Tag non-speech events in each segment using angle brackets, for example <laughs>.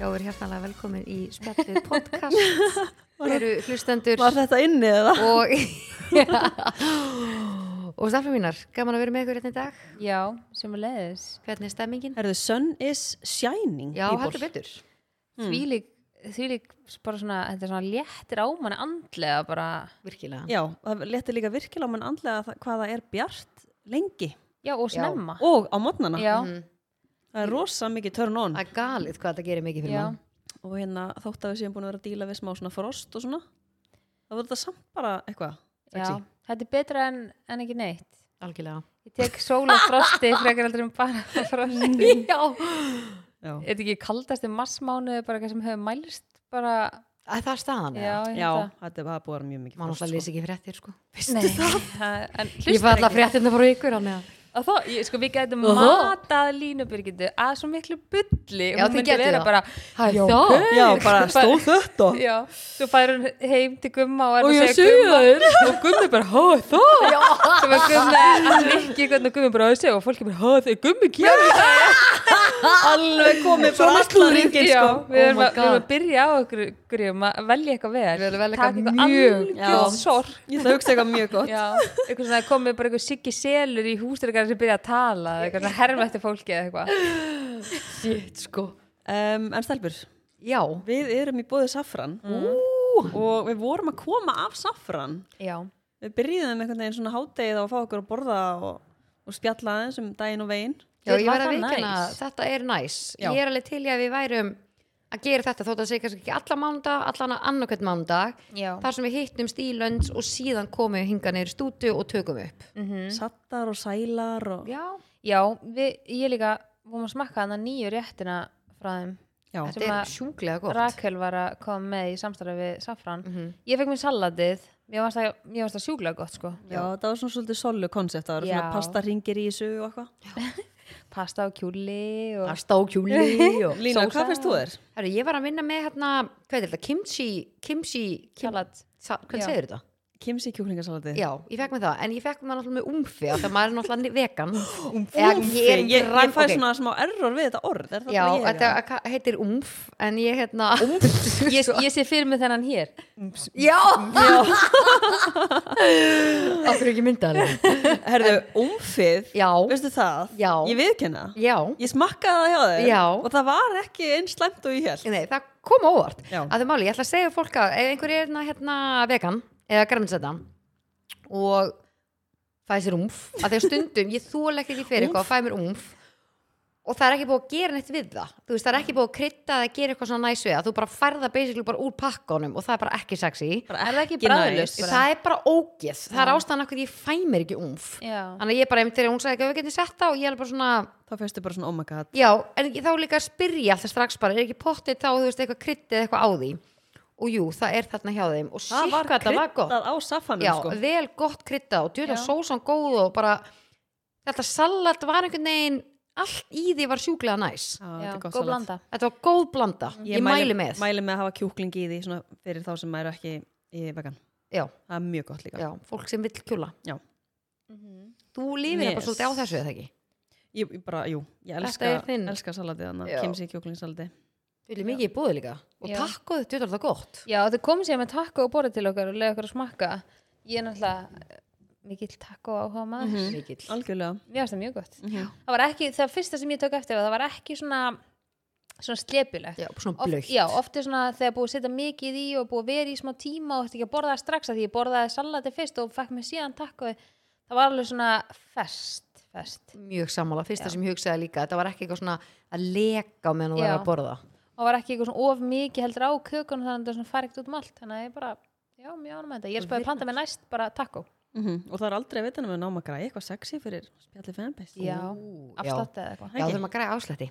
Já, við erum hjartanlega velkomin í spjallið podcast <laughs> Við eru hlustendur Var þetta inni eða? og <laughs> ja. og staflum mínar, gaman að vera með ykkur hérna í dag Já, sem að leiðis. Hvernig er stemmingin? Er the sun is shining Já, people. heldur betur Hmm. Þvílík, þvílík bara svona, þetta er svona léttir á manni andlega bara. Virkilega Já, það letur líka virkilega á mann andlega það- hvað það er bjart lengi Já, og Já. snemma. og á modnana Já, það er rosa mikið turn on Mhm. Það er galið hvað þetta gerir mikið fyrir já. mann og hérna þótt að við séum búin að vera að díla við smá svona frost og svona það voru þetta samt bara eitthvað já. sexy. Þetta er betra en, en ekki neitt. Algjörlega Ég tek sól og frosti frekar aldrei um bara <laughs> frosti. Já Já. Er þetta ekki kaldasti massmánuði bara eitthvað sem hefur mælst bara, Æ, Það er staðan já, ég Já, held þetta var búið að vera mjög mikið Má náttúrulega frost, lýsa ekki fréttir sko Nei, <laughs> það- en Ég fæ hlustar alltaf ekki. fréttirna frá ykkur hann eða Að þó, ég, sko, við gætum Aha. matað línubyrgindu að svo miklu bulli Já, Hún þið myndi getið vera það. bara, Hæ, Já, þá sko. Já, <laughs> bara stóð þetta já, svo færi hún heim til gumma og er Og að ég segja segi gumma og gummi bara, hó, þó sem var gummi, Rikki hvernig gummi bara að segja og fólki bara, hó, þau gummi kemur Alveg komið bara allan ringin já, sko. við erum Oh my að- við erum God. að byrja á okkur grím að velja eitthvað vel Við erum að velja Taka eitthvað mjög algjörð gott. sorg Ég ætla að hugsa eitthvað mjög gott Já, eitthvað svona komið bara eitthvað siggi selur í húsdreikar sem byrja að tala eða eitthvað svona herma eftir fólki eða eitthvað Shit sko um, En stelpur, Já við erum í bóði safran og við vorum að koma af safran Já, Við byrjuðum einhvern veginn svona hádegið á að fá okkur að borða og, og spjalla aðeins um daginn og veginn Já, Þetta ég var verð að það vikina, næs. þetta er næs Já. Ég er alveg til í að við værum að gera þetta þótt að segja kannski ekki alla mánda allan að annarkvæmt mándag já þar sem við hittumst í lönns og síðan komum við hinga neyri stútu og tökum upp Hmm. Sattar og sælar og Já, Já, við, ég líka vorum að smakka þannig nýju réttina frá þeim Já. þetta Sem er að sjúklega gott Rakel var að koma með í samstarfi við Safran Mhm. Ég fekk mér salatið Mér varst það, mér varst það sjúklega gott sko Já, það var svona svolítið sollu konsept, það var Já. svona pasta ringir í þessu og eitthvað. Pasta og kjúli og... Pasta og <laughs> kjúli og... Lína, Sósa. hvað finnst þú þér? Herru, ég var að vinna með hérna, hvað er þetta, kimchi kimchi, kim, Salat sa, hvernig Já. segir þetta? Kimsi kjúklingasalati. Já, ég fekk með það, en ég fekk með náttúrulega með umfi af því að maður er náttúrulega vegan <laughs> umfi, ég, ég, fæ svona smá error við þetta orð, er það Já, bara ég? þetta ka- heitir umf en ég hérna <laughs> umf, Ég, sko. ég sé fyrir mig þennan hér Já <laughs> Okkur ekki <laughs> myndaðlega <laughs> Herðu, umfið, Já, veistu það? Já. Ég viðkenna. já Ég smakkaði það hjá þér Já. og það var ekki eins slæmt og ég held. Nei, það kom á óvart Já. að þau máli, ég ætla að segja fólk að ef einhver er hérna, hérna vegan eða græminsetta og fæði sér umf að þegar stundum, ég þólegt ekki fyrir eitthvað og fæði mér umf og það er ekki búið að gera neitt við það þú veist, það er ekki búið að krydda eða gera eitthvað svona næs við það þú bara færða basically bara úr pakkanum og það er bara ekki sexy Er það ekki Ekki bræðlust? næs. það er bara ógeð, það er ástæðan okkur ég fæ mér ekki umf Já, þannig að ég bara, einmitt þegar hún sagði ekki að við getum sett það og ég er bara svona, Þá fæstu bara svona, oh my god. Já, en ég- þá líka að spyrja alltaf strax bara, er ekki pottið þá, þú veist, eitthvað kryttið eitthvað á því. Og jú, það er þarna hjá þeim og sík hvað þetta var gott. kryddað á safanum, Já, sko. vel gott kryttað og djöla Já. sósan góð og bara þetta salat var einhvern veginn allt í því var sjúklega næs. Já, þetta já, er gott góð salat. blanda Þetta var góð blanda. Ég, mæli, með. mæli með að hafa kjúkling í því svona, fyrir þá sem eru ekki í vegan Já, það er mjög gott líka já, fólk sem vill kjúla. Já. Mhm. Þú lífir yes. bara Yes. svolítið á þessu eða ekki? Ég, ég bara, jú, ég Þetta elska, er þinn. elska salatið þannig Já. að kemsi kjúklingsalati Þú viljið mikið í búið líka. Og Já. takkoðu, djöla það gott. Já, þau komið sér með takko og borðið til okkar og leiði okkur að smakka Ég er náttúrulega mikill takko áhuga maður Mhm. Mikill. algjörlega Mér finnst það mjög gott Já. Það var ekki, það fyrsta sem ég tök eftir var, það var ekki svona svona slepjulegt Já, svona Oft, blöitt. já, oft er svona þegar búið að setja mikið í og búið að vera í smá tíma og ætti ekki að borða það strax að því ég borðaði salati fyrst og fekk mér síðan takk og það var alveg svona fest, fest mjög sammála, fyrsta sem ég hugsaði líka þetta var ekki eitthvað svona að leka á meðan þú Já. verður að borða og var ekki eitthvað svona of mikið heldur á kökun þannig að það svona fari ekkert út um allt þannig að ég bara, já, mjög ánum með þetta ég er spæðið að planta með næst bara takko Mhm. og það er aldrei að vita nema við náum að græja eitthvað sexy fyrir spjallið fanbase Já, Ú, já. afslátt eða eitthvað Já, Ekki. þurfum að græða áslætti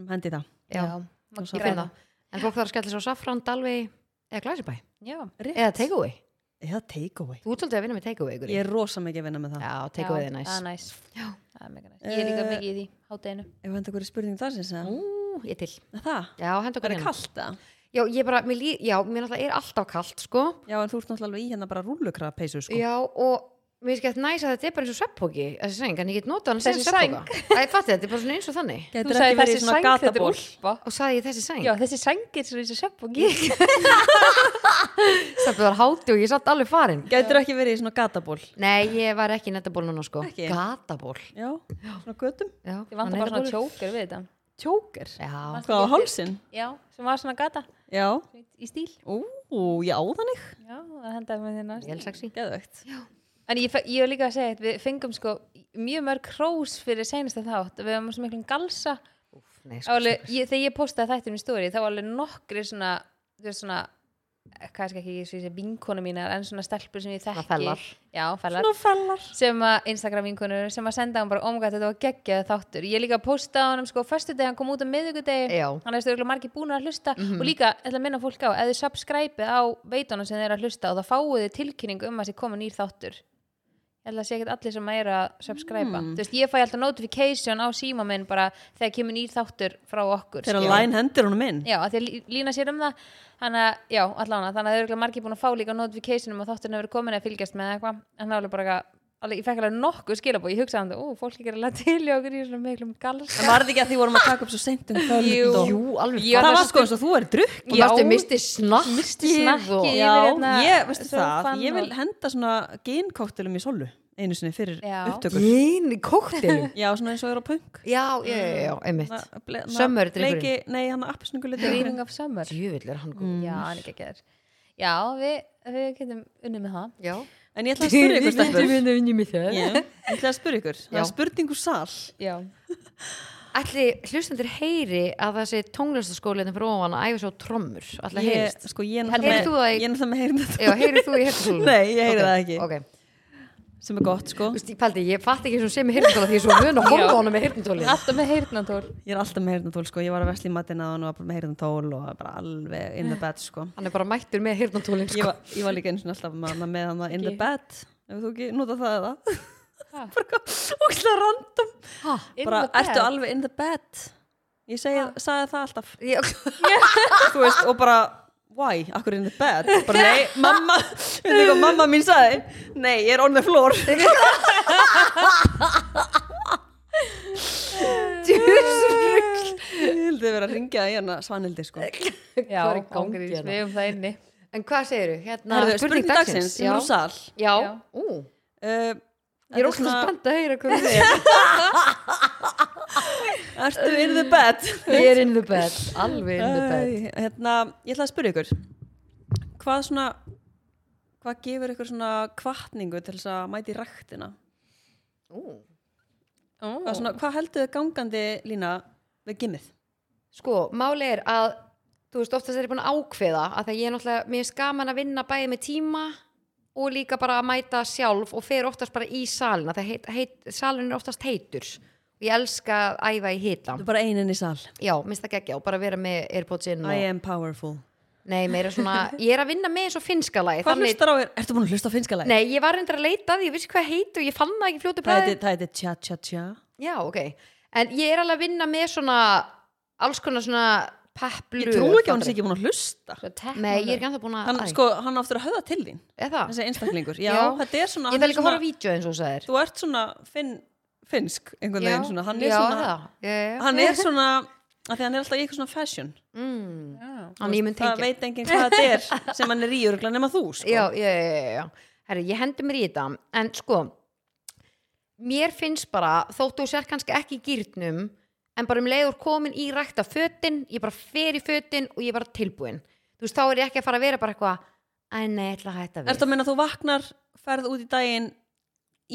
um hendi það Já, má svo græða. finna. en fólk þarf að skella sér á Safran, Dalvi eða Glæsibæ, Já, Rétt. eða Takeaway eða takeaway Þú ert svolítið að vinna með Takeaway ykkur ég er rosa mikið að vinna með það Já, Já, Takeaway er það næs er næs Það er mega næs. Ég er líka Eh, mikið í því hátdeinu ef hendur hverju spurning þar sem segja Ú, ég til það, Já, henda það okkur er hérna kallt það Já, ég bara, mér, lí... Já, mér náttúrulega er alltaf kalt sko. já, en þú ert náttúrulega alveg í hérna bara rúllukraða peysu sko Já, og mér finnst ekki að næsa að þetta er bara eins og svepphóki þessi sæng, en ég get notað hann sem Þessi svepphóka Það er fattið, þetta er bara svona eins og þannig Þú Getur sagði ekki verið þessi í svona sæng, þetta er gataból. úlpa og sagði ég þessi sæng, Já, þessi sængir sem þessi sepp og gík það var háti og ég satt alveg farin Getur ekki verið í svona gataból. Nei, ég var ekki í nettaból núna sko Ekki? Gataból Já, svona götum. Já, Ég á vant að bara svona netabólið. tjóker við þetta Tjóker. Já, Hvað á hálsin? Já, sem var svona gata Já. í stíl Ú, já, þannig. Já, það hendaði með þér næst vel sexy Geðvegt. En ég, fe- ég var líka að segja, eitt, við fengum sko mjög mörg hrós fyrir seinasta þátt við varum svo miklum galsa Úff, nei, sko, Það var alveg, ég, þegar ég postaði þættinu í stóri þá var alveg nokkri svona, þú veist svona eh, kannski ekki svo ég segi vinkonu mínar en svona stelpur sem ég þekki fellar. Já, fellar Nú fellar. sem að Instagram vinkunur sem að senda hann bara omgætt þetta var geggjað þáttur ég líka postaði á hann sko föstudegi hann kom út á miðugudegi Já. hann er stöðuglega margir búin að hlusta og líka ætla að minna fólk á ef þið subscribe á veitunum sem þið eru að hlusta og þá fáið þið tilkynning um að þið koma nýr þáttur ég held að sé ekkert allir sem eru að subscribe þú veist ég fæ alltaf notification á síma minn bara þegar kemur nýr þáttur frá okkur Þegar skilurðu. læn hendir honum inn. Já, að því að lí- lína sér um það þannig að, já, allána, þannig að það eru örugglega margir búin að fá líka notificationum og þátturinn hefur komin að fylgjast með eða eitthvað, en það er alveg bara eitthvað- alveg, ég fekk alveg nokkuð skilabóð, ég hugsaði um það, ó, fólk er alveg til í okkur í svona miklum <laughs> galsa En var þetta ekki að því vorum að taka upp svo seint um kvöld? Jú. og- Jú, alveg Ég var Það var þessu sko eins og þú er drukk. Og varstu misti snakkið Missti snakkið. og- Ég Já, vil hérna- ég, veistu það, sófann ég vil og- henda svona ginkóttelum í solu einu sinni fyrir Já. upptökur. Gin í koktelum Já, svona eins og er á punk. <laughs> Já, já, já, já, einmitt Summer drykkurinn. Sömmerdrykkurinn. Nei, hann er appisningulitri. Dreaming of Summer Djöfull er hann góð Já, hann er ekki ekki þér Já, við, við getum unnið með það Já En ég ætla að spyrja ykkur stelpur. vinna vinni með það Ég ég ætla að spyrja ykkur. Það Já. er spurningu sal. Já, Ætli hlustendur heyri að þessi tónlistaskólinni fyrir ofan að æfa svo trommur Ætli að Ég, heyrist sko, ég er Heyrðir þú náttúrulega það með, í- ég er náttúrulega með heyrnat Já, heyrið þú í heyrðsólum? Nei, ég heyri það ekki. Ok, <laughs> sem er gott, sko. þú veist, ég paldi, ég fatt ekki sem sé með heyrðsóla því ég er svo mun að horfa á hana með heyrðsóla alltaf með heyrnantól Ég er alltaf með heyrnatól, sko. Ég var að vesla í matinn að hann og var bara með heyrnatól og bara alveg in the bed, sko. Hann er bara mættur með heyrðsólin Ég sko. var, ég var líka eins og alltaf með hann með hann in the Ekki. bed. Ef þú ekki nota það eða. Ha? <laughs> bara ógæslega random. Ha? In Bara, the bed? ertu alveg in the bed? Ég segi, sagði það alltaf. Ég- <laughs> <laughs> Þú veist, og bara, why? Akkur in the bed? Bara, nei, mamma, <laughs> veitu hvað mamma mín sagði? Nei, ég er on the floor. Djöfull. Ég held að vera að ringja í hana Svanhildi sko Já, Hvað er í gangi ángríns, hérna? við hefum það inni En hvað segirðu? Hérna, Herðu, spurning dagsins, ég var úr sal Já, Já. ú uh, Ég er óslega spennt að heyra hvað það er. Ertu in the bed? Ég er in the bed, alveg in the bed. Æ, Hérna, ég ætla að spyrja ykkur Hvað svona Hvað gefur ykkur svona kvartningu til þess að mæti ræktina? Ú. Hvað, svona, hvað heldur þið gangandi lína við gimmið? Sko, máli er að, þú veist, oftast er ég búin að ákveða að það ég er náttúrulega, mér er skaman að vinna bæði með tíma og líka bara að mæta sjálf og fer oftast bara í salina. Það heit, heit, salin er oftast heitur. Ég elska að æfa í hita. Þú er bara einin í sal Já, minnst það geggja og bara vera með Airpodsinn I og... am powerful Nei, meira svona, ég er að vinna með eins og finnska lagi. Hvað hlustar á þér? Ertu búin að hlusta á finska læg? Nei, ég var reyndar að leita að því, ég vissi hvað heit og ég fann það ekki fljótu Það heiti- það heiti tja tja tja Já, ok. En ég er alveg að vinna með svona alls konar svona peplu. Ég trú ekki að hann sé ekki búin að hlusta Nei, ég er ekki að búin að... Hann, Æ, sko, hann áttur að höða til þín er það? þessi einstaklingur, já, Já. þetta er svona Ég hann þarf er líka að svona- horfa á vídeo eins og þú sagðir. þú ert svona finn, finnsk einhvern veginn svona, hann er já, svona það. Já, já. hann er svona, af því hann er alltaf í eitthvað svona fashion, Mm. Já. Hann ég mun það tengja. veit enginn hvað þetta er sem hann er í örgla nema þú sko. Já, já, já, já, já. Herri, ég hendi mér í þetta. En sko, mér finnst bara, þóttu þú sér kannski ekki í gýrnum, en bara um leiður komin í rækta fötin, ég bara fer í fötin og ég er bara tilbúin. Þú veist, þá er ég ekki að fara að vera bara eitthvað, æ, nei, ég ætla að hætta við. ertu að minna þú vaknar, ferð út í daginn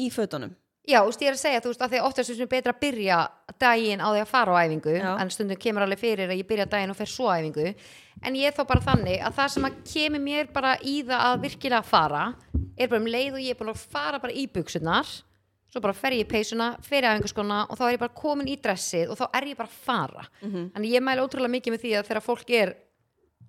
í fötunum Já, þú veist, ég er að segja, þú veist, að því að oftast er svona betra að byrja daginn á því að fara á æfingu Já. en stundum kemur alveg fyrir að ég byrja daginn og fer svo á æfingu en ég er þá bara þannig að það sem að kemur mér bara í það að virkilega fara er bara um leið og ég er búin að fara bara í buksunar svo bara fer ég í peysuna, fer í æfingaskona og þá er ég bara komin í dressið og þá er ég bara að fara en ég mæla ótrúlega mikið með því að þegar fólk er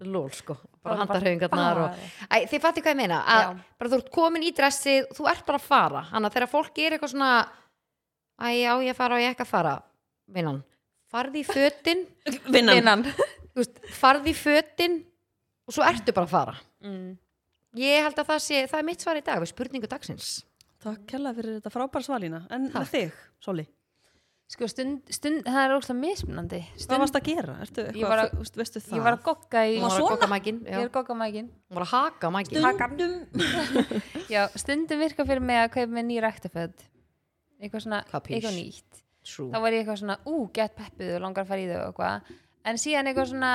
lól sko, bara Bara- handarhauðingarnar og Æ, þið fattu hvað ég meina að Já. bara þú ert komin í dressið, þú ert bara að fara þannig að þegar fólk gerir eitthvað svona æ, já, ég að fara og ég ekki að fara vinnan, farði í fötin vinnan, <laughs> Innan þú veist, farði í fötin og svo ertu bara að fara Mm. ég held að það sé, það er mitt svar í dag við spurningu dagsins Takk kærlega fyrir þetta frábæra svalina En með þig, Soli, sko stund, stund, það er óslega mismunandi hvað stund, varst að gera? Ertu Ég eitthvað, var að- þú veist, veistu það? ég var að gogga í Hún var að Svona? gogga mækin ég er Hún goggamækin var að haka mækin Stundum já, stundum virka fyrir mig að kaupa mér nýr ektaföld eitthvað svona, Kapís. eitthvað nýtt þá True var ég eitthvað svona, ú, gett peppið og langar að fara í þau og eitthvað en síðan eitthvað svona,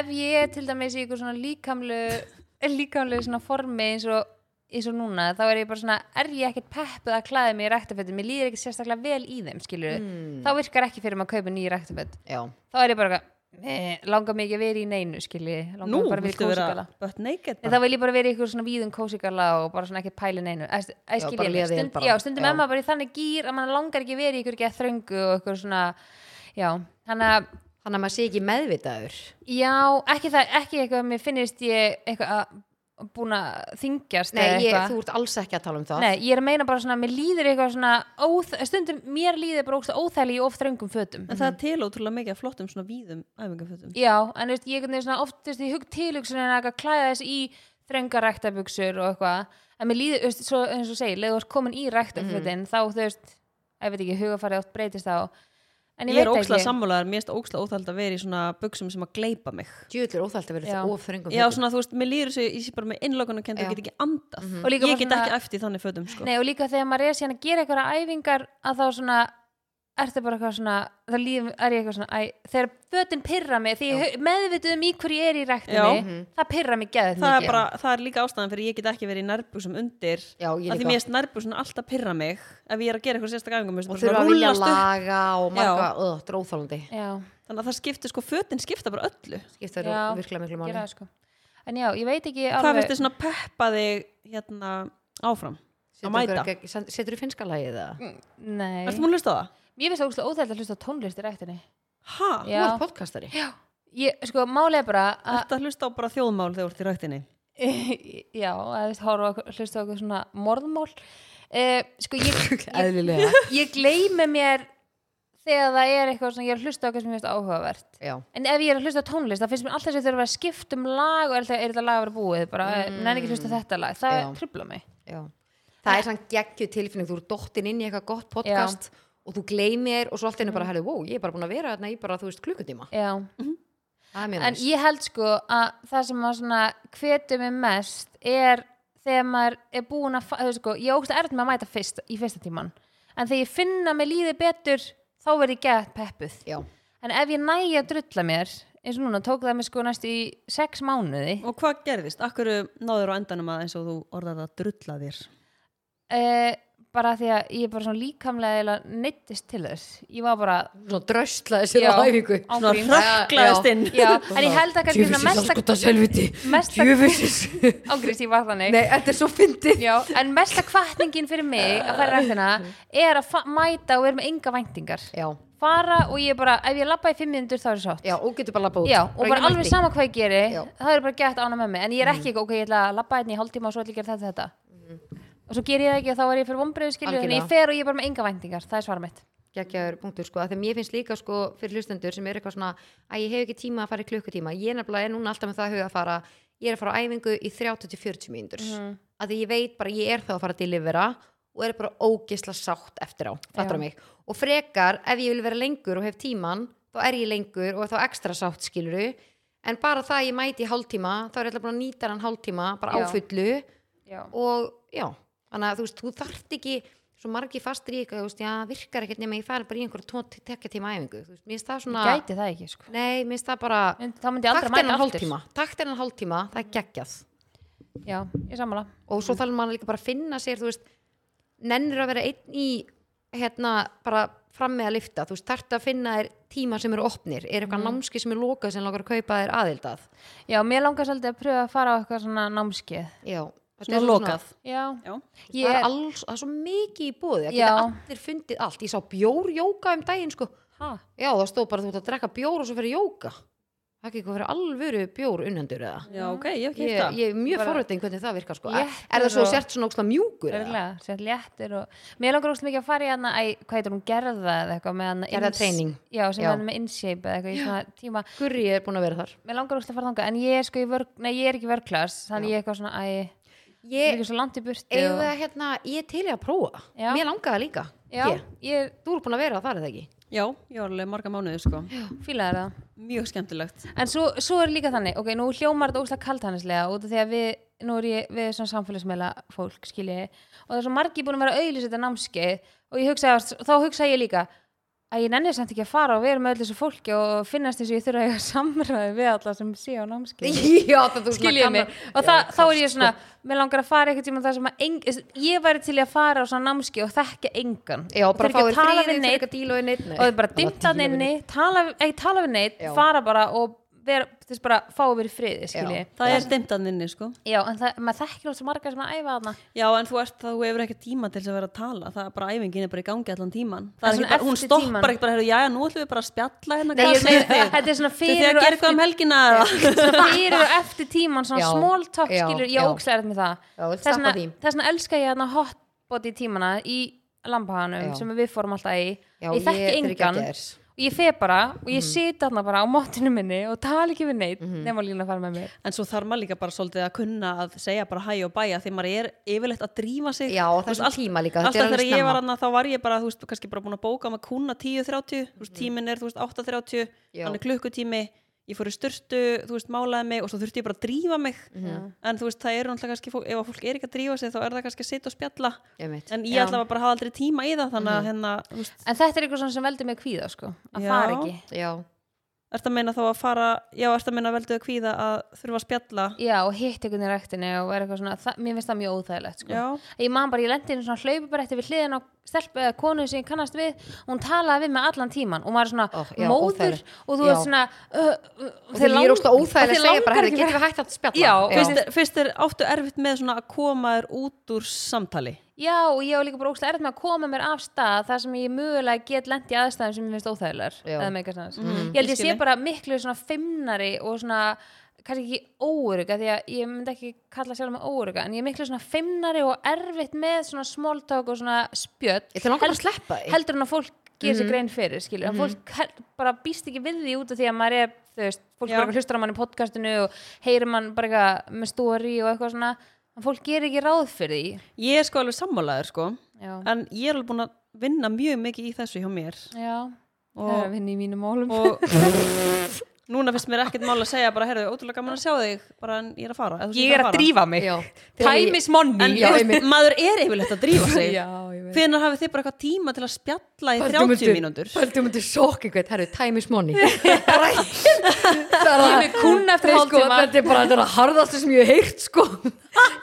ef ég er til dæmis í eitthvað svona líkamlu <laughs> líkamlu svona formi eins og eins og núna, þá er ég bara svona er ég ekkert peppuð að klæða mig í ræktafötum mér líður ekki sérstaklega vel í þeim, skilur Hmm. Mm. þá virkar ekki fyrir mig að kaupa nýja ræktaföt Já þá er ég bara eitthvað eh, langar mig ekki að vera í neinu, skilur langar Nú, mig bara að vera í viltu vera kósigala butt naked En bara? þá vil ég bara vera í ykkur svona víðum kósigala og bara svona ekki pæli neinu. Æ, Já, skil bara ég mig. liða vel Stund, bara. já, stundum Já. er maður bara í þannig gýr að mann langar ekki verið í ykkur ekki að þröngu og ykkur svona, já. Þannig að, Þannig að maður sé ekki meðvitaður já, ekki það, ekki eitthvað að mér finnist ég eitthvað að búin að þingjast Nei, eða ég, eitthvað. þú ert alls ekki að tala um það Nei, ég er að meina bara svona, að mér líður eitthvað svona, óþ, stundum mér líður bara ógst óþæli í of þröngum fötum. En það Mhm. er til ótrúlega mikið af flottum svona víðum æfingafötum Já, en veist, ég er svona oft veist, í hug tilugsun en að klæða þess í þrenga ræktabuxur og eitthvað en mér líður, veist, svo, eins og segi, leður þú ert komin í Mm. ræktafutin þá þú veist, ég veit ekki hugafarið oft breytist þá en ég, Ég er veit ókslega ekki sammálaðar, mér erst ókslega óþæld að vera í svona buksum sem að gleipa mig Djúðlir óþælt að vera Já. þetta ofþröngum Já, svona, þú veist, mér líður svo, ég sé bara með innlokunarkend og Já. Mhm. get ekki andað Og líka Ég bara get svona- ekki eftir þannig fötum, sko Nei, og líka þegar maður er síðan að gera eitthvað æfingar að þá svona ertu bara eitthvað svona, það líf, er ég eitthvað svona æ, þegar fötin pyrra mig því ég hau- meðvituð um í hverju ég er í Já. Mhm. ræktinni það pyrra mig geðið það er, bara, það er líka ástæðan fyrir ég get ekki verið í nærbuksum undir Já, ég að því líka. mér erst nærbuksum alltaf pyrra mig ef ég er að gera eitthvað sérstak æfingum Og þurfa að vilja laga og marga Já. Ö, Þetta er óþálandi Já. þannig að það skiptir sko, fötin skipta bara öllu Skipta þér Já, virkilega miklu gera máli það, sko. en já, ég veit ekki hvað finnst þið svona peppa þig hérna áfram að Setur mæta ykkur ekki- send- Setur þú finnska lagið það? Nei, ertu múin að hlusta á það? ég finnst ógustlega óþægt að hlusta á tónlist í rættinni ha? Ah, Þú Já. ert podcastari ég, Sko, málið er bara að <laughs> ertu að hlusta á bara þjóðmál þegar þú ert í rættinni Já, að þú horfa á okkur- hlusta á okkur svona morðmál eh, <laughs> Sko, ég, ég, Eðlilega ég gleymi mér þegar það er eitthvað svona, ég er að hlusta á okkur sem mér finnst áhugavert Já En ef ég er að hlusta á tónlist, það finnst mér alltaf sem þurfa að skipta um lag og er þetta- er þetta lag að vera búið bara, mm. nenni ekki að hlusta á þetta lag, það Já. trubla mig Já. Það er sann geggju tilfinning, þú eru dottin inn í eitthvað gott podcast og þú gleymir og svo allt einu Mm. bara, herðu, wow, ég er bara búin að vera þarna í bara, þú veist, klukkutíma. Já, Það er mér en ég held sko að það sem maður svona hvetur mig mest er þegar maður er búin að fa- þú veist sko, ég ógst erð með að mæta fyrst í fyrsta tíman en þegar ég finna mig líði betur þá verð ég gett peppuð Já, en ef ég nægi að drulla mér eins og núna tók það mig sko næst í sex mánuði og hvað gerðist? akkur náður á endanum að eins og þú orðar að drulla þér uh, bara því að ég bara svona líkamlega neittist til þess ég var bara svona dröstlaði sér á Já. æfingu. Á- svona Ángríns. hraklaðist inn já, en ég held að kannski svona mesta, Djöfisins, helviti, mesta- djöfisins. ángriðs ég var <laughs> þannig Nei, þetta er svo fyndið. Já, en mesta kvartningin fyrir mig að fara í rættina er að fa- mæta og vera með enga væntingar Já, fara og ég bara, ef ég labba í fimm minnundur þá er það sátt já, og getur bara labbað út. Já, og bara ekki alveg mætti. sama hvað ég geri Já. Mm. það er bara gett ána með mig, en ég er ekki ok, ég ætla að labba hérna í hálftíma og svo ætla ég að gera þetta þetta og svo geri ég það ekki og þá er ég fyrir vombriðu skilju en ég Algjörlega. fer og ég er bara með enga væntingar, það er svara mitt geggjaður punktur sko, að því að mér finnst líka sko fyrir hlustendur sem er eitthvað svona að ég hef ekki tíma að fara í klukkutíma, ég nefnilega er núna alltaf með það að huga að fara, ég er að fara á æfingu í 30-40 mínútur, Mhm. mm. að því ég veit bara ég er þá að fara að delivera og er bara ógisla sátt eftir á, fattar Já. mig og frekar, ef ég vil vera lengur og hef tíman, þá er ég lengur og er þá ekstra sátt skiluru, en bara það að ég mæti í hálftíma, þá er ég alltaf bara að nýta hann hálftíma, bara á Já. fullu Já, og já, þannig að þú veist, þú þarft ekki svo margi fastur í eitthvað, þú veist, já, virkar ekkert nema ég fari bara í einhverja tónt tekja tíma æfingu, þú veist, mér finnst það svona gæti það ekki sko nei, mér finnst það bara en þá myndi ég aldrei takt mæta enn aftur hálftíma, takt enn hálftíma, það er geggjað Já, ég sammála og svo þarf maður líka bara að finna sér, þú veist nennir að vera einn í hérna, bara fram með að lifta þú veist, þarft að finna þér tíma sem eru opnir er eitthvað Mhm. námski sem er lokað sem langar að kaupa þér aðildað, Já, mér langar svolítið að pröfa að fara á eitthvað svona námskeið já þetta svona er lokað Já, Já. ég það, er er alls, það er svo mikið í bóði það Já. geta allir fundið allt ég sá bjórjóka um daginn sko Ha? já það stóð bara þú ert að drekka bjór og svo fyrir jóka það er ekki eitthvað fyrir alvöru bjór unnendur eða já, ok, ég hef ekki ég, hitt það ég er mjög Bara- forveitin hvernig það virkar sko er, Léttur er það svo og- sért svona óksla mjúkur eða? Örgulega, sér léttir og mér langar óslega mikið að fara í hana æ, hvað heitir hún, gerða eða eitthvað með hana Gerða Ins- training. Já, sem Já. já. með InShape eða eitthvað í svona tíma gurri er búin að vera þar Mér langar óslega að fara þangað en ég er sko í vörk, nei ég er ekki í vörklass þannig ég er eitthvað svona, æ, ég, líka svo langt í burtu eigum við og, að, hérna, ég er til í að prófa Já. mér langaði líka já, Ég. ég þú er búin að vera að fara það ekki Já, ég var alveg marga mánuði sko fílaði það Mjög skemmtilegt En svo, svo er líka þannig, ok, nú hljómar þetta óslega kaltanislega út af því að við, nú er ég, við erum svona samfélagsmeila fólk, skiljiði, og það er svo margi búin að vera auðlýs þetta námskeið og ég hugsa, þá hugsa ég líka að ég nenni samt ekki að fara og vera með öll þessu fólki og finnast þess að ég þurfa að eiga <laughs> samræði við alla sem sé á námskeið. <laughs> já, það þú Skiljiði mig. Og það, þá er ég sko- svona, mér langar að fara eitthvað tíma það sem að, eng, ég væri til í að fara á svona námskeið og þekka engan. já, bara fáið Þurfa ekki að fríði, tala við þú neitt ekki að díla við neitt nei. og þau bara dimta hann inni tala, ekki tala við neitt, Já. fara bara og vera, þess bara fá að vera í friði skilji. Það er dimtanninni sko já, en það, maður þekkir alveg svo margar sem að æfa þarna Já, en þú, ert, þú hefur ekki tíma til þess að vera að tala Það er bara æfingin er bara í gangi allan tíman Það En er svona ekki bara, hún eftir stoppar tíman. ekki bara heyrðu, Jæja, nú ætlum við bara að spjalla hérna Nei, hvað ég <laughs> segið meina, þið? þetta er svona Þið þið fyrir að og gera eitthvað eftir um helgina <laughs> eða? svona fyrir og eftir tíman svona Já. small talk Já. skilur, Já. ég ókslega er með það Já, vill Þess vegna- sleppa því. þess vegna elska ég þarna hotbody tímana í Já. lampahanum sem við fórum alltaf í Já, ég þekki þetta er ekki engan að Mhm. gers. og ég fer bara og ég sit þarna bara á mótinu minni og tala ekki við neitt Mhm. nema lína að fara með mér En svo þarf maður líka bara svolítið að kunna að segja bara hæ og bæja því maður er yfirleitt að drífa sig Já, Þú það er veist, svona allt- tíma líka, þetta er Alltaf alveg þegar ég var snemma. annað þá var ég bara, þú veist, kannski bara búin að bóka með kuna 10.30, þú veist, tíminn er, þú veist, 8.30 Mm. Já. þannig klukkutími, ég fór í styrtu þú veist, málaði mig og svo þurfti ég bara að drífa mig Mhm. en þú veist, það eru náttúrulega kannski fólk, ef að fólk er ekki að drífa sig þá er það kannski að sitja og spjalla Einmitt. en ég Já. ætla bara að hafa aldrei tíma í það þannig Mhm. að hérna, þú veist, En þetta er eitthvað svona sem veldur mig kvíða sko, að Já. fara ekki já, ert að meina þá að fara já, ert að meina velduð að kvíða að þurfa að spjalla Já, og hitt einhvern í ræktinni og vera eitthvað svona, það, mér finnst það mjög óþægilegt sko. Já. Ég man bara, ég lendi inn svona hlaupi bara eftir við hliðin á stelpu eða konu sem ég kannast við og hún talaði við mig allan tíman og maður er svona Ó, já, móður óþægilegt. og þú Já. ert svona uh, uh, og þeir líður ósla óþægilega að segja bara, herri, getur getum við hægt að spjalla Já, fyrst, er, fyrst er áttu erfitt með svona að koma þér út úr samtali Já, og ég var líka bara óslega erð með að koma mér af stað þar sem ég mögulega get lent í aðstæðum sem mér finnst óþægilegar Já. eða meika sens Ég held ég ég sé skil. bara miklu svona feimnari og svona kannski ekki óuruga því að ég myndi ekki kalla sjálf með óuruga en ég er miklu svona feimnari og erfitt með svona smóltök og svona spjött Ég ætla langar að sleppa því. heldur en að fólk gerir sér grein fyrir skilur, en fólk hel- bara býst ekki við því út af því að maður er, þú veist, fólk Já. bara eitthvað hlustar á mann í podcastinu og heyrir mann bara eitthvað með story og eitthvað svona en fólk gerir ekki ráð fyrir því ég er sko alveg sammálaður sko Já. en ég er alveg búin að vinna mjög mikið í þessu hjá mér Já, Og- það er að vinna í mínum málum <laughs> og núna finnst mér ekkert mál að segja bara heyrðu, ótrúlega gaman að sjá þig bara en ég er að fara eða þú veist, Ég er að fara. drífa mig Já. Time is money en Já, þú veist, einmitt. maður er yfirleitt að drífa sig <laughs> Já, ég veit hvenær hafið þið bara eitthvað tíma til að spjalla í um 30 mínútur Paldum myndir sjokk eitthvað, herru, time is money <laughs> Bara- Það er Ég er með kúnna eftir Nei, sko, hálftíma. Þetta er bara þetta er að harðastu sem ég hef heyrt sko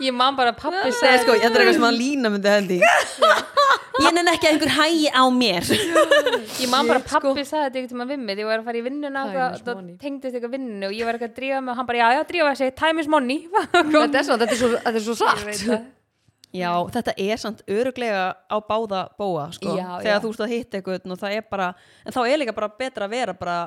Ég man bara að pappi Nei, segja sko, þetta er eitthvað sem að lína myndi <laughs> hendi ég nenn ekki að einhver hægi á mér sko- Ég man bara að pappi sagði þetta eitthvað við mig Þegar ég var að fara í vinnuna sko. Time og is það money. tengdist eitthvað vinnunni og ég var eitthvað að drífa mig og hann bara, já, já, drífa sig, time is money <laughs> Þetta er svo, þetta er svo, þetta er svo Ég satt veit það. já, þetta er samt öruglega á báða bóa sko. Já, þegar já. þú ert að hitta eitthvað og það er bara, en þá er líka bara betra að vera bara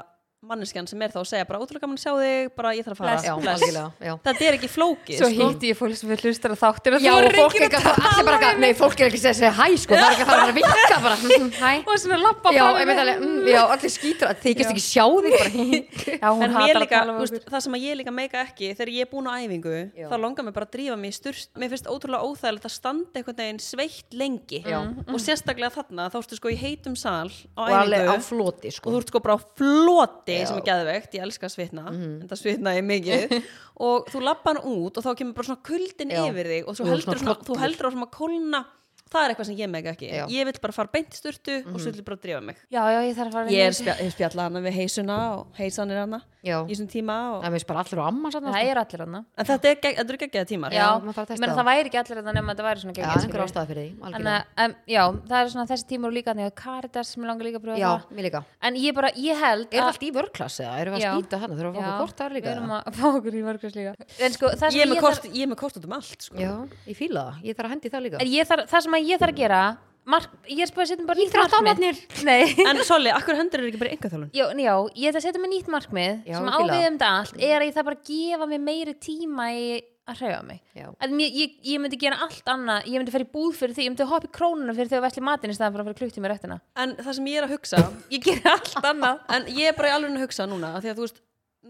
manneskjan sem er þá að segja bara ótrúlega gaman að sjá þig, bara ég þarf að fara Já, algjörlega, já þetta er ekki flókið Svo sko. hitti ég fólk sem við hlustar að þáttir og Já, þú og um er fólk ekki er ekki að allir bara eitthvað- Nei, fólk er ekki að segja, segja hæ sko Það er ekki að fara að vinka bara mm, Hæ og svona lappa Já, einmitt alveg, mm, já, allir skýtur Þykist ekki sjá þig <laughs> bara Já, hún en mér hatar að líka, tala um úst, okkur það sem að ég líka meika ekki þegar ég er búin á æfingu, Já. þá langar mér bara að drífa mig í styrst, mér finnst ótrúlega óþægilegt að standa einhvern veginn sveitt lengi Já. og sérstaklega þarna, þá ertu sko í heitum sal á Og alveg á æfingu floti og sko þú ert sko bara á floti Já. Mhm. sem er geðveikt, ég elska að svitna en það svitna ég mikið <laughs> og þú lappa hann út og þá kemur bara svona kuldin Já. yfir þig og Og svo heldur svona svona, kollur. þú heldur á svona kólna það er eitthvað sem ég mega ekki, Já. Mhm. ég vil bara fara beint í sturtu og svo vil ég bara drífa mig Já, já, ég þarf að fara ég er spja- ég spjalla hana við heisuna og heisanir hana Já. í þessum tíma og... Það veist bara allir á amma sann Það er allir hana en þetta er, gegg- þetta eru geggjaða tímar Já, maður þarf að testa menn það. það væri ekki allir þetta nema þetta væri svona Já, geggjað, einhver skilurðu. ástæða fyrir því, algjörlega Þannig að, um, já, það er svona þessi tímur og líka þannig að Caritas sem ég langar líka að pröfa sko. Já, það. mér líka En ég bara, ég held Er það allt í vörklass eða? Erum við Já. að skýta hann? Þurfum við að fá Já, okkur kort þar Við líka? erum að fá okkur í vörkvæs líka. En sko, ég það er með sem ég, kort, ég er með kort út um allt sko. Já, ég fíla það, ég þarf að hendi það líka þarf, en ég þarf, það sem að ég þarf að gera, mark, ég er spöðið að setja bara nýtt markmið. Íþróttamanir Nei. en Solli, akkur hendur eru ekki bara enga þjálun Já, já, ég ætla að setja mér nýtt markmið Já, ég sem á fíla við það. um þetta allt er að ég þarf bara að gefa mér meiri tíma í að hreyfa mig. Já. Að mér, ég, ég myndi gera allt annað, ég myndi fara í búð fyrir því, ég myndi hoppa í krónuna fyrir því að vesli matinn í staðan fyrir að fara klukkt í mér réttina. en það sem ég er að hugsa Ég gera allt annað. en ég er bara í alveg að hugsa núna af því að þú veist,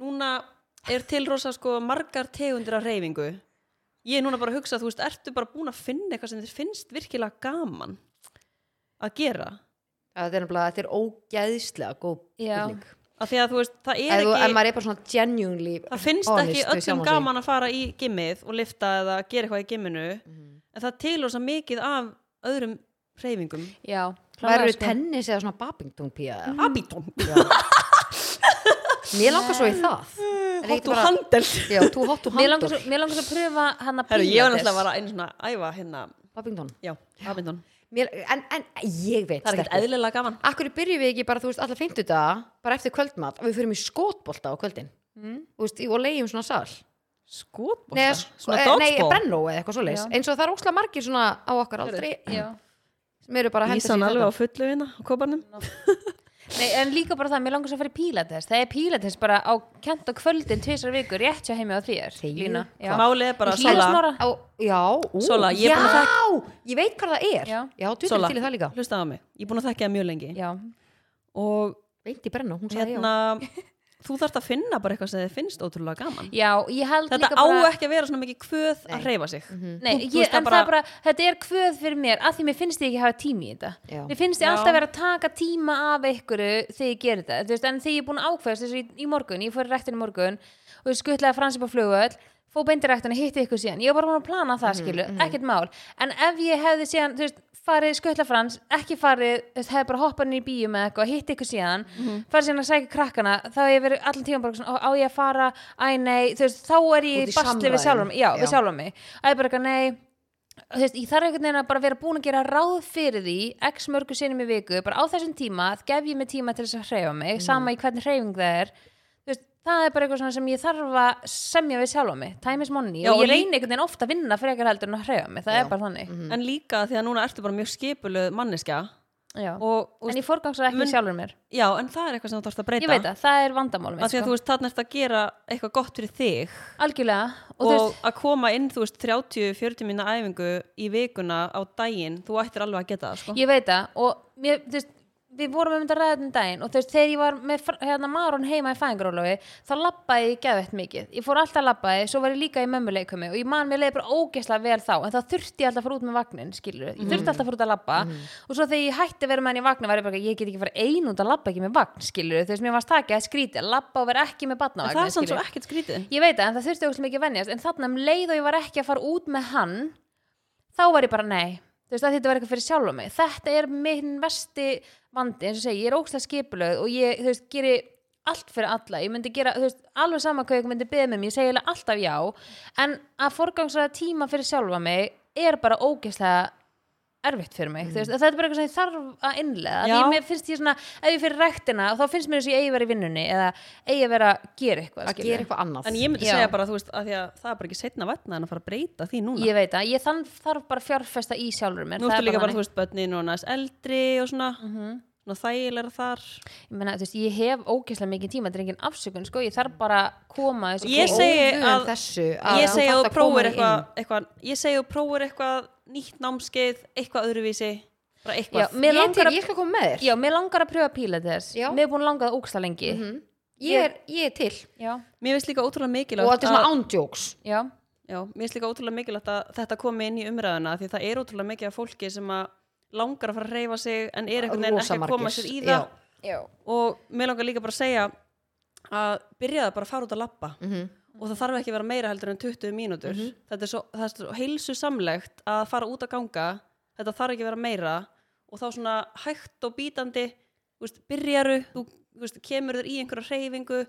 núna er til rosa sko margar tegundir af reyfingu ég er núna bara að hugsa, þú veist, ertu bara búin að finna eitthvað sem þér finnst virkilega gaman að gera þetta er nefnilega, þetta er ógeðslega góð Já. spurning. af því að þú veist, það ef er þú- ef ekki maður er bara svona genuinely það finnst honest ekki við öllum sjálfan sig. gaman að fara í gimmið og lifta eða gera eitthvað í gimminu Mhm. en það tilur svo mikið af öðrum hreyfingum já væru klárlega, sko. tennis eða svona babington pía eða? Abitón, mér langar svo í það Er ekki hóttu bara- handel <laughs> já, þú hottu mér langar svo, handor mér langar svo að pröfa hann að Herru, ég var náttúrulega bara einu svona að æfa hérna, babington já, abitón mér, en, en ég veit Það er ekkert eðlilega gaman Akkur byrjum við ekki bara, þú veist, alla fimmtudaga bara eftir kvöldmat og við fyrir í skotbolta á kvöldin mm. veist, í- og leiðum svona sal Skotbólta? Nei, sko, svona eh, nei dodgeball? brennó eða eitthvað svoleiðis Já. eins og það er óslega margir svona á okkar aldrei já sem eru bara að henda sér Ísan í alveg á þetta. fullu hérna á koparnum Nei, en líka bara það, mér langar svo að fara í pílates Það er pílates bara á kent og kvöldin tvisar vikur, rétt hjá heimi á þér Þegiðu. Lína, já. Málið er bara Í hlýra Sola, smára. Á, já, ú, Sola, já, ég er búin að ég veit hvað það er Já. já þú Sola, til í það líka hlustaðu á mig Ég er búin að þekka það mjög lengi Já, Og Veint í brennu, hún sagði <laughs> hérna, þú þarft að finna bara eitthvað sem þið finnst ótrúlega gaman já, ég held Þetta líka á bara ekki að vera svona mikið kvöð að hreyfa sig Nei, Mhm. Þú- ég, þú veist, það en það er bara, þetta er kvöð fyrir mér að því mér finnst ég ekki hafa tími í þetta Já. mér finnst ég Já. alltaf vera að taka tíma af einhverju þegar ég gerir þetta, þú veist, en þegar ég er búin að ákveðast þessu í, í morgun, ég fór í ræktinu morgun og ég skuttlaði fransi á flugvöld fó beinti ræktinu, hitti ykkur síðan, ég var bara búin að plana Mhm, það skilu, ekkert mál, en ef ég hefði síðan, þú veist, farið skutla frans ekki farið, þú veist, hefði bara hoppað niður í bíu með eitthvað, hitt ykkur síðan Mhm. farið síðan að sækja krakkana, þá hef ég verið allan tíma bara svona, á á ég að fara, æ nei þú veist, þá er Út ég í í bastli við samræðum. sjálfum já, Já. við sjálfum mig, að ég bara eitthvað nei þú veist, ég þarf einhvern veginn að bara vera búin að gera ráð fyrir því x mörgu sinni í viku, bara á þessum tíma gef ég mig tíma til þess að hreyfa mig Mm. sama í hvernig hreyfing það er Þú veist, það er bara eitthvað svona sem ég þarf að semja við sjálfa mig, time is money Já, og og lí- ég Mm. reyni einhvern veginn ofta að vinna frekar heldur en að hreyfa mig, það er bara þannig En líka því að núna ertu bara mjög skipuluð manneskja já. og, og, en ég forgangsar ekki mun- sjálfur mér Já, en það er eitthvað sem þú þarft að breyta ég veit það, það er vandamálum Af því að sko. þú veist, þarna ertu að gera eitthvað gott fyrir þig algjörlega, og, og, þú veist, að koma inn, þú veist, 30-40 minna æfingu í vikuna á daginn, þú ættir alveg að geta það, sko. Ég veit það og mér, þú veist, við vorum um þetta ræðin daginn og þú veist, þegar ég var með fr- hérna, Maron heima í fæðingarólofi þá labbaði ég geðvett mikið. Ég fór alltaf labbaði, svo var ég líka í mömmuleikumi og ég man mér leið bara ógeðslega vel þá en þá þurfti ég alltaf að fara út með vagnin, skilur Ég Mhm. þurfti alltaf að fara út að labba og svo þegar ég hætti að vera með hann í vagnin var ég bara, ég get ekki að fara ein út að labba ekki með vagn, skilur Þú veist, mér varst takið að skríti að labba og vera ekki með En það er batnavagnin, samt svo skilur ekkert skrítið. Ég veit það, en það þurfti ógst mikið að venjast en þarna um leið og ég var ekki að fara út með hann þá var ég bara nei þú veist að þetta var eitthvað fyrir sjálf mig þetta er minn vesti vandi eins og segi, ég er ógst að skipulöð og ég, þú veist, geri allt fyrir alla ég myndi gera, þú veist, alveg sama hvað ég myndi beða með mér, ég segi eiginlega alltaf já en að forgangsraða tíma fyrir sjálfa mig er bara ógeðslega erfitt fyrir mig, þú veist, það er bara eitthvað sem ég þarf að innlega, því Já. mér finnst ég svona ef ég fyrir rektina, þá finnst mér þess að ég eigi að vera í vinnunni eða eigi að vera að gera eitthvað að skilurðu. gera eitthvað annað En ég myndi Já. segja bara, þú veist, að því að það er bara ekki setna vatna en að fara að breyta því núna. Ég veit það, ég þann þarf bara að fjárfesta í sjálfur mér Nú það ertu er líka bara, þú þannig. veist, börnin og næst eldri og svona, svona þægilega þar. Ég, meina, þú veist, ég hef ógeðslega mikið tíma, þetta er engin afsökun sko, ég þarf bara að koma þessu Ég fyrir. segi Óvön að- um þessu, að ég þú segi þarft að að þú koma prófir þér eitthvað, inn. eitthvað, ég segi að þú prófir eitthvað nýtt námskeið, eitthvað öðruvísi, bara Já, eitthvað. ég, mér til, langar að ég skal koma með þér Já, mér langar að pröfa pílates Já. Mér er búin að langa það ógeðslega lengi Mhm. ég er, ég er til Já, Mér finnst líka ótrúlega mikilvægt og þetta er svona að- ándjóks já, Já, mér finnst líka ótrúlega mikilvægt að þetta komi inn í umræðuna því það er ótrúlega mikið af fólki sem að langar að fara að reyfa sig en er einhvern veginn Rosa ekki að koma margir, sér í það já. já. og mér langar líka bara að segja að byrjaði bara að fara út að lappa og það þarf ekki að vera meira heldur en 20 mínútur Mhm. þetta er svo, það er svo heilsu samlegt að fara út að ganga þetta þarf ekki að vera meira og þá svona hægt og bítandi þú veist, byrjaru, þú þú veist, kemur þér í einhverja reyfingu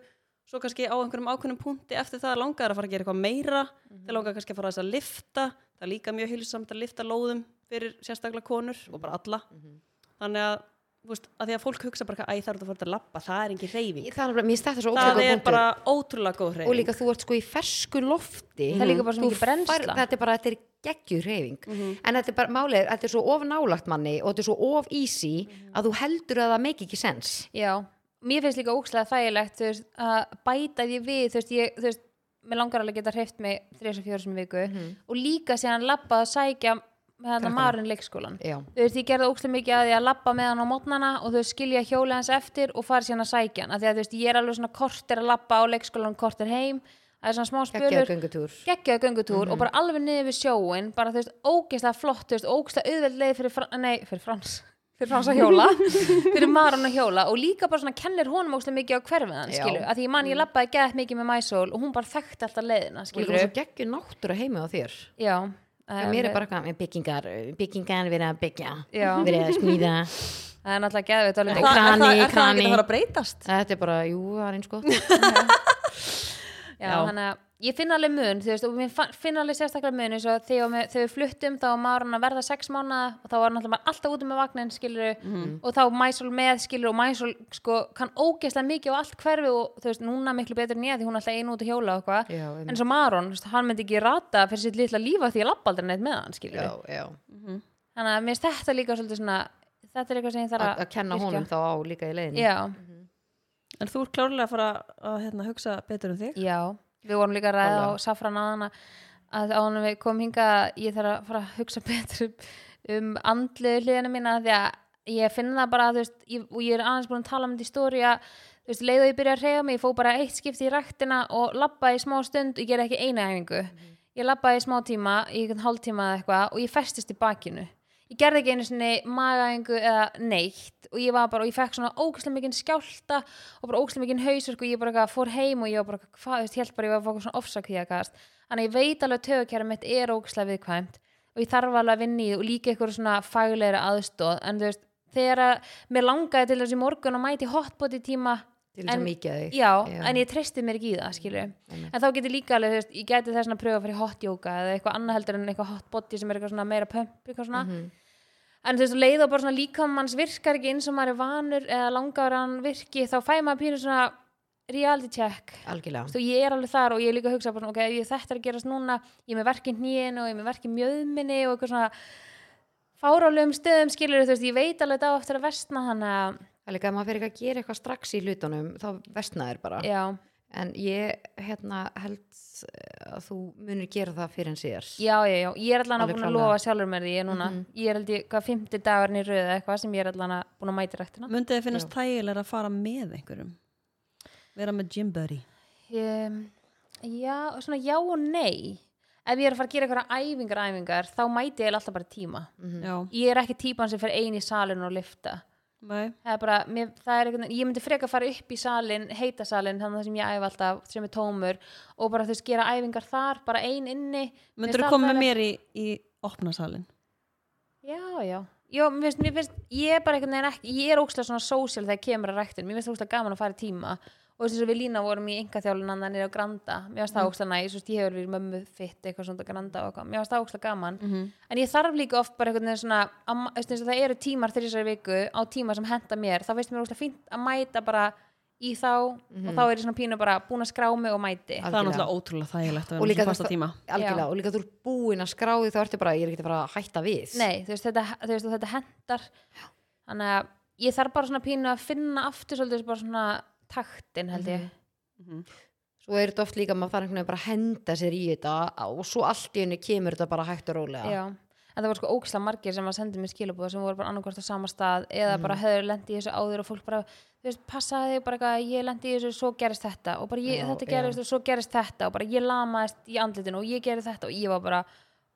svo kannski á einhverjum ákveðnum punkti eftir það langar að fara að gera eitthvað meira mm Mhm. það langar kannski að fara aðeins að lifta það er líka mjög heilsamt að lifta lóðum fyrir sérstaklega konur og bara alla Mhm. þannig að, þú veist, að því að fólk hugsa bara eitthvað, æ, það er út að fara út að labba, það er engin reyfing það er bara, mér finnst þetta svo það ótrúlega er bara ótrúlega góð reyfing og líka þú ert sko í fersku lofti Það er líka bara svo Þú mikið brennsla. Mm. færð- þetta er bara, þetta er geggjur reyfing Mhm. en þetta er bara málið, er, þetta er svo of nálagt manni og þetta er svo of easy Mhm. að þú heldur að það make ekki sens já Mér finnst líka ógeðslega þægilegt þú veist, að bæta því við þú veist, ég, þú veist, mér langar alveg að geta hreift mig 3-4 sem viku Mhm. og líka séðan labbað að sækja hérna, marinn leikskólan já, þú veist, ég gerði ókslega mikið að ég að labba með hann á mótnana og þú veist, skilja hjóli hans eftir og fara síðan að sækja hann, af því að þú veist, ég er alveg svona kortir að labba á leikskólan kortir heim, það er svona smá geggjaðu spölur göngutúr Mhm. geggjaða göngutúr og bara alveg niður við sjóin bara þú veist, ógeðslega flott, þú veist, ógeðslega auðveld leið fyrir, Fra- nei, fyrir frans <laughs> fyrir frans <laughs> að hjóla, fyrir maran að hjóla og líka bara svona kennir honum ógeðslega mikið á hverfið hann, Já. Mm. skilur, að því ég man ég labbaði geðt mikið með mæsól og hún bara þekkti alltaf leiðina, og skilur líka svo geggju náttúra heima á þér já, En um, mér er bara eitthvað með byggingar byggingar verið að byggja, Já. verið <laughs> að smíða það er náttúrulega geðveit alveg Og það, er það, krani, er það krani. ekki að fara að breytast? þetta er bara, jú, það er eins gott Já, Já. þannig að ég finn alveg mun, þú veist, og ég fa- finn alveg sérstaklega mun eins og þegar, með, þegar við fluttum þá var maður hann að verða sex mánuða og þá var náttúrulega maður alltaf út með vagnin, skilur Mhm. og þá mæsól með, skilur, og mæsól sko, kann ógeðslega mikið á allt hverfi og þú veist, núna miklu betur en ég því hún er alltaf einu út að hjóla og eitthvað, Já, einmitt. en svo Maron, þú veist, hann myndi ekki rata fyrir sitt litla lífa því ég lappa aldrei neitt með hann, skilur já, já. þannig að mér finnst þetta líka svolítið svona, þetta er eitthvað sem ég þarf að að kenna virkja. honum Mm. þá á líka í leiðinu Já, En þú ert klárlega að fara að hérna, hugsa betur um þig. Já, við vorum líka að ræða á Klálega. safran áðan að- að ánum við komum hinga ég þarf að fara að hugsa <laughs> betur um, um andliðu hliðina mína af því að ég finn það bara, þú veist, ég, og ég er aðeins búin að tala um þetta í stóri að, þú veist, leið og ég byrja að reyða mig, ég fó bara eitt skipti í ræktina og labba í smá stund, ég ger ekki eina æfingu. Ég labba í smá tíma, í einhvern hálftíma eða eitthvað og ég festist í bakinu. Ég gerði ekki einu sinni magaðingu eða neitt og ég var bara, og ég fekk svona ógæslega mikinn skjálta og bara ógæslega mikinn hausverk og ég bara eitthvað fór heim og ég var bara, eitthvað, hvað, þú veist, held bara ég var að fá eitthvað svona ofsakvíðakast. Þannig að ég veit alveg að tögakæra mitt er ógæslega viðkvæmt og ég þarf alveg að vinna í því og líka eitthvað svona fagleira aðstóð en þú veist, þegar að mér langaði til þessi morgun að mæti hotbody tíma til þess En- að mikið þig já, Mm, en ég treysti mér ekki í það, skilju en þá getur líka alveg, þú veist, ég geti þess að pröfa að fara í hot yoga eða eitthvað annað heldur en eitthvað hot body sem er eitthvað svona meira pump, eitthvað svona en þú veist, leið og bara svona líkamanns virkar ekki eins og maður er vanur eða langar að hann virki, þá fæ maður pínu svona reality check algjörlega Þú, ég er alveg þar og ég er líka að hugsa bara, svona, ok, ef ég þetta er að gerast núna, ég er með verki hnýin og ég er með verki mjöðminni og eitthvað svona fárálegum stöðum skilur þú veist, ég veit alveg þá eftir að vestna þannig að, Það er líka að maður fyrir ekki að gera eitthvað strax í hlutunum þá vestnaður bara já, en ég hérna, held eh, að þú munir gera það fyrir en síðar Já, já, já, ég er allan að Alveg búin að klárlega. lofa sjálfur mér því ég er núna, ég er aldrei hvað fymti dagarni röða eitthvað sem ég er allan að búin að mæta rættina Mundið þið finnast þægilega að fara með einhverjum? Vera með gym buddy? um, Já, og svona já og nei ef ég er að fara að gera eitthvað æfingar æfingar, þá mæti ég eiginlega alltaf bara í tíma Já, ég er ekki típan sem fer ein í salin og lifta nei. það er bara, mér, það er einhvern veginn ég myndi freka að fara upp í salin, heita salin þannig það sem ég æfa alltaf, sem er tómur og bara þú veist, gera æfingar þar, bara ein inni Mér Myndur finnst þú það koma með þægilegt. mér í, í opnasalin? Já, já. Jó, mér finnst, mér finnst, ég er bara einhvern veginn ekki, ég er ókslega svona sósíal þegar kemur að ræktin, mér finnst ókslega gaman að fara í tíma og þess að við lína vorum í engaþjálun annan nýra á Granda, mér finnst það ókslega næs, þú veist, ég hefur verið í mömmu fitt eitthvað svona á Granda og eitthvað, mér finnst það ókslega gaman, en ég þarf líka oft bara einhvern veginn svona, að ma- þú veist, eins og það eru tímar þrísar í viku á tíma sem henda mér, þá finnst mér ókslega fínt að mæta bara í þá og þá er ég svona pínu bara búin að skrá mig og Það mæti. er Algjörlega. náttúrulega ótrúlega þægilegt að og vera líka, með fasta tíma. algjörlega, Já. og líka þú er búin að skrá því þá ertu bara, ég er ekki að fara að hætta við Nei, þú veist, þetta, þú veist, og þetta hendar þannig að ég þarf bara svona pínu að finna aftur svolítið bara svona taktin held ég svo er þetta oft líka að maður þarf einhvern veginn bara að henda sér í þetta og svo allt í henni kemur þetta bara hægt og rólega Já, en það voru sko ógislega margir sem að senda mér skilabúða sem voru bara annarkvort á sama stað eða bara höfður lendi í þessu áður og fólk bara, þú veist, passaði þig bara eitthvað ég lendi í þessu, svo gerist þetta og bara ég, Já, þetta já. gerist og svo gerist þetta og bara ég lamaðist í andlitinu og ég gerði þetta og ég var bara,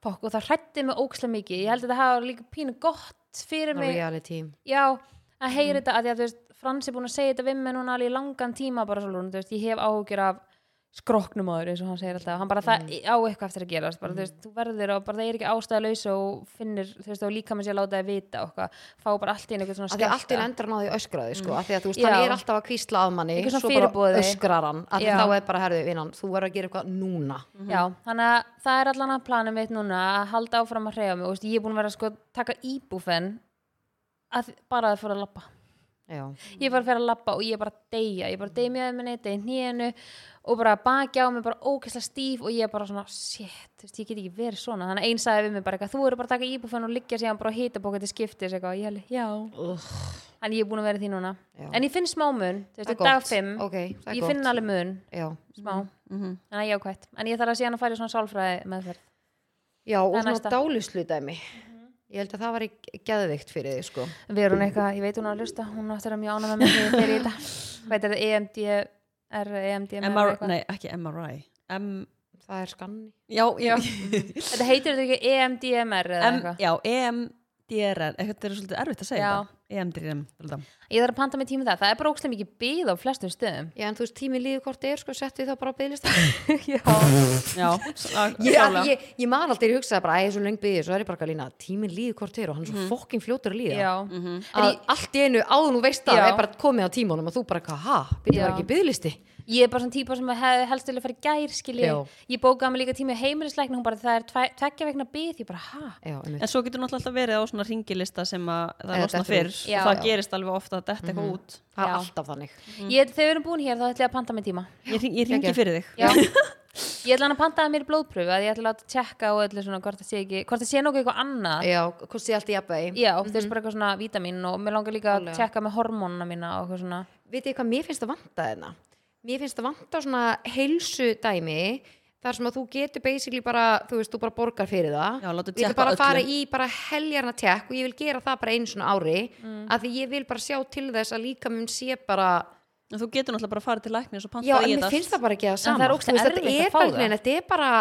fokk, og það hrætti mig ógislega mikið, ég held að þetta hafa líka pínu gott fyrir Ná mig reality já, að heyra Mm. þetta að því að þú veist, Frans er búin að segja þetta við mig núna alveg í langan tíma bara svolítið, þú veist, ég hef áhugjur af skroknum á þér eins og hann segir alltaf hann bara það Mm. á eitthvað eftir að gerast bara, þú veist, þú verður og bara það er ekki ástæðalaus og finnir, þú veist, og líka með sér láta þið vita og eitthvað, fá bara allt í einu eitthvað svona að því að allt í skjálfta. henni endar náði öskraði sko, mm. því að þú veist, Já. hann er alltaf að kvísla að manni Einhver svona svo bara fyrirboði. öskrar hann að Já. Mm. þá er bara, herðu, vinnan, þú verður að gera eitthvað núna Já, þannig að það er allan að planum mitt núna að halda áfram að hreyfa mig og þú veist, ég er búin að vera sko að taka íbúfen að, bara að fóra að labba já, ég er bara að fyrir að labba og ég er bara að deyja ég er bara að deyja mjög minni, deyja hnýjanu og bara baki á mig, bara ókesslega stíf og ég er bara svona, shit, þú veist, ég get ekki verið svona þannig að einn sagði við mig bara eitthvað, þú eru bara að taka íbúfenn og liggja síðan bara að hýta bóka til skiptis eitthvað, og ég held, já, Ugh, en ég er búin að vera í því núna Já. en ég finn smá mun, þú það er veist, í dag gott. 5 ok, það er ég finn gott. alveg mun, já. smá Mhm. en það er jákvætt, en ég þarf að síðan að fara í svona sálfræði meðferð, já, og er næsta. Mhm. svona dálislu dæmi ég held að það var í geðvikt fyrir þig sko. verður hún eitthvað ég veit hún er að lusta, hún áttur að mjög ánæma <laughs> með mig þegar ég er í dag, hvað heitir það, EMDR, EMDMR, MRI, eitthvað? nei, ekki MRI. M, það er skanni já, <laughs> já Þetta heitir þetta ekki E EMDMR eða M, eitthvað já, EMDRN eitthvað er svolítið erfitt að segja E Já. þetta EMDRN, þetta. Ég þarf að panta mig tíma í það, það er bara ókslega mikið bíð á flestum <laughs> stöðum Já, en þú veist, tíminn líður hvort er, sko, settu þá bara á <laughs> bygglista. já, <laughs> s- að- ég, klálega. að- ég, ég man alltaf í hugsaði bara, æ, svo lengi byggjur, svo er ég bara eitthvað lína, tíminn líður hvort er og hann er svo mm. fokkin fljótur að líða. Mhm. Já, Að allt í einu áður nú veist það, Já. er bara komið á tímanum og þú bara, eitthvað, ha, byrjar Já. ekki bygglisti. Ég er bara svona típa sem hef, helst til að fara í gær skilji, Já. ég bókaði mig líka tíma heimilisleikna hún bara það er tve, tveggja vegna bið, ég bara ha Já, einmitt. En svo getur náttúrulega alltaf verið á svona ringilista sem að það Eða losna dettur fyrr út. Mhm. og Já. það Já. gerist alveg ofta að detta eitthvað út. Það er Já. alltaf þannig. ég, Þegar við erum búin hér þá ætla ég að panta mig tíma Ég, hring, ég ringi Geggjað. fyrir þig. Já Ég ætla hann að panta að mér blóðpröfu að ég ætla að láta tjekka og öllu svona hvort það sé ekki, hvort það sé nokkuð eitthvað annað Já, Mhm. hvort sé allt í jafnvegi. Já, þú veist bara eitthvað svona vítamín og mér langar líka að Alveg. tjekka með hormónuna mína og eitthvað svona Vitið þið hvað mér finnst að vanta þeirna? Mér finnst að vanta svona heilsu dæmi þar sem að þú getur basically bara, þú veist, þú bara borgar fyrir það Já, láta Ég tékka vil bara öllu. fara í bara heljarna tjekk og ég vil gera það bara einu svona ári af því ég vil bara sjá til þess að líka mun sé bara En þú getur náttúrulega bara að fara til læknis Já, og panta en í mér þetta. finnst það bara ekki að sama það er Þú ógeðslega veist, þetta erfitt að er fá bara það. einhvern veginn, Þetta er bara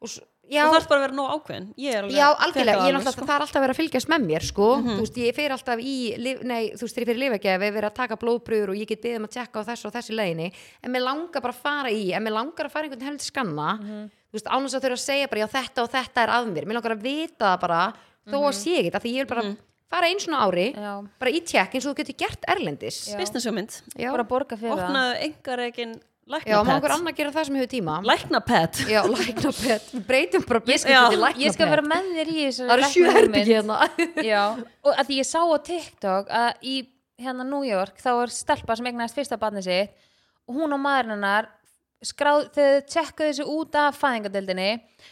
og s- Já, Þú þarf bara að vera nóg ákveðin. Ég er alveg Já, tek það algjörlega, ég er alveg, náttúrulega, sko. það er alltaf að vera að fylgjast með mér, sko, Mhm. þú veist, ég fer alltaf í, lyf- nei, þú veist, þegar ég fer í lifagefi, ég fer að taka blóðbröður og ég get beðið um að tjekka á þessu og þessu leiðinni, en mér langar bara að fara í, en mér langar að fara í einhvern helviti skanna, Mhm. þú veist, án þess að þau eru að segja bara, já, þetta og þetta er að mér, mér langar að vita það bara, þó að sé ekki, af því ég vil bara fara einu svona ári, Mhm. Já. bara í tjekk eins og þú getur gert erlendis. Já. Business hugmynd. Já, Bara borga fyrir það Opnaðu engar eginn já má okkur læknapet. annað gera það sem hefur tíma. Læknapet. Já, læknapet, við breytum bara Já. business til læknapet. Ég skal vera með þér í þessu Það eru sjö herbyggi hérna. Já, og að því ég sá á TikTok að í hérna New York þá er stelpa sem eignaðist fyrsta barni sitt og hún og maðurinn hennar skráð, þegar þau tjekkaðu þessu út af fæðingadeildinni,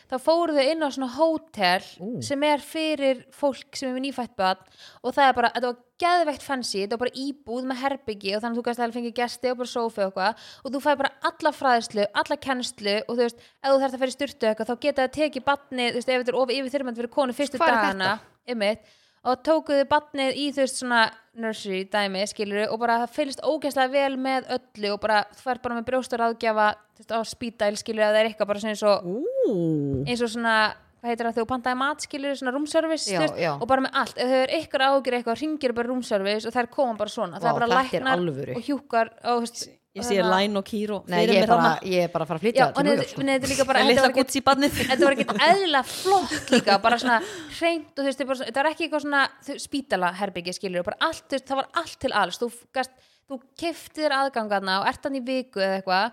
þá fóru þau inn á svona hótel sem er fyrir fólk sem er með nýfætt barn og það er bara, þetta var geðveikt fancy þetta var bara íbúð með herbyggi og þannig að þú gæst að fengið gesti og bara sófi og eitthvað og þú fæði bara alla fræðslu, alla kennslu og þú veist, ef þú þarft að fara í styrtu eitthvað þá geta það tekið barni, þú veist, ef þetta er ofið yfir þyrmand fyrir konu fyrstu Hvar er dagana einmitt, og tókuðu barnið í þú veist svona nursery dæmi skilur og bara það fylgst ógeðslega vel með öllu og bara þú fær bara með brjóstur aðgjafa veist, á spítæl skilur að það er eitthvað bara svona eins og, eins og svona hvað heitir það þegar þú pantaði mat skilur svona roomservice Já, já. og bara með allt ef þau er ykkur ágjur eitthvað ringir bara roomservice og þær koma bara svona Vá, það er bara þetta er læknar alvöru. og hjúkar og, þú veist, Ég og sé þarna- læn og kýr og Hérna- Nei, fyrir ég er, mér bara, þarna. ég er bara að fara að Já, flytja og til New neðu, York sko. neðu, þetta er líka bara En þetta litla var ekkert- gutt í barnið. þetta var ekkert eðla flott líka bara svona hreint og þú veist, þetta er bara svona- þetta var ekki eitthvað svona þú- spítalaherbyggi skilur bara allt, þú veist, það var allt til alls þú, gast, þú kefti þér aðgangarna og ert hann í viku eða eitthvað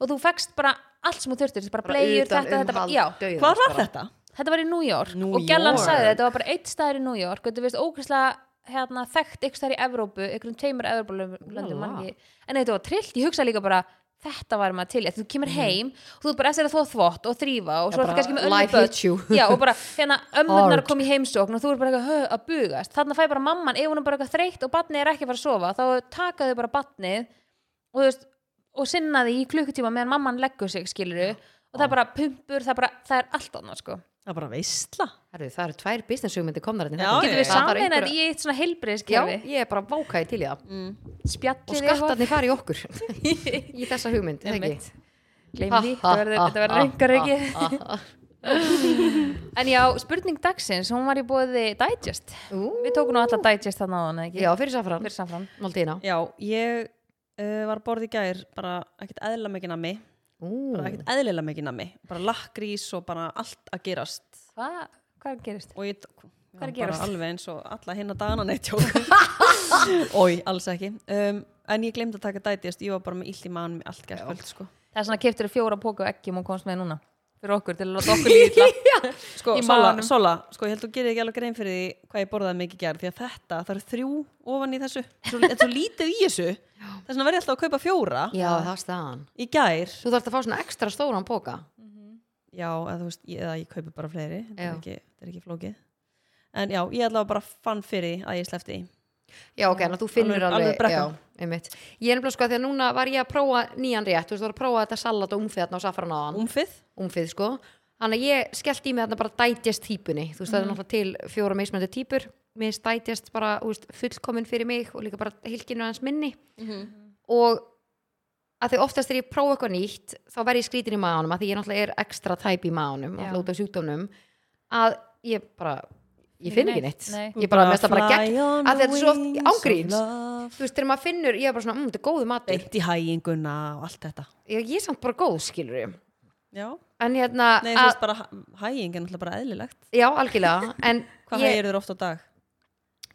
og þú fekst bara allt sem þú þurftir þú veist, bara bleiður utan þetta, þetta, bara, umhald, já, dauðans Hvar var bara. þetta? þetta var í New York New og Gellan York. sagði þetta var bara eitt staðar í New York og þetta veist ókvæslega hérna, þekkt ykkur staðar í Evrópu ykkur um tveimur Evrópulöndum Úlala. mann ekki. en þetta var trillt, ég hugsa líka bara þetta var maður til, í. þú kemur heim og þú er bara eftir að þú þvott og þrýfa og Mhm. Já, svo er bara, kannski með life hits you. önnuböld <laughs> já og bara hérna ömmurnar Hard. kom í heimsókn og þú er bara eitthvað "Hö, að bugast þannig að fæ bara mamman, ef hún er bara eitthvað þreytt og batnið er ekki að fara að sofa, þá taka þau bara batnið og þú veist og sinna því í klukkutíma meðan mamman leggur sig skiluru og það er bara pumpur það er, bara, það er allt annað sko Það er bara veistla. Herru, það eru tvær business hugmyndi komnar hérna. Já, getum já, við já. að samin þetta í eitt svona Já, heilbriðiskerfi ég er bara vákaði til í það. Og spjallið skattarnir fara Mm. í <laughs> okkur. í þessa hugmynd, eða ekki? Einmitt. gleymið því, þetta verður- þetta verður reyngar ekki en já, spurning dagsins, hún var í bóði Digest, við tókum nú alla Digest þannig að hann, ekki? Já, fyrir safran. fyrir samfram Maldína. Já, ég uh, var borð í gær, bara ekkert eðla mikið nammi. Ú, Mm. Bara ekkert eðlilega mikið nammi. Bara lakkrís og bara allt að gerast. Hva, hvað gerist? Og ég... Hvað er að Já, bara gerast? Alveg eins og alla hinna dagana neitt jók. <laughs> Ói, alls ekki. Um, en ég glemd að taka dætist. Ég var bara með illt í mann með allt gærkvöld, sko. það er svona keftir fjóra póka og eggjum og komst með núna fyrir okkur til að láta okkur líka <laughs> Sko, Í Sola, maganum. Sola, sko, ég held þú gerir ekki alveg grein fyrir því hvað ég borðaði mikið gerð, því að þetta, það eru þrjú ofan í þessu, svo, þetta er svo lítið í þessu, þess vegna verð ég alltaf að kaupa fjóra já, það er staðan. í gær, Þú þarfst að fá svona ekstra stóran póka. já, eða þú veist, ég, eða ég kaupi bara fleiri, þetta Já. er, ekki, þetta er ekki flókið, en já, ég allavega bara fann fyrir því að ég sleppti í, Já, ok, en þú finnur alveg- alveg, alveg brekka. já, einmitt. Ég er nefnilega sko að því að núna var ég að prófa nýjan rétt, þú veist, þú var að prófa þetta salat og umfið þarna á safran á umfið, umfið sko þannig að ég skellt í mig þarna bara dætjast típunni þú veist það er Mhm. náttúrulega til fjóra meismöndi típur mér finnst dætjast Mhm. bara úst, fullkomin fyrir mig og líka bara hilkinu hans minni og að því oftast þegar ég prófa eitthvað nýtt þá verð ég skrítin í maðanum að því ég náttúrulega er ekstra tæp í maðanum, Já. náttúrulega út af sjúkdómnum að ég bara ég finn ekki neitt, Nei. ég bara mest að bara Fly gegn að on the þetta er svo wings of ángríns love. þú veist, þegar maður finnur, ég er bara svona, mmm, þetta er góðu matur Beint í hæginguna og allt þetta ég, ég er samt bara góð, skilur ég Já, en hérna, nei, þú að, veist bara hæ- hæging er náttúrulega bara eðlilegt já, algjörlega en Hvað ég, hægir þér oft á dag?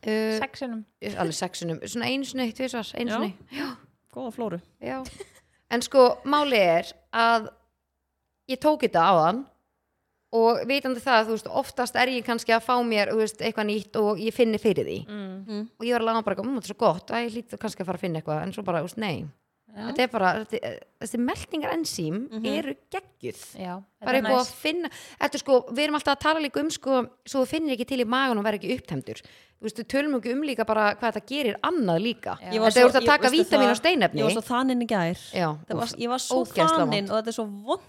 uh, Sexinum alveg sexunum, svona einu sinni, tvisvar einu Já. sinni, Góða flóru já en sko, máli er að ég tók þetta á þann og vitandi það, þú veist, oftast er ég kannski að fá mér, þú veist, eitthvað nýtt og ég finni fyrir því og ég var alveg bara, mmm, þetta er svo gott, að ég hlýtt kannski að fara að finna eitthvað, en svo bara, þú veist, nei þetta er bara, þetta, þessi meltingar ensím eru geggjuð Já, bara eitthvað að finna þetta er sko, við erum alltaf að tala líka um sko, svo þú finnir ekki til í magan og verður ekki upptemdur þú veist, við tölum ekki um líka bara hvað þetta gerir annað líka Já. Ég þetta var er svo- úr að ég- taka veistu vítamin það- og steinefni Ég var svo þaninn í gær já, Það var, úf, ég var svo ógeðslega þaninn vont. og þetta er svo vond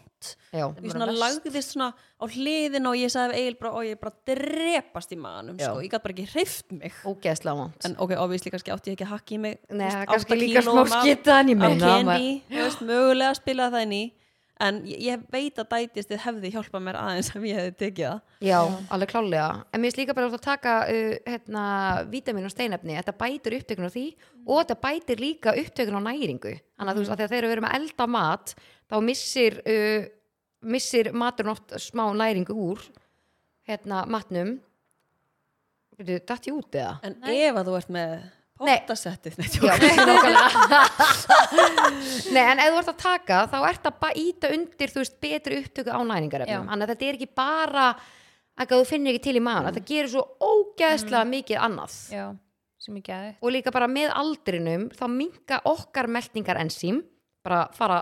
já, ég svona Bara verst. lagðist svona á hliðin og ég sagði Egil bara, og ég er bara að drepast í maðanum Já. sko. ég gæti bara ekki hreift mig ógeðslega vant en ok, obvísli kannski átti ég ekki að hakka í mig þú Nei, veist, það er átta kannski líka smá kílóum af- skita, en ég af meina, það var- candy, þú veist, mögulega að spila það inn í en ég, ég veit að dætist þið hefði hjálpað mér aðeins ef ég hefði tekið það já, alveg klálega en mér finnst líka bara úr að taka uh, hérna, vítamin og steinefni, þetta bætir upptökun á því og þetta bætir líka upptökun á næringu, þannig að þú veist, af því að þegar við erum að elda mat, þá missir uh, missir maturinn oft smá næringu úr hérna, matnum Byrju, datt ég út eða? en ef að þú ert með Nei. pottasettið nei, Já, tjók. nákvæmlega. <laughs> Nei, en ef þú ert að taka þá ert að bara íta undir þú veist, betri upptöku á næringarefnum Já. þannig að þetta er ekki bara að þú finnir ekki til í maður þetta gerir svo ógeðslega mikið annað Já, sem ég gæði og líka bara með aldrinum þá minka okkar meltingar ensím bara fara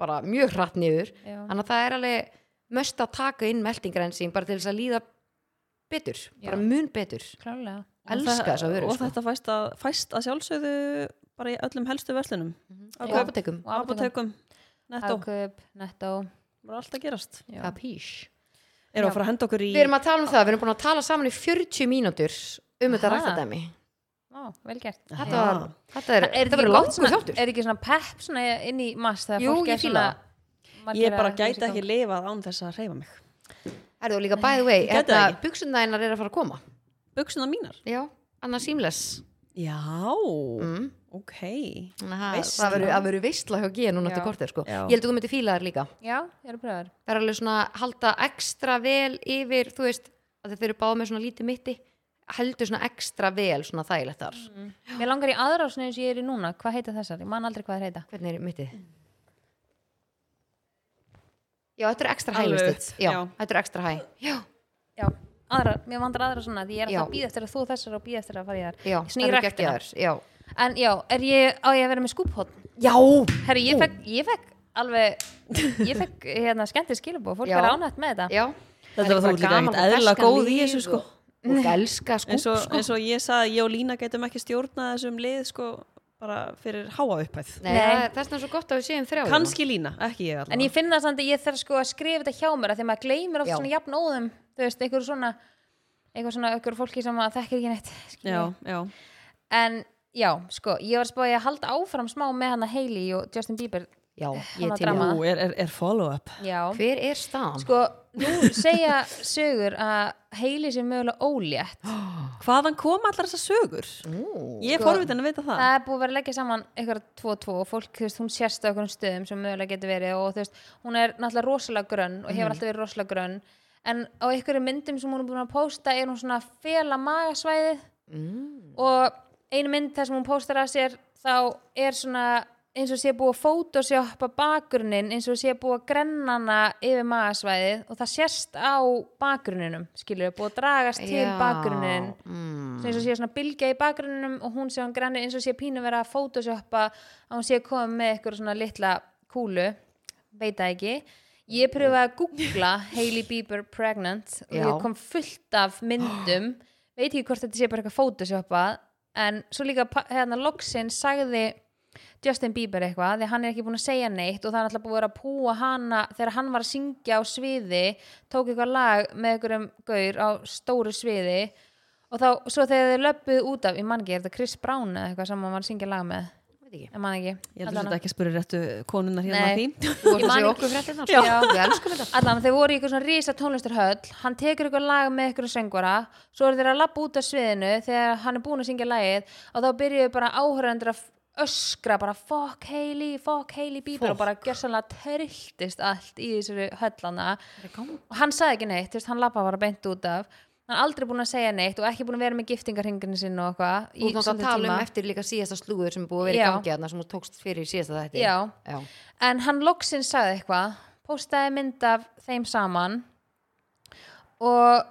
bara mjög hratt niður Já. þannig að það er alveg möst að taka inn meltingar ensím bara til þess að líða betur, bara mun betur Klálega elska þess að vera og sko. þetta fæst að, fæst að sjálfsögðu bara í öllum helstu verslunum Mhm. og Kaup- apotekum, Og apótekum. apotekum, nettó, Hagkaup, Netto bara allt að gerast Já. kapís erum við að fara að henda okkur í Við erum að tala um það, við erum búin að tala saman í 40 mínútur um þetta Aha. ræktadæmi Ó, vel gert Þetta var, Já. þetta er, þetta verður langt með þáttur Er ekki svona pepp svona inn í mass þegar Jú, fólk ég er fíla svona það. margir ég bara að- gæti ekki lifað án þess að reyfa mig Er þú líka by the way, Ég gæti það hérna, ekki. buksundænar er að fara að koma buksuna mínar Já, annars símless já, mm. ok Þannig að Veisla. Það verður- það verður veistla hjá G núna til Já. kortir sko. Já. Ég held að þú myndir fíla þær líka Já, ég er að pröfa þér Það er alveg svona að halda ekstra vel yfir, þú veist, að þeir eru báð með svona lítið mitti heldur svona ekstra vel svona þægilegt þar Mér langar í aðra svona eins og ég er í núna Hvað heita þessar? Ég man aldrei hvað þær heita Hvernig er mittið? Já, þetta er ekstra hæ Alveg veistu. upp, Já, já. þetta er ekstra hæ Já, Já, aðra, mér vandar aðra svona Því ég er Já. alltaf að býða eftir að þú þessar og býða eftir að fara í þær já, Svona í þær eru ræktina. geggjaðar, Já, En já, er ég, á ég að vera með skúphótt? Já, Herru, ég fekk, ég fekk alveg, ég fekk <laughs> hérna skemmtir skilabóð, fólk Já. er ánætt með þetta. já Þetta var þú líka ekkert eðlilega góð í þessu, sko. Og elska skúp eins og, sko eins og ég sagði, ég og Lína getum ekki stjórna þessum lið sko bara fyrir háa upphæð Nei, Nei. það er- það er svona svo gott að við séum sko. þrjá kannski Lína, ekki ég En allavega ég finn það samt að ég þarf sko að skrifa þetta hjá mér að því maður gleymir oft Já. svona jafn óðum, þú veist, einhver svona, einhver svona, einhver fólki sem að þekkir ekki neitt. skilur já, við. já, En já, sko, ég var spáði að halda áfram smá með hana Hailey og Justin Bieber. Já, Hann ég á er til drama. í Ú, er, er, er follow up Já. Hver er staðan? Sko, nú segja sögur að Hailey sé mögulega ólétt. hvaðan kom allar þessar sögur ég er forvitin að vita það það er búið að vera að leggja saman eitthvað 2-2 og fólk, þú veist, hún sérst á einhverjum stöðum sem mögulega getur verið og þú veist, hún er náttúrulega rosalega grönn og hefur alltaf verið rosalega grönn en á einhverjum myndum sem hún er búin að pósta er hún svona að fela magasvæðið mm. og einu mynd þar sem hún póstar að sér þá er svona eins og sé búið að photoshoppa bakgrunnin eins og sé búið að grenna hana yfir magasvæðið og það sérst á bakgrunninum, skilur við, búið að dragast til Já, bakgrunnin mm. sem eins og sé svona bylgja í bakgrunninum og hún sé hann grænir eins og sé pínu vera að photoshoppa að hún sé að koma með eitthvað svona litla kúlu, veit það ekki ég pröfaði að googla Hailey Bieber pregnant og Já. ég kom fullt af myndum <gasps> veit ekki hvort þetta sé bara eitthvað photoshoppa en svo líka pa- hérna loksinn sagði Justin Bieber eitthvað því hann er ekki búin að segja neitt og það er alltaf búið að vera að púa hana þegar hann var að syngja á sviði tók eitthvað lag með einhverjum gaur á stóru sviði og þá, svo þegar þið löppuð út af, ég mann ekki, er þetta Chris Brown eða eitthvað sem hann var að syngja lag með veit ekki ég man ekki Ég heldur Allavega. þetta ekki að spyrja réttu konunnar hérna Nei. að því <laughs> Þú ert Ég að man segja ekki- okkur fréttina Já. sko. Við elskum þetta Allan, þeir voru í eitthvað svona rísa tónlistarhöll hann tekur eitthvað lag með eitthvað söngvara svo eru þeir að labba út af sviðinu þegar hann er búin að syngja lagið og þá byrjuðu bara áhörðandur að öskra bara fuck Hailey, fuck Hailey Bieber og bara gjörsanlega törltist allt í þessari höllana og hann sagði ekki neitt, þú veist, hann labba bara beint út af hann er aldrei búin að segja neitt og ekki búin að vera með giftingarhinginu sinni og eitthvað Þú ert svolítinn náttúrulega að tala tíma. um eftir líka síðasta slúður sem er búið að vera í Já. gangi þarna sem þú tókst fyrir í síðasta þetta Já. Já. en hann loksinn sagði eitthvað postaði mynd af þeim saman og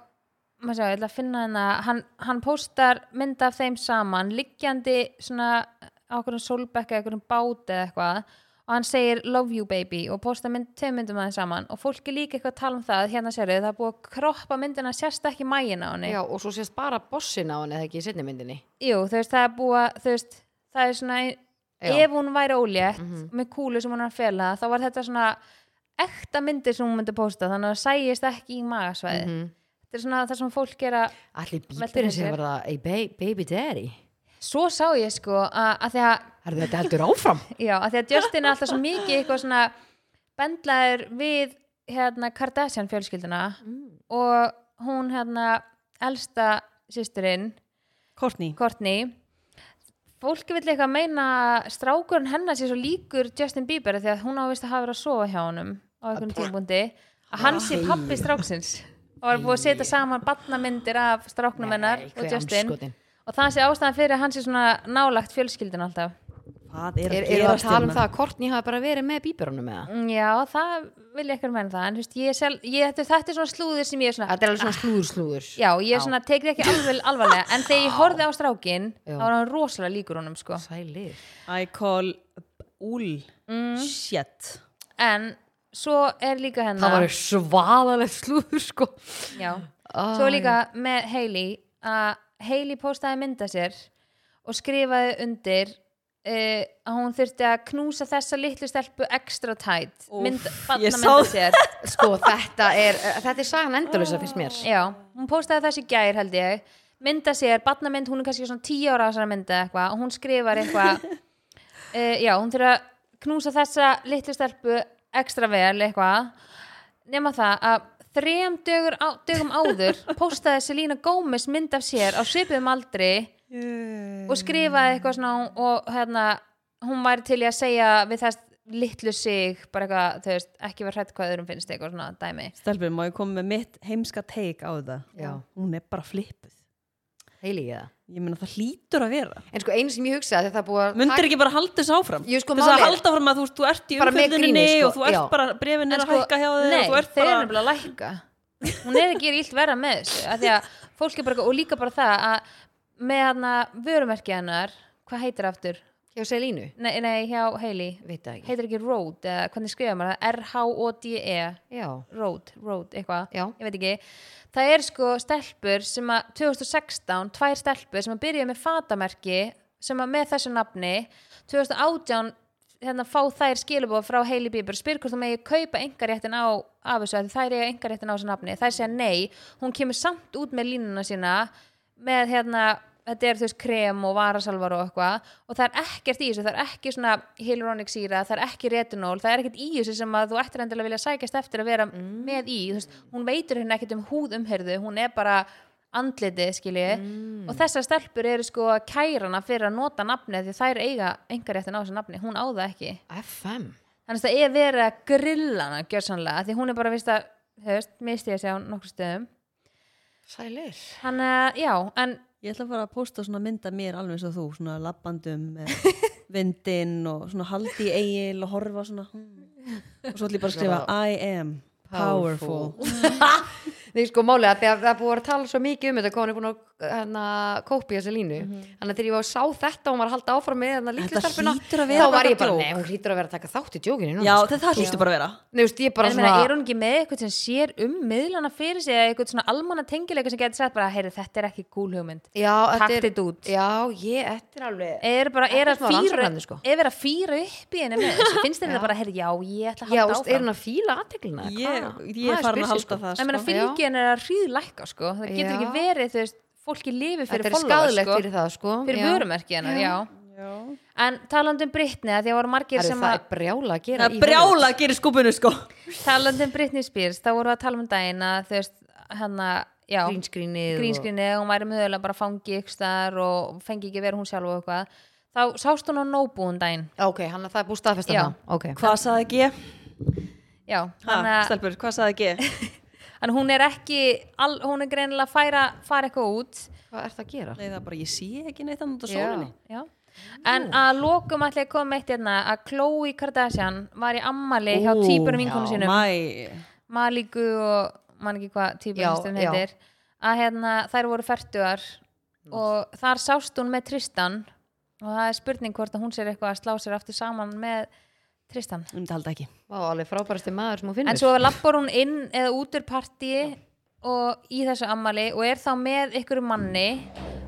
maður sjá, ég ætla að finna hana hann, hann postar mynd af þeim saman liggjandi svona á okkur sólbekka, okkur bát eða eitthvað og hann segir love you baby og postar mynd, tveim myndum að þeim saman og fólk er líka eitthvað að tala um það, hérna sérðu það er búið að kroppa myndina, sérst ekki mægin á henni Já, og svo sést bara bossin á henni eða ekki í setni myndinni Jú, þú veist, það er búið að, þú veist, það er svona, ef hún væri ólétt með kúlu sem hún er að fela, þá var þetta svona ekta myndir sem hún myndi posta, þannig að það sæjist ekki í magasvæði. Þetta er svona það sem fólk er að, Allir Veltir bíberinn sem þessu. verða hey, ba- baby daddy svo sá ég sko að, að því að, Herðu þetta heldur áfram já, að því að Justin er alltaf svo mikið eitthvað svona bendlaður við hérna Kardashian fjölskylduna og hún hérna elsta systurinn Kortni, Courtney fólk vil eitthvað meina að strákurinn hennar sé svo líkur Justin Bieber af því að hún ávist að hafa verið að sofa hjá honum á einhvern tímpundi að hann sé pappi stráksins og var búið að setja saman batnamyndir af stráknum hennar og Justin og það sé ástæðan fyrir að hann sé svona nálagt fjölskyldin alltaf hvað Er, er að er að gerast tala um hérna? það að Kortni hafi bara verið með bíberunum með það? Mm, já, það vil ég eitthvað meina það en þú veist, ég, sel, ég, þetta, þetta er svona slúðir sem ég er svona Þetta er alveg svona slúður slúður já, ég er svona, tekið ekki alveg alvarlega en þegar ég horfði á strákin þá var hann rosalega líkur honum sko. Sælir I call úl shit en svo er líka Það hennar var svaðalegt slúður sko Já, Æ. svo líka með Hailey að Hailey postaði mynda sér og skrifaði undir uh, að hún þurfti að knúsa þessa litlu stelpu extra tight Úff, mynd, ég barna sá mynda sér Sko þetta er, þetta er sagan endalösa finnst mér Já, hún postaði þessi gær held ég mynda sér, barnamynd, hún er kannski svona 10 ára á þessari mynda eitthvað og hún skrifar eitthvað uh, já, hún þurfa að knúsa þessa litlu stelpu ekstra vel eitthvað nema það að þrem dögur á, dögum áður postaði Selena Gomez mynd af sér á svipuðum aldri og skrifaði eitthvað svona og hérna, hún væri til í að segja við þess litlu sig bara eitthvað, þú veist, ekki vera hrætt hvað öðrum finnst eitthvað svona dæmi Stelbjörn, má ég koma með mitt heimska teik á það Já. Hún er bara flippuð Heili ég það Ég meina það hlýtur að vera En sko einu sem ég hugsaði þegar það er búið að Mundir ekki bara halda þessu áfram Jú, sko, Þess að málið er- halda áfram að þú, þú ert í Bara með umfjölduninni gríni, sko, og þú ert já. sko, bara brefin En er að hækka hjá þig Sko, nei, og þú ert þeir bara eru nefnilega að lækka hún er að gera illt verra með þessu að því að fólk er bara eitthvað- og líka bara það að með hana vörumerki hennar hvað heitir aftur? Hjá Selínu Nei, nei hjá Hailey Veit það ekki heitir ekki Road, eða hvernig skrifa maður það? R-H-O-D-E Já, Road, Road, eitthvað, Já. ég veit ekki það er sko stelpur sem að 2016, tvær stelpur sem að byrja með fatamerki sem að með þessu nafni 2018 hérna fá þær skilabóð frá Hailey Bieber spyr hvort þú megi kaupa engaréttin á af þessu að þær eiga engaréttin á þessu nafni þær segja nei, hún kemur samt út með línuna sína með hérna þetta er þú veist krem og varasalvar og eitthvað og það er ekkert í þessu, það er ekki svona hyaluronic síra, það er ekki retinol það er ekkert í þessu sem að þú ættir endilega að vilja sækjast eftir að vera með í þú veist, hún veitur hérna ekkert um húðumherðu hún er bara andlitið skilji og þessar stelpur eru sko kærana fyrir að nota nafnið því þær eiga engaréttin á þessu nafni, hún á það ekki FM þannig að það er verið að grilla hana gjörsanlega, því hún er bara vist að, höfst, misti ég á nokkur stöðum Sælir hann, já, en Ég ætla bara að posta svona mynda mér alveg eins og þú svona labbandum <laughs> með vindinn og svona haldi í eigil og horfa svona hmm. og svo ætla ég bara að skrifa I am powerful, <laughs> Nei sko málið að þegar það er búið að tala svo mikið um þetta hvað hún er búin að hérna, kópi þessi línu Þannig að þegar ég var sá þetta og hún var að halda áfram með hérna Þetta líkla starfina hlýtur að vera Þá var bara ég bara, djók. nei hún hlýtur að vera að taka þátt í djókinu núna, Já, sko. þetta hlýstu bara að vera Nei, þú veist, ég bara En meina, svona- er hún ekki með eitthvað sem sér um miðlana fyrir sig eða eitthvað svona almanna tengileika sem getur sagt bara, heyri, þetta er ekki gúl hugmynd Já, þetta Taktu er- þetta út. Já, ég, þetta er alveg er bara, Þetta er er að smá fýra rannsakandi, sko. er verið að fýra upp í henni <laughs> með þessu finnst þér þetta bara, heyri, já, ég ætla að Já, halda veist, er áfram hún að fíla aðteglina? Ég, ég er farin að halda það en meina, sko. fylgi henni er að hríðlækka sko. það getur Já. ekki verið, þú veist, fólki lifi Þetta fyrir er followa skadalegt sko. fyrir það, sko fyrir Já. vörumerki hennar, já, Já. en talandi um Britni, að því að voru margir Herru, sem það að er brjála að gera Það í brjála gerir skúpinu sko. talandi um Britney Spears, þá vorum við að tala um daginn að þú veist, hann að já, Hollywood. grínskrinnið grínskrinni, hún væri mögulega bara fangi ykkur staðar og fengi ekki að vera hún sjálf og eitthvað, þá sást hún á nóbúum daginn, og... ok, hann það er búið staðfesta Já. það okay. Hvað saði G? já Ha, hann að- stelpur, hvað saði <laughs> G? hann hún er ekki, all, hún er greinilega að færa, fara eitthvað út hvað er það að gera? Nei, það er bara, ég sé ekki neitt annað á Já. sólinni. já. en að lokum ætla ég að koma meitt hérna að Khloe Kardashian var í ammali hjá Ú, týpurum vinkonum já, sínum Mæ. Malíku og mann ekki hvað Já, týpurum sem já. heitir að hérna, þær voru færtugar og þar sást hún með Tristan og það er spurning hvort að hún sér eitthvað að slá sér aftur saman með Tristan Um þetta halda ekki. Vá, alveg frábærasti maður sem hún finnur en svo lappar hún inn eða út úr partíi og í þessu ammali og er þá með ykkur manni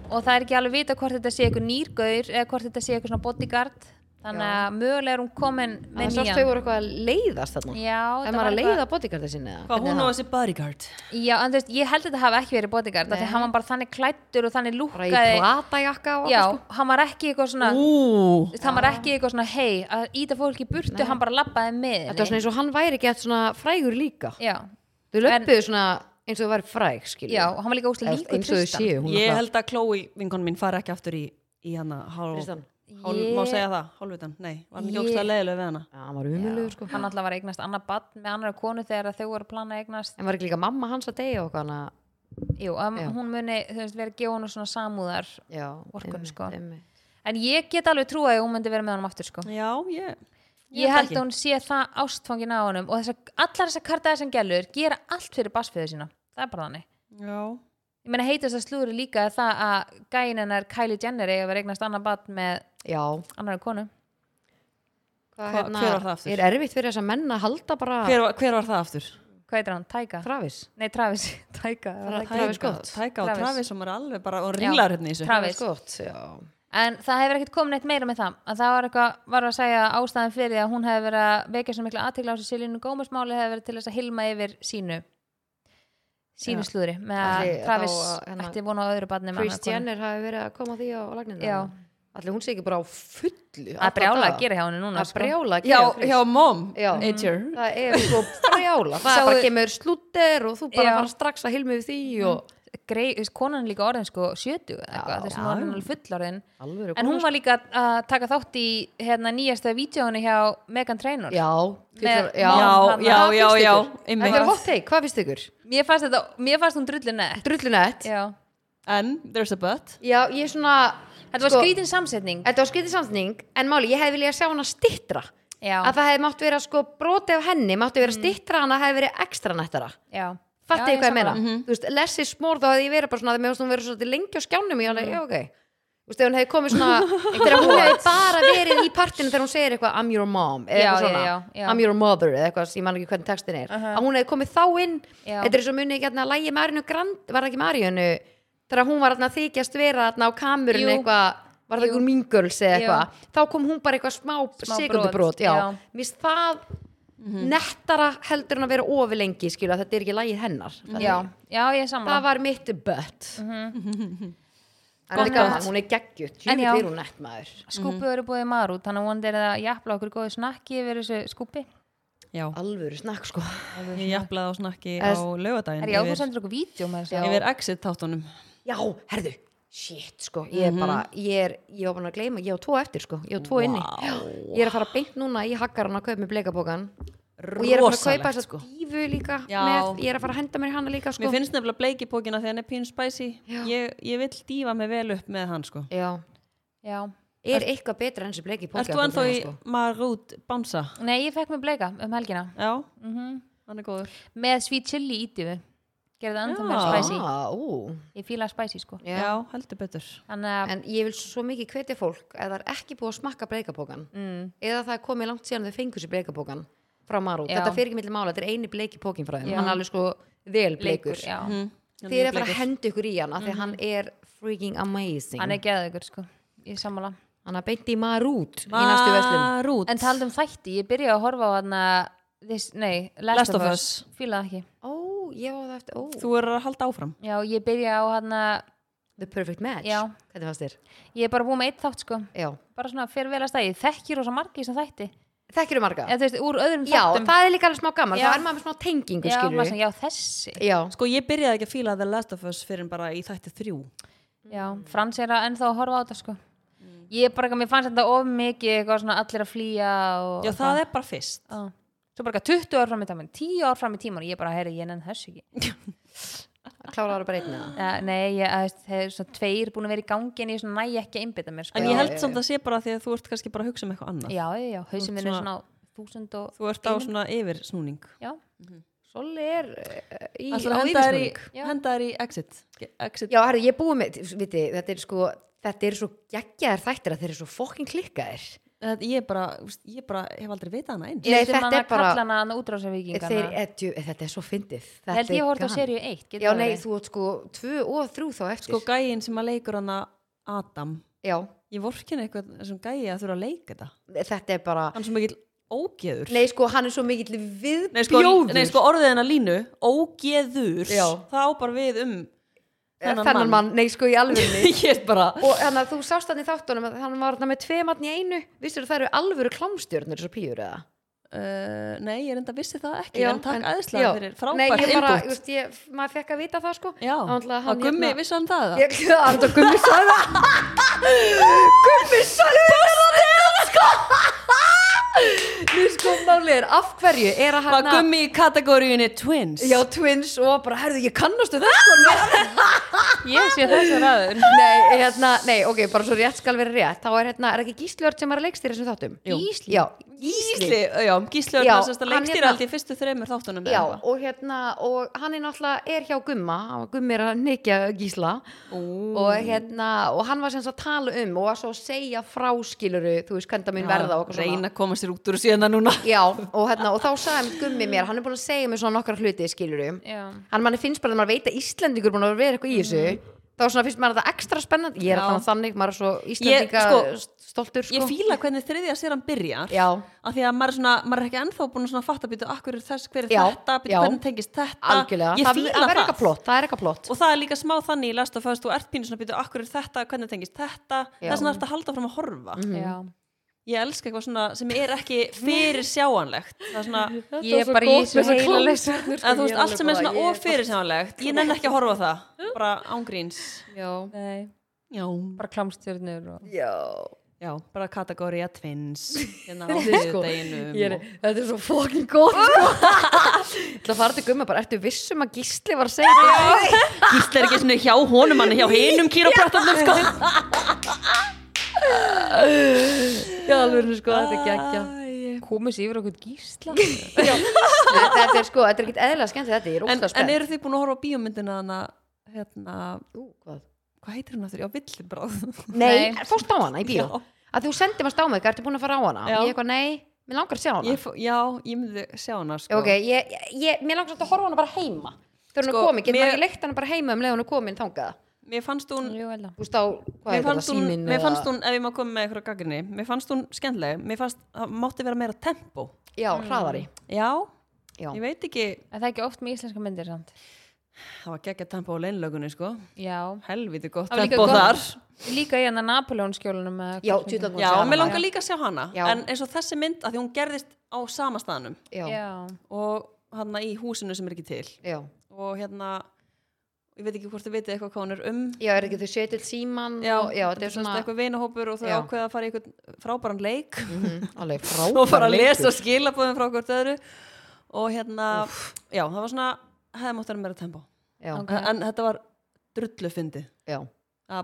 og það er ekki alveg vita hvort þetta sé ykkur nýrgaur eða hvort þetta sé ykkur svona bodyguard þannig Já. að mögulega er hún komin en með svo nýjan þau voru eitthvað að leiðast þarna já, en þetta maður var að eitthvað- leiða bodyguardið sinni eða? Hvað hún Hvernig á er þessi bodyguard? já, en þú veist, ég held að þetta hafi ekki verið bodyguard af því að hann var bara þannig klættur og þannig það? bara í sko. lúkkaði platajakka og já, eitthvað, hann var ekki eitthvað svona þú Ú. veist, hann var ekki eitthvað svona hei, að íta fólki í burtu hann bara labbaði með sko. þetta var svona henni. eins og hann væri gett svona frægur líka já, þau löpuðu svona eins og þau væri fræg skilju já, og hann var líka úslega líkur eins og þau séu hún Ég náttúrulega- held að Chloe, vinkon mín, fari ekki aftur í, í hana. Hálf, Tristan. hálf, Ég- Má segja það, hálfvitan? Nei, var hann ekki Ég- ógstlega leiðilega við hana? Já, hann var umulugur sko hann alltaf var að eignast annað badn með annara konu þegar að þau voru að plana að eignast en var ekki líka mamma hans að deyja og eitthvað hana Jú, um, hún muni, þú veist, verið að gefa hún svona samúðar já, Orkun, einmitt, sko. einmitt. en ég get alveg trúa að hún myndi vera með honum aftur sko. Já, ég... ég held ekki. að hún sé það ástfangin á honum og þessa, allar þessar Kardashian gælur gera allt fyrir bassfiðu sína, það er bara þannig Já. ég meina heitast að slúri líka það að gæin hennar Kylie Jenner eiga að vera eignast annað badn með já, annara konu Hvað, Hva- hérna hver var það aftur? er erfitt fyrir þess að menn að halda bara Hver, var- hver var það aftur? hvað heitir hann, Tyga? Travis Nei, Travis, <laughs> Tyga var það ekki? Travis Tæka Scott. Tæka og Travis. Travis sem er alveg bara og ringlar hérna í þessu. Travis. Scott, já En það hefur ekkert komið neitt meira með það að það var eitthvað, var að segja að ástæðan fyrir því að hún hefur verið að vekja svo mikla aðtekla á þessu Silínu Gómez máli hefur verið til þess að hilma yfir sínu sínu slúðri með að Ætli þá, Travis hérna, ætti vona á öðru barni með annarri Kris konu. Jenner hafi verið að koma því á, á lagninu Já. allir hún sé ekki bara á fullu alla að brjála daga. að gera hjá henni núna að sko. brjála að Já, gera Chris. hjá mom. Já. Nature. það er <laughs> sko brjála það Sáu- bara kemur slúter og þú bara Já. Mm. fara strax að hilmi við því og sko. Grey, þú veist, konan er líka orðin sko 70 eða eitthvað, þess að hún er alveg fullorðin alveg en hún var líka að taka þátt í hérna nýjasta vídjónu hjá Megan Trainor sko. já, Með- já, Já, Mom, já, Hvað já, finnst já. ykkur? þetta er hot take, hvað finnst ykkur? mér fannst, þetta, mér fannst hún drullinett drullinett já. En, there's a but. já, ég er svona þetta var sko, skrítin samsetning þetta var skrítið samsning en máli, ég hefði viljað sjá hana stittra já, Mm. að það hefði mátt vera sko broti af henni máttu vera stittra hana hefði verið ekstra nettara já. Fattu Já, ég hvað ég sammála. Mhm. meina? Þú veist, less is more þá hefði ég verið bara svona að mér finnst hún verið svolítið lengi á skjánum ég Mhm. alveg, já ok Þú veist, ef hún hefði komið <laughs> svona þegar hún hefði bara verið í partinu þegar hún segir eitthvað I'm your mom eða Já, eitthvað já, svona já, já. Uh-huh. I'm your mother eða eitthvað, ég man ekki hvernig textin er að hún hefði komið þá inn Já. þetta er svo munið ekki að lægi Marinu Grand var það ekki Marinu þegar hún var að þykjast vera þarna á kamurinn Jú. eitthvað var það Jú. einhver mingurls eða Jú. eitthvað þá kom hún bara eitthvað smá, smá Smá sekundubrót brot, já. já. Mér finnst það nettara heldur en að vera ofur lengi skilu að þetta er ekki lægið hennar já, já, ég er það sammála var mitt butt en þetta er Gott gaman, butt. hún er geggjut En tjúfitt já. er hún nett maður Mhm. skúpi eru búið í marút þannig að vonandi er það jafnla okkur góðu snakki yfir þessu skúpi Já. alvöru snakk sko Ég jafnlaði á snakki Es- á lögadaginn er já, þú sendur okkur vídeo með þessu yfir exit-tátunum. já, herðu, shit sko ég er bara, ég er, ég var búin að gleyma ég á tvo eftir sko, ég á tvo inni ég er að fara beint núna í hakkaran að kaupa með bleikabókan og ég er að fara að kaupa Rosalegt, þessa sko. dífu líka Já. með, ég er að fara að henda mér í hana líka sko Mér finnst nefnilega bleikipókina þegar hann er pínu spicy. Já. Ég, ég vill dífa mig vel upp með hann, sko. já. já. er eitthvað betra enn þessi bleikipóki Erst þú ennþá í sko. marút bánsa? nei, ég fekk mér bleika um helgina Já. Mhm. Hann er góður. með sweet chili ítifu gerði það ennþá Já. meira spicy ah, ú, ég fíla spicy sko já. Já, heldur betur. þannig að En ég vil svo mikið hvetja fólk að það er ekki búið að smakka bleikapókan mm, eða það er komið langt síðan þau fengur sér bleikapókan frá Marút, Já. þetta fyrir ekki milli mála þetta er eini bleikipókin frá þeim, Já. hann er alveg sko vel leikur, bleikur, já Mhm. Mm. þeir Mhm. eru að fara að henda ykkur í hann af því að hann er freaking amazing hann er geðið sko, ég er sammála hann er beint í Marút í næstu veslum Marút. en talað um þætti, ég byrjaði að horfa á hann This, nei, Last, of Us, Fílaði það ekki ó, ég var það eftir, ó Þú er að halda áfram. Já, ég byrja á hann The Perfect Match Já. Hvernig fannst þér? Ég er bara búin með eitt þátt sko Já, bara svona fyrir vel að stæði, þekkir rosa margi sem þætti þekkir þú marga? eða þú veist, úr öðrum Já, þáttum það er líka alveg smá gaman Já. Þá er maður með smá tengingu, já, skilur maður við svona, já, þessi Já, Sko ég byrjaði ekki að fíla The Last of Us fyrir en bara í þætti þrjú já, Frans er að ennþá að horfa á þetta sko ég er bara ekki, mér fannst þetta of mikið eitthvað svona allir að flýja og Já það er bara fyrst Já. svo bara eitthvað 20 ár fram í tíman 10 ár fram í tíman og ég bara, herri, ég nenn þessu ekki klárar bara einn eða ja, nei, ég, að, það er svona tveir búin að vera í gangi en ég svona næ ekki að einbytta mér sko. En Já, ég held já, samt að sé bara því að þú ert kannski bara að hugsa um eitthvað annað já, já, já, ert hausum minn er svona- svona á 1000 og Þú ert á svona yfirsnúning já, Svolí er eh, í, Ætlar á að henda þær í, yfirsnúning. Já. henda þær í exit Exit Já, herri, ég er búið með, viti, þetta er sko Þetta eru svo geggjaðar þættir að þeir eru svo fokkin klikkaðir Þetta- Ég bara, ég bara hef aldaldrei vitað hana einn Nei, Ég þetta sem er hana bara- kalla hana hana útrásarvíkingana Þeir, etju, þetta er svo fyndið Þetta held ég er hort á gaman. seríu 1 getur Já, það nei, verið? þú átt sko tvö og þrjú þá eftir Sko gæin sem að leikur hana Adam Já, Ég vorkin eitthvað sem gæi að þurfa að leika þetta þetta er bara Hann er svo mikill ógeður Nei, sko, hann er svo mikill Nei, sko, viðbjóður nei, sko orðið hennar línu Ógeður Já. Eh, Það á bara við um Þennan mann, nei, sko, í alvörunni <laughs> <laughs> Ég er bara og þannig að þú sást hann í þáttunum að hann var þarna með tvei matn í einu vissir þú það eru alvöru klámstjörnur svo píur eða Uh, nei, ég er enda vissi það ekki Já, en takk en- aðeinslega já. fyrir Nei, frábært ég bara, input just, ég, maður fekk að vita það sko Já, Hann náttúrulega, að hann gummi, hérna- vissi hann það? Ég- <laughs> Já, Andra Gummi sagði <laughs> það Gummi sagði það sko Nú sko <laughs> málið er af hverju er að Var hann gummi í kategóriunni twins? Já, twins og bara, herðu, ég kannastu þess ég sé þessu ræður <laughs> Nei, hérna, nei, ok, bara svo rétt skal vera rétt Þá er hérna, er ekki Gísliörn sem er að leikstýra þessum þáttum? Jú. Gísli? Já, Gísli, já, Gísli Já, var þessast að hann leikstýra hérna- allt í fyrstu þreymur þáttunum Já, og hérna, og hann er náttúrulega er hjá Gumma, og Gummi er að nekja Gísla og Mm. hérna, og hann var sem sagt að tala um og var svo að segja fráskiluru, þú veist, hvernig það mun verða og eitthvað svona. Reina að koma sér út úr síðan núna Já, og hérna, og þá sagði hann Gummi mér, hann er búin að segja mér svona nokkar hluti, skiluru. Já. Hann manni finnst bara að maður veit að Íslendingur er búin að vera eitthvað í þessu, þá svona finnst maður þetta ekstra spennandi. Ég er Mm. Já. þannig þannig, maður er svo Ég, Íslendinga sko, stoltur, sko. Ég fíla hvernig þriðja sér hann byrjar Já, af því að maður, er svona, maður er ekki ennþá búin að svona fatta býtu akkur er þess, hver er Já, þetta, býtu já. hvernig tengist þetta algjörlega. Ég Það- fíla það. það, er eitthvað plott, Það er eitthvað plott. og það er líka smá þannig í last of us þú ert pínu svona býtu akkur er þetta, hvernig tengist þetta Já. það er svona að halda fram að horfa Mhm. Já. ég elska eitthvað svona sem er ekki fyrir sjáanlegt það er svona <laughs> ég er bara í þessu heila leysu að þú veist allt sem er svona ofyrir sjáanlegt ég nenn ekki að horfa á það bara ángríns Já. já bara klámstjörnur og... Já. já bara kategóriða twins <laughs> hérna á Sko, þriðudeginum ég er, og- þetta er svo fokkin gott <laughs> sko. Það fara til gumma bara, ertu vissum að Gísli var að segja þetta? gísla er ekki svona hjá honum hann er hjá <laughs> hinum kýrapratarnum sko Já, alveg, sko, þetta er geggja komis yfir okkur <laughs> gísla Þetta er sko, þetta er ekkert eðlilega skemmt þetta, ég er en, óslega en spennt eru þið búin að horfa á bíómyndina hana hérna Ú, hvað? hvað heitir hún aftur? Já, <laughs> villibráð Nei, Nei. fórst á hana í bíó Já. að þú sendir maður stámið, ertu búin að fara á hana? Já. Ég eitthvað, nei, mér langar að sjá hana ég, fó- já, ég myndi sjá hana sko Ok, ég, ég, mér langar samt að horfa á hana bara heima þegar hún Sko, er komin, getur mér- maður ekki leikt hana bara heima um leið hún er komin þangað mér fannst hún Jú, Ella. Þú veist á, hvað er Mér þetta, fannst, hún, síminn mér eða- fannst hún, ef ég má koma með eitthvað gaggrinni mér fannst hún skemmtileg, mér fannst það mátti vera meira tempo Já, hraðari já, Já. ég veit ekki en það er ekki oft með íslenska myndir samt það var geggja tempo á leinlögunni sko já helviti gott Það var líka tempo gott- þar líka í hérna hann að Napoleon skjólunum Já, djúdlan búin já, að sjá mér hana. langar líka að sjá hana Já. en eins og þessi mynd, að því hún gerðist á sama staðnum Já, já. og hann í húsinu sem er ekki til já og hérna ég veit ekki hvort þið vitið eitthvað hvað hún er um Já, er ekki þau setið síman og, já þetta er sem sagt svona eitthvað vinahópur og þau Já. ákveða að fara í eitthvað frábæran leik Mhm, <laughs> alveg frábæð og fara að lesa skilabóðum frá hvort öðru og hérna, já, það var svona hefði mátt vera meira tempo já, Ok. en, en þetta var drullu fyndi já,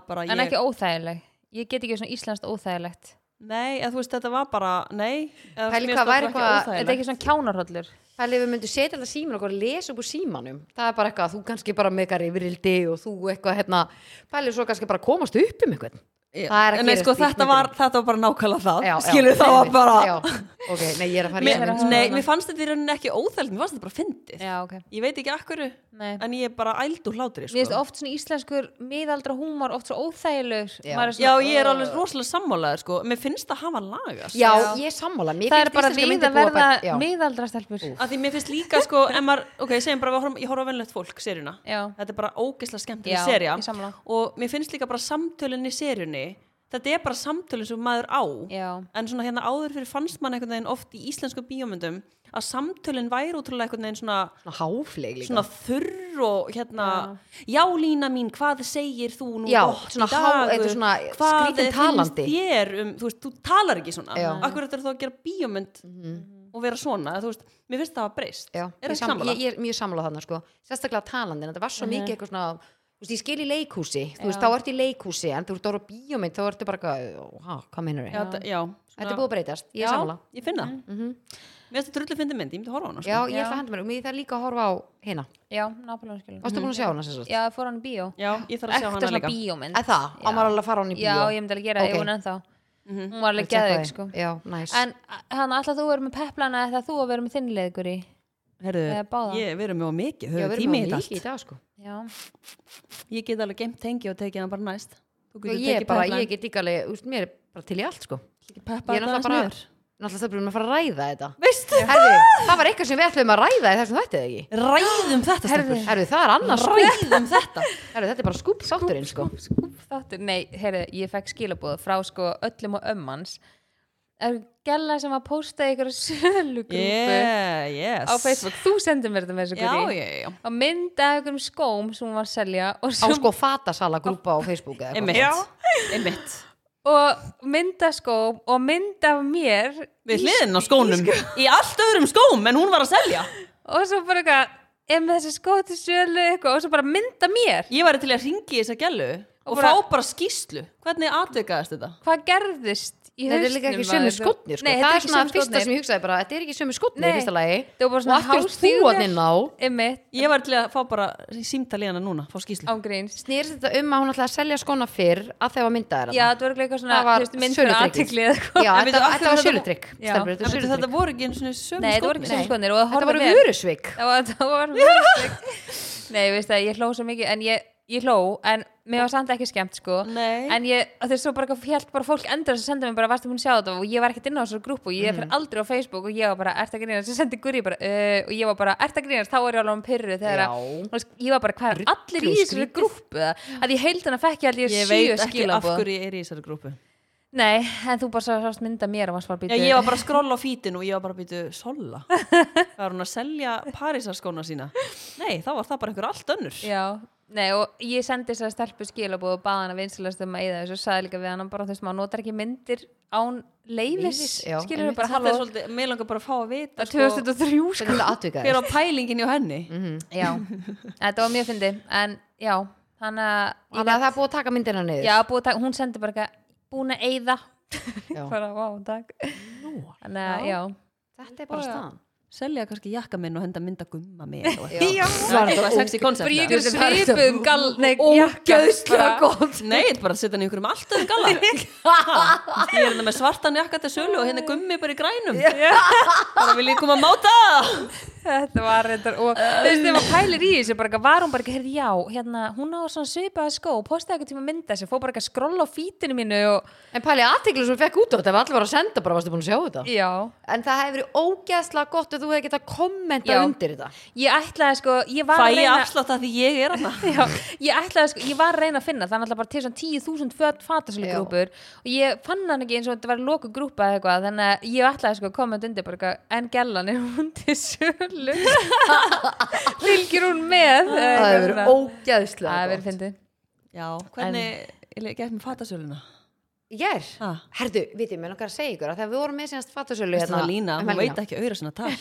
bara en ég, ekki óþægileg ég get ekki svona íslenskt óþægilegt nei, eða þú veist, þetta var bara nei, eða Pæli mér hvað stóð væri ekki eitthvað- óþægilegt. þetta er ekki svona kjánarhöllur Pæli, við myndum setja þetta síman og lesa upp úr símanum það er bara eitthvað, þú kannski bara með eitthvað yfirildi og þú eitthvað hérna Pæli, svo kannski bara komast upp um eitthvað Já. það er að nei, gerast sko, í þetta kvikmyndum. var, þetta var bara nákvæmlega það Já, já, skilur það var einmitt, bara já. ok, nei, ég er að fara í hérna. Mér- ennum hafa nei, hana. mér fannst þetta í rauninni ekki óþælt, mér fannst þetta bara fyndið. já, ok Ég veit ekki akkur, Nei. en ég er bara æld úr hlátri, Mér finnst sko. oft svona íslenskur miðaldra húmor oft svo óþægilegur Já. Maður er Já, svona, ég er "Ugh." alveg rosalega sammálaður, sko. Mér finnst það hafa lagast. já, Já. ég er sammála mér Það er finnst bara íslenska við myndir búa að verða bara- já. miðaldra stelpur Af því mér finnst líka, sko, en maður, ok, segjum bara, við horfum- ég horf á vennlegt fólk, serjuna. Já, Þetta er bara ógislega skemmtileg Já, serja. ég sammála. Og mér finnst líka bara samtölin í serjunni, þetta er bara samtölin sem maður á. já, En svona hérna áður fyrir fannst mann einhvern veginn oft í íslensku bíómyndum að samtölin væri útrúlega einhvern veginn svona Svona háfleg líka svona þurr og hérna já Lína mín, hvað segir þú nú Já, gott svona í há- dag eitthvað svona hvað skrítin finnst talandi. þér um, þú veist, þú talar ekki svona Já. Mhm. akkur þetta er þá að gera bíómynd og vera svona, þú veist, mér finnst það að breyst Já, er ég, ekki sam, sammála? ég, ég er mjög sammála þarna sko. sérstaklega talandin, þetta var svo mikið eitthvað svona þú veist, ég skil í leikhúsi, þú veist, þá ertu í leikhúsi en þú ert orðið á bíómynd, þá ertu bara eitthvað, "Ó, ha, hvað meinar já, ég? þetta- já, Þetta er búið að breytast, ég er sammála Mhm. já, ég finn það mér finnst þetta drullu fyndi mynd, ég myndi horfa á hana sko. Já, ég ætla að henda mér, og ég þarf líka að horfa á hina já, nápælega skilur Varstu búin að sjá hana sem sagt? Já, fór hann í bíó já, ég þarf að sjá Ekta hana svona líka bíómynd Eða það, á Já. maður alveg að fara á hann í bíó Já, ég myndi alveg gera, Ok. ég hún ennþá Hún var alveg geðug, sko Já, næs En hann, alltaf þú verður með peplana eða þú að verður með þinni leiðgur í Eða báða. Herðu, ég verið mjög Já, mikið, þau við eru erum tími í með þetta mikið í allt. dag sko Já, Ég get alveg geimt tengi og tekið hann bara næst. Þú Og getur ég er tekið bara, pepline. ég get líka alveg, úst, mér er bara til í allt sko peppa Ég er náttúrulega þetta aðeins bara, niður. náttúrulega það byrjum að fara að ræða þetta Veistu? Herðu, það var eitthvað sem við ætlum að ræða í þessum þættið ekki Ræðum þetta, Herðu, stelpur. herðu, það er annars sko Ræðum þetta. Herðu, þetta er bara skúp þátturinn sko þáttur, nei, heyrðu, ég fekk skilabóð frá sko öllum og ömmans er gæla sem að posta í ykkur <laughs> sölugrúpu Yeah, yes. á Facebook, þú sendir mér þetta með þessu Já, guri já, já. og mynda ykkur um skóm sem hún var að selja og, Á svo, sko fatasala grúpa á Facebook eða eitthvað. Einmitt. <laughs> Já. Einmitt. og mynda skóm og mynda af mér Við hliðin á skónum. Í allt öðrum skóm, en hún var að selja. og svo bara eitthvað er með þessi skó til sölu eitthvað og svo bara mynda mér Ég væri til í að ringi þessa gælu og, Og bara- fá bara skýslu. Hvernig atvikaðist þetta? hvað gerðist í Þetta er hausnum líka ekki á sömu þér? skotnir sko. nei, Það þetta er svona ekki fyrsta sem sömu ég skotnir hugsaði bara Þetta er ekki sömu skotnir í Nei. fyrsta lagi Þetta var bara Og svona aftur þú hálfstígur. að inn á Einmitt, Ég væri til í að fá bara símtali hana núna, fá skýslu. ángríns Snýrst þetta um að hún ætlaði að selja skóna fyrr að þegar var myndaðir Já, þetta var örugglega eitthvað svona Það var þú veist, mynd fyrir sölutrykkið. athygli eða eitthvað. Já, En veitu, þetta af þetta hverju var þetta- sölutrygg um Já. Stelpur, þetta var En veitu, sölutrygg þetta voru ekki einu sinni sömu Nei, þetta voru ekki skónir. sem skonir og það Þetta horfði voru með. vörusvik Það var, það var vörusvik. Nei, ég veist að ég hló svo mikið en ég, ég hló en mér var samt ekki skemmt sko. Nei. En ég, og þeir svo bara eitthvað fjalt bara fólk endur að senda mér bara varstu búin að sjá þetta og ég var ekkert inn á þessar grúpu og Mhm. ég fyrir aldrei á Facebook og ég var bara, ert að grínast, sem sendi guri bara, uh, og ég var bara, ert að grínast, þá er ég alveg um pyrru þegar Já. að, þú veist, ég var bara, hvað er allir í Ruglu þessari grúpu að ég heildina fekk ég held ég Ég sjö veit ekki af skilabóð. hverju ég er í þessari grúpu. Nei, en þú bara sást mynda mér og varst bara Já, býtu. ég var bara að skrolla á fítin og ég var bara að býtu solla. Það var hún að selja Parísarskóna sína. Nei, þá var það bara einhver allt önnur. Já, nei og ég sendi þess að stelpu skilabóð og baða hana vinsalast um að eða þessu og sagði líka við hann bara þú veist maður notar ekki myndir án leifis Leyfis, já, skilur einmitt. við bara Þetta er halló svolítið, mér langar bara að fá að vita það er 2003 Þetta Mhm. er sko þetta hver atvikað á pælingin hjá henni. Já, þetta var mjög fyndi en já, hann að Þannig að það er búið að taka myndina niður já, búið að taka, hún sendi bara eitthvað búin að eyða Já. <laughs> bara, vá, takk þannig að, já, Þetta er bara staðan Selja kannski jakka minn og henda mynda gumma mér. Já. Já, Var það þetta var sexy koncept. bara ég eða? er svipuðum gall nei, Ógeðslega góð gott Nei, þetta er bara að setja hann í einhverjum allt öðrum <laughs> galla. Ha, Ég er hérna með svartan jakka til sölu og hérna er gummi bara í grænum. Bara vil ég koma að máta. Þetta var reyndar og þú veist þegar maður pælir í þessu bara eitthvað, var hún bara ekki, heyrði já, hérna hún á svona svipaða skó, postaði eitthvað tíma mynda þessu, fór bara eitthvað að skrolla á fítinu mínu og En pæli aðtiklu sem við fekk út á þetta var allir var að senda bara, varstu búin að sjá þetta já, En það hefur verið ógeðslega gott ef þú hefði getað kommenta Já. undir þetta ég ætlaði sko Fæ ég var að ég reyna afslátt að því ég er hann. <laughs> já, ég ætlaði sko, ég var að reyna að finna það er náttúrulega bara til svona 10.000 föt fatasölu Já. grúpur og ég fann hann ekki eins og þetta var loku grúpa eða eitthvað, þannig að ég ætlaði sko að koma þetta undir bara eitthvað, en gellan er hún til sölu fylgir hún með eða Það eitthvað hefur svona. verið ógeðslega Það gott hefur verið fyndið Já, hvernig, ég gett mér fatasöluna. Ég er Ah. Herðu, vitið, mér langar að segja ykkur að þegar við vorum með sínast fattasölu Hérna, hérna, Lína, um hún helgina, veit ekki auðra sinna tal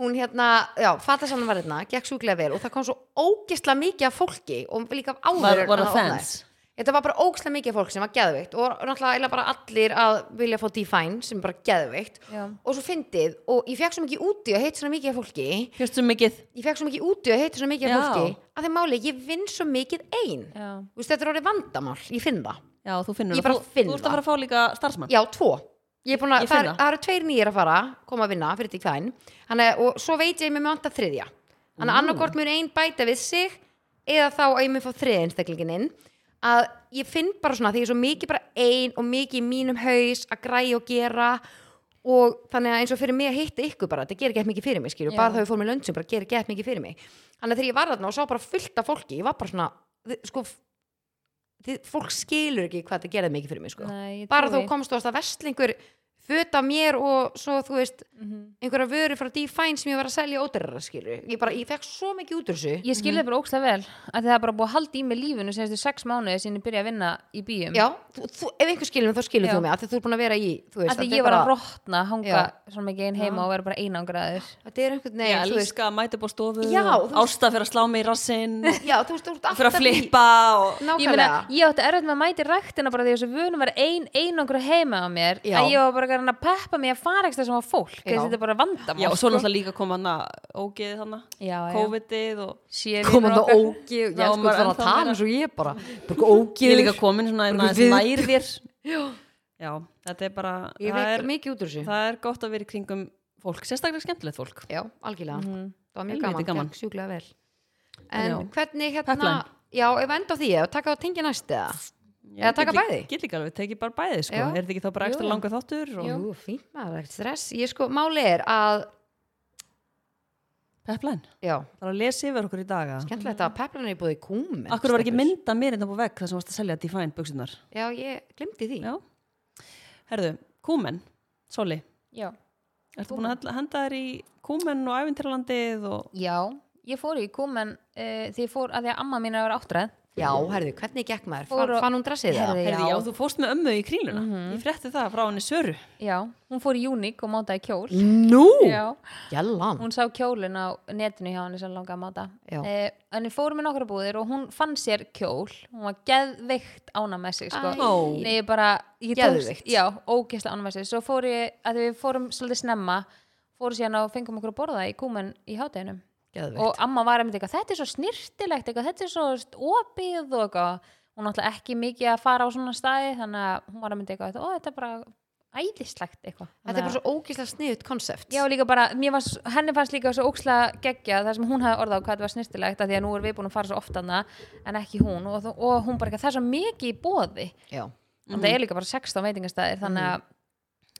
hún hérna, já, fattasalun var hérna, gekk sjúklega vel og það kom svo ógeðslega mikið af fólki og líka af áður Var- en voru hann fans? opnaðist. Þetta var bara ógeðslega mikið af fólk sem var geðveikt og náttúrulega eiginlega bara allir að vilja fá Define sem er bara geðveikt Já. og svo fyndið og ég fekk svo mikið úti að heita svona mikið af fólki Hérstu um mikið ég fekk svo mikið úti að heita svona mikið af Já. fólki að þeim máli, ég vinn svo mikið ein Já. Þú veist, þetta er orðið vandamál, ég finn það Já, þú finnur Ég það. bara Þú- finn Þú ert að það. fara að fá líka starfsmann Já, tvo Ég er búin að, Ég það, finn er- það. það eru tveir nýjir að fara, koma að vinna fyrir því kvæðin Þannig, að- og svo veit ég að mér mjög vanta þriðja Þannig að annarkort mjög einn bæta við sig eða þá að ég mér fá þriðja einstaklingin inn að ég finn bara svona því ég er svo mikið bara ein og mikið í mínum haus að græja og gera og þannig að eins og fyrir mig að hitta ykkur bara, þetta gerir ekki mikið fyrir mig skilju, Já. bara þá ég fór með löndsum, bara gerir ekki mikið fyrir mig þannig að þegar ég var þarna og sá bara fullt af fólki ég var bara svona, þi- sko þið, fólk skilur ekki hvað þetta gerði mikið fyrir mig sko Nei, ég bara trúi. þú komst þú varst að vestla einhver föt af mér og svo þú veist Mhm. einhverja vöru frá Define sem ég var að selja ódurra skilur, ég bara, ég fekk svo mikið út úr þessu Ég skil það bara ókslega vel að það er bara búið að halda í mig lífinu senstu sex mánuði sinni byrja að vinna í bíum já, þú, þú, ef einhver skilur mig, þá skilur Já. þú mig af því þú er búin að vera í, þú veist að því þetta er ég var að bara- rotna, hanga svona mikið einn heima og vera bara einangraður þetta er einhvern Ég veginn, þú veist elska að mæta upp á stofu Já, þú veist- Ásta fyrir að slá mig í rassinn já, þú veist, þú ert Fyrir alltaf að í- flippa og... ég, meina, nákvæmlega, ég átti erfitt með að mæti ræktina bara því þessu vunum var ein, einangra heima á mér Já. að ég var bara að reyna að peppa mig að fara ekki þessum á fólk Já. þessi þetta er bara vandamál Já, sko. og svo náttúrulega líka kom hann að ógeði þannig Já, já. COVID-ið og náttúrulega koma það ógið ég Ná, elsku maður það að ennþá tala meira. eins og ég bara, bara Ég er ógið líka komin svona Bara aðeins við- nær <laughs> þér Já, þetta er bara ég það er, fekk mikið út úr þessu það er gott að vera í kringum fólk Sérstaklega skemmtilegt fólk já, algjörlega, Mhm. það var mjög Helvíti gaman, gaman. gaman. sjúklega vel en Já. hvernig hérna Pepline. já, ef enda á því, ef taka á tengi næst eða Ég Eða taka get lí- bæði? Get líka alveg, tekið bara bæði sko Já. Er þetta ekki þá bara ekstra Jú. langa þáttur og Jú, fínt maður, ekkert stress Ég sko, máli er að Peplæn, Já, það er að lesa yfir okkur í dag að- skemmtilegt að peplan er búið í kúm Akkur var ekki mynda mér innan på vegg þar sem varst að selja Define buksunar Já, ég glimti því Já Herðu, kúmen, Soli já. Ertu búin að hella- henda þér í kúmen og æfintýralandið og já, ég fór í kúmen uh, því ég fór að því að amma mín er að vera áttræð Já, herðu, hvernig gekk maður? Fór Fann, og- fann hún dressið það? Herðu, Herðu, já, Já. þú fórst með ömmu í krýluna Mhm. Ég frétti það frá henni Söru já, hún fór í júnik og mátaði kjól Nú, já gælan hún sá kjólin á netinu hjá henni sem langaði að máta Já. eh, en við fórum í nokkra búðir og hún fann sér kjól hún var geðveikt ána með sig sko. Æ. Ó. Nei, ég bara, ég Geðveikt. já, ógeðslega ána með sig svo fór ég, að við fórum svolítið snemma fórum síðan og fengum okkur að borða í kúmen í hátæðinum Geðveikt. og amma var einmitt eitthvað, þetta er svo snirtilegt eitthvað, þetta er svo veist, opið og eitthvað hún náttúrulega ekki mikið að fara á svona staði þannig að hún var einmitt eitthvað, ó þetta er bara æðislegt eitthvað Þetta er bara svo ógislega sniðut konsept Já, líka bara, mér var, s- henni fannst líka svo óksla geggja þar sem hún hafði orðað á hvað þetta var snirtilegt að því að nú er við búin að fara svo oft hana en ekki hún og, þó- og hún bara ekki að það er svo mikið í bóði Já. mm. Mhm. það er líka bara 16 veitingastæðir þannig að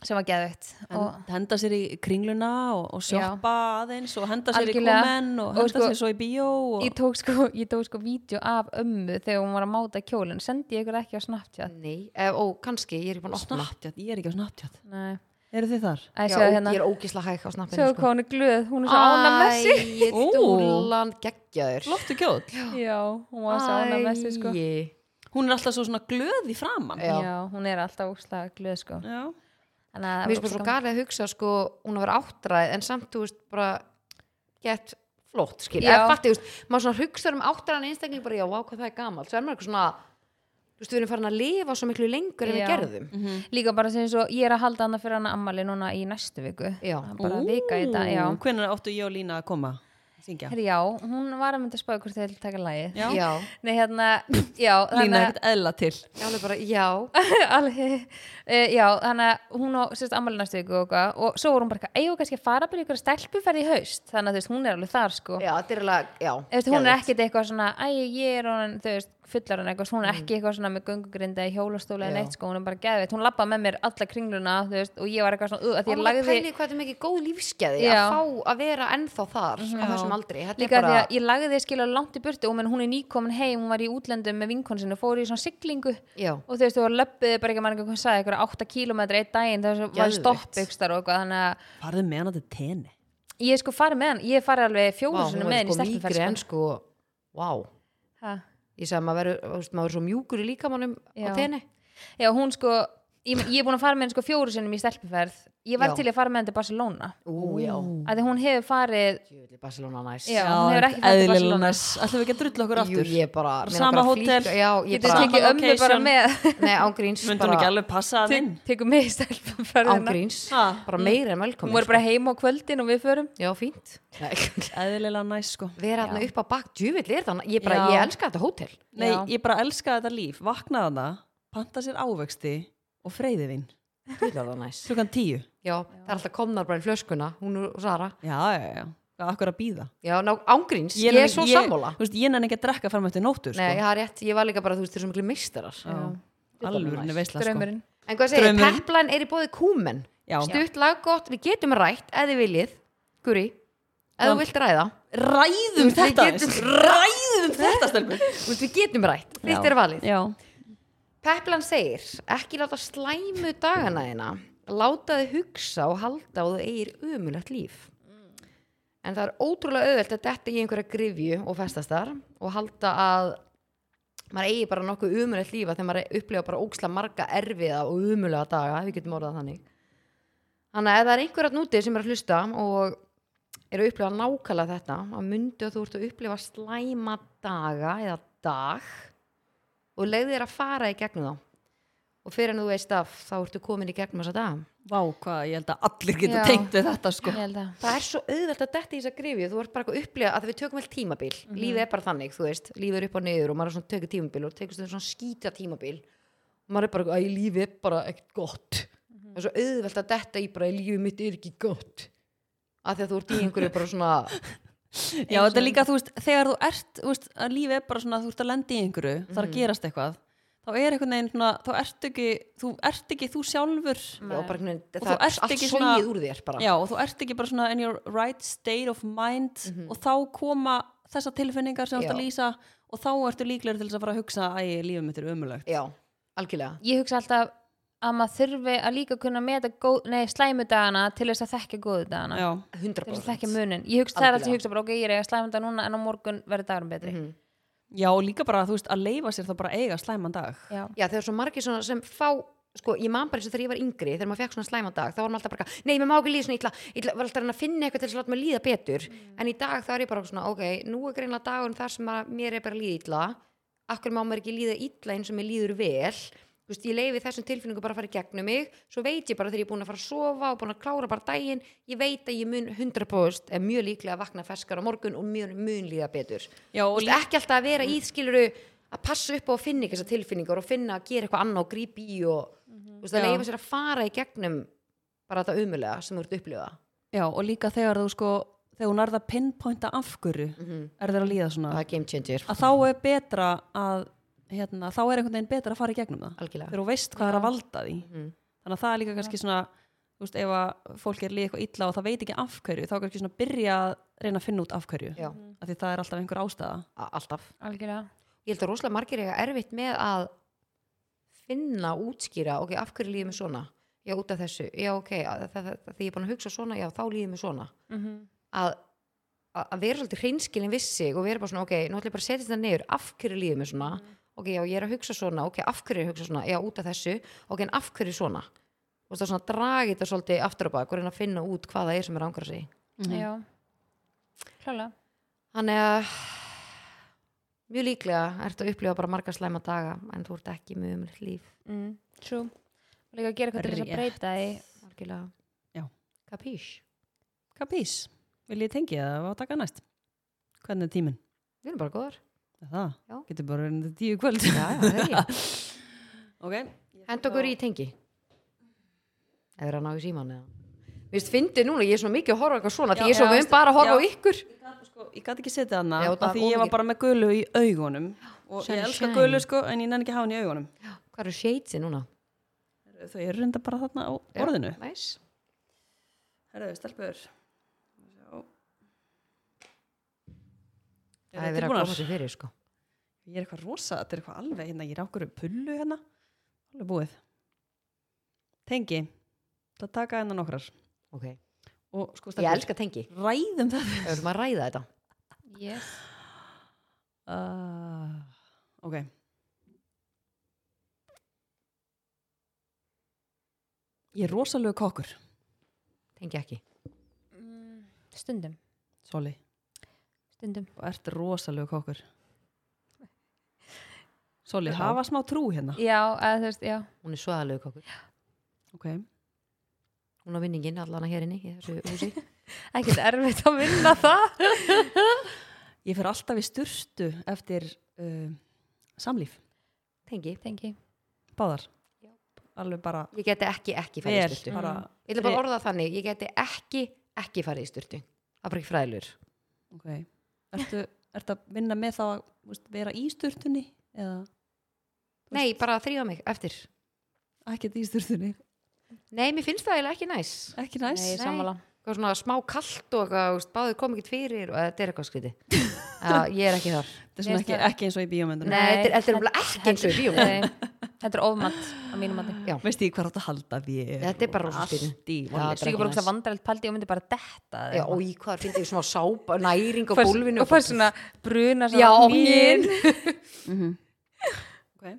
sem var geðveikt og, Hend- henda sér í kringluna og, og sjoppa aðeins og henda sér í Algjörlega. kúmen og Og henda sko- sér svo í bíó og ég tók sko, ég tók sko vídeo af ömmu þegar hún var að máta kjólinn sendi ég ykkur ekki á Snapchat Nei, ef, ó, kannski, ég er ekki búin að opna snapptjátt, ég er ekki á snapptjátt Nei, eru þið þar? Æ, Já, sjáðu ó, hérna ég er ógislega hæg á snappinu sko. Sjáðu hvað hún er glöð, hún er svo ána með sig Æ, Ó. dúlan geggjaður Lóttu kjóll, Já, hún var svo ána með sig sko Æ. hún er alltaf svo svona glöð í framann Já. Já, hún er alltaf óksla glöð sko Já. Þannig að Mér finnst bara svo galið að hugsa sko, hún að vera áttræð en samt, þú veist, bara gett flott, skil, Já. eða fatti, þú veist maður svona hugsa um áttræðan einstakling bara, já, vá, hvað það er gamalt, svo er maður eitthvað svona þú veist, við erum farin að lifa svo miklu lengur en Já. við gerðum, líka bara sem svo ég er að halda hana fyrir hana ammali núna í næstu viku já, Það er bara vika í þetta, já hvenær áttu ég og Lína að koma? Syngja. Herri, já, hún var að mynda að spáði hvort þið vil taka lagið Já. já nei hérna, já Lína þannig <laughs> er ekkert eðla til ég alveg bara, já, að- alveg, uh, já, þannig að hún á sérst ammali næstu viku og, eitthvað og svo voru hún bara, eigum við kannski að fara bara í ykkur stelpuferð í haust, þannig að þú veist, hún er alveg þar sko já, þetta er alveg, já Þú Veist, hún er geðveikt. ekkert eitthvað svona, æ, ég er hún, þú veist, fullar hún eitthvað, hún er ekki eitthvað svona með göngugrinda í hjólastóla eða Mm. Já. neitt, sko, hún er bara geðveitt, hún lappa með mér alla kringluna, þú veist, og ég var eitthvað svona, uh, að og því ég hún er að lagði, pæli hvað þetta er mikið góð lífskeði Já. að fá að vera ennþá þar á þessum aldri, þetta Líka er því bara að ég lagði því að skilja langt í burtu og menn hún er nýkomin heim, hún var í útlöndum með vinkon sinni og fór í svona siglingu já, og þú veist, þú var löppuð bara ekki mann ekki hvað sagði, eitthvað 8 km eitt daginn þess að var Geðveikt. stopp ykstar og eitthvað þannig að farðu með hana til tenni ég er sko farið með hann, ég er farið alveg vá, fjóru hún sinni var með hann í sko mýgri en stelpuferð sko. sko, vá Ha. ég sagði að maður verður, þú veist, maður er svo mjúkur í líkamannum á Já. tenni Já, hún sko, ég, ég er búin að fara með hann sko fjóru sinni í stelpuferð, ég var Já. til í að fara með hann til Barcelona, Ú, já, af því hún hefur farið Djöfulli Barcelona næs Já, hún hefur ekki farið til eðlilega Barcelona. næs. Ætlum við ekki að drulla okkur Jú, aftur ég bara mig Sama langar að hótel. flýta- Já, ég getur bara Sama tekið ömmu bara location. með <laughs> Nei, án gríns myndi hún ekki bara, alveg passa það inn tekur með í Án stelpuferðina gríns sko. Ha. Bara meira en hún velkomin voru bara heima á kvöldin og við förum sko. Já, fínt <laughs> Nei, eðlilega næs sko Vera hann upp á bak Djöfell er þannig Ég bara, Já. ég elska þetta hótel Nei, Já. ég bara elska þetta líf, vakna hana panta sér ávexti og freyði þín Þetta er það næs. klukkan tíu Já, það er alltaf komnar bara í flöskuna, hún og Sara. já, já, já, hvað akkur að býða Já, ná, ángríns, ég, er svo sammála. þú veist, ég Sko. nenni ekki að drekka fram eftir nóttur sko. Nei, það er rétt, ég var líka bara, þú veist, þeir eru svo miklu meistarar. alvörinni veisla sko. draumurinn En hvað segir, Draumurinn. peplan er í bóði kúmen. Já. Stutt laggott, við getum rætt, eða þið viljið, guri, eða þú vilt ræða. ræðum Við þetta getum- aðeins. ræðum þetta stelpur Þú veist, Við getum rætt, þitt er valið. já, Peplan segir, ekki láta slæmu dagana þina, láta þið hugsa og halda og þið eigir umulagt líf. En það er ótrúlega auðvelt að detta í einhverja grifju og festast þar og halda að maður eigi bara nokkuð umulagt lífa þegar maður upplifa bara óksla marga erfiða og umulega daga, við getum orðað þannig. Þannig að ef það er einhverjart nútið sem er að hlusta og eru að upplifa nákvæmlega þetta, að myndu að þú ert að upplifa slæma daga eða dag og leiði þér að fara í gegnum þá. Og fyrir en þú veist af, þá ertu komin í gegnum þessa dag. vá hvað, ég held að allir geta Já. tengt við þetta sko ég held að Það er svo auðvelt að detta í þessa grifju, þú ert bara eitthvað að upplifa að við tökum vel tímabil. Lífið er bara þannig, þú veist, lífið er upp og niður og maður er svona tökur tímabil og tekur stundum svona skýta tímabil. Og maður er bara, að lífið er bara ekkert gott. Það er svo auðvelt að detta í bara, lífið mitt er ekki gott. Af því að þú ert í einhverju bara svona, <laughs> já, þetta er líka, þú veist, þegar þú ert þú veist, að lífi er bara svona, þú ert að lenda í einhverju það er að gerast eitthvað þá er eitthvað neginn svona, þá ert ekki þú ert ekki þú sjálfur og bara, einhvern veginn- það Og þú er ert allt ekki svona- sogið úr þér bara. Já, og þú ert ekki bara svona in your right state of mind og þá koma þessa tilfinningar sem þú ert Já. að lýsa og þá ertu líklegur til þess að fara að hugsa æ, lífið mitt er ömulegt. Já, algjörlega. ég hugsa alltaf að maður þurfi að líka kunna meta góð, nei, slæmu dagana til þess að þekka góðu dagana Já, til 100%. þess að þekka munin ég hugsa það er allt Algjörlega. Mhm. sem ég hugsa bara ok, ég er að eiga slæmu dag núna en á morgun verður dagurum betri Já, og líka bara, þú veist, að leifa sér þá bara að eiga slæman dag. já, Já, þegar svo margir svona sem fá sko, ég man bara eins og þegar ég var yngri, þegar maður fekk svona slæman dag þá var maður alltaf bara, eitthvað, nei, mér má ekki líða svona illa ég var alltaf að reyna að finna eitthvað til þess að láta maður líða betur en í dag þá er ég bara svona, ok, nú er greinlega dagurinn þar sem að mér er bara að líða illa akkur má maður ekki líða illa eins og mér líður vel Þú veist, ég leifi þessum tilfinningu bara að fara í gegnum mig svo veit ég bara þegar ég er búin að fara að sofa og búin að klára bara daginn, ég veit að ég mun 100% er mjög líklega að vakna ferskar á morgun og mjög mun líða betur Já, og og líka, ekki alltaf að vera í skiluru að passa upp á að finna ekki þessar tilfinningar og finna að gera eitthvað annað og grípa í og þú veist að Já. leifa sér að fara í gegnum bara þetta umulega sem þú ert að upplifa já, og líka þegar þú sko, þegar hún er það pinpointa af hverju er þér að líða svona, það er game changer, að þá er betra að, hérna, þá er einhvern veginn betra að fara í gegnum það. algjörlega Mhm. Þegar þú veist hvað er að valda því. Þannig að það er líka kannski svona, þú veist, ef að fólk er líka eitthvað illa og það veit ekki af hverju, þá kannski svona byrja að reyna að finna út af hverju. Já, Af því það er alltaf einhver ástæða. a- alltaf Mhm. algjörlega ég held að rosalega margir eiga erfitt með að finna, útskýra, ok, af hverju líðið mér svona já, út af þessu, já, ok að- það- það- það- því ég er búin að hugsa svona, já, þá líðið mér svona Mhm. að, að að vera svolítið hreinskilin við sig og vera bara svona, ok, nú ætlum ég bara að setja þetta niður af hverju líður mér svona, ok, já, ég er að hugsa svona ok, af hverju er ég að hugsa svona, já, út af þessu ok, en af hverju svona og það svona dragi þetta svolítið aftur á bak og reyna að finna út hvað það er sem er ángra sig já, klálega þannig að mjög líklega ertu að upplifa bara marga slæma daga en þú ert ekki mjög umlegt líf mm. true og líka að gera eitthvað til þess að Rétt. breyta því algjörlega, Já. kapís Kapís, vil ég tengja það á taka næst? Hvernig er tíminn? við erum bara góðar Er Það, Já. getur bara verið þetta tíu í kvöld. já, já, það er ég. <laughs> ok. hend okkur í tengi eða er að ná í síman eða Mér finnst fyndið núna, ég er svona mikið að horfa á eitthvað svona því Já, ég er svo já, vömm veistu- bara að horfa á já. ykkur Ég gat, sko, ég gat ekki setið hana Já, það af því var ég var mikið. bara með gulu í augunum og Sunshine. ég elska gulu sko en ég nenni ekki að hafa hann í augunum. Hvað eru shadesi núna? Þau eru reynda bara þarna á Já. orðinu. Næs Herðu, stelpur. Sjá. Það er Eru verið að tilbúnar? koma sér fyrir sko Ég er eitthvað rosa, þetta er eitthvað alveg hérna, ég er ákveður pullu hérna, alveg búið. Tengi, það taka hérna nokkrar. Ok Og sko, Ég stelpur, elska tengi ræðum það. Við erum að ræða þetta yes. Uh, ok. Ég er rosalegu kokkur, Tengi ekki mm. stundum, Soli, stundum og ert rosalegu kokkur. Soli, Já. hafa smá trú hérna. já, að, þú veist, já Hún er svaðalegu kokkur Ok. Hún á vinningin allana hér inni í þessu húsi ekkert erfitt að vinna það Ég fer alltaf í sturtu eftir uh, samlíf, Tengi tengi, báðar. Já. alveg bara ég geti ekki ekki farið vel í sturtu bara, ég ætla bara að orða það þannig, ég geti ekki ekki farið í sturtu, það er bara ekki fræðilur Mm. ok ertu, ertu að vinna með þá að þú veist, vera í sturtunni eða nei, bara þrýfa mig eftir ekkert í sturtunni nei, mér finnst það eiginlega ekki næs ekki næs Nei, sammála. eitthvað svona smá kallt og eitthvað, þú veist, báðir kom ekkert fyrir og þetta er eitthvað skriti já, ég er ekki þar þetta er svona Mér ekki, finnst það- ekki eins og í bíómyndunum nei, þetta er- þetta er umlega ekki eins og í bíó Nei, þetta er ofmatt á mínum mati Já. veist ég hvað er þetta að halda þér Þetta er bara og rosa skrýtið. allt í Já, vonleysu. þetta er Svo ég ekki bara hugsa næs. vandrarlegt paldi og myndi bara detta já, eða eitthvað. og í hvað finnst ég svona sápa næring á Fær- gólfinu og fær svona bruna já, <laughs> mín -hmm. okay.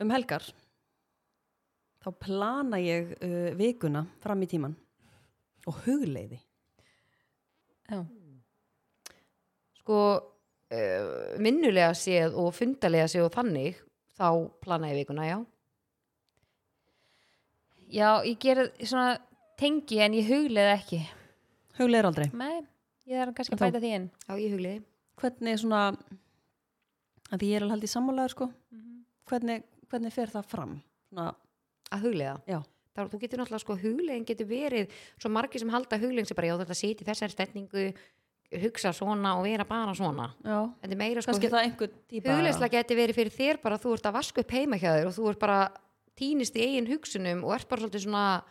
um helgar þá plana ég uh, vikuna fram í tíman og hugleiði Já. sko, uh, minnulega séð og fundalega séð og þannig þá plana ég vikuna, já já, ég gera svona tengi en ég huglega ekki hugleiðir aldrei Nei, ég þarf kannski að Þá- bæta því inn já, ég hugliði hvernig svona að því ég er alveg haldið sammálaður sko Mhm. hvernig, hvernig fer það fram svona, að huglega Já. Þá, þú getur náttúrulega sko huglegin getur verið svo margir sem halda huglegin sem bara já þetta siti þessari stendingu hugsa svona og vera bara svona já, þetta er meira sko kannski það einhver típa huglegsla getur verið fyrir þér bara þú ert að vaska upp heima hjá þér og þú ert bara týnist í eigin hugsunum og ert bara svolítið svona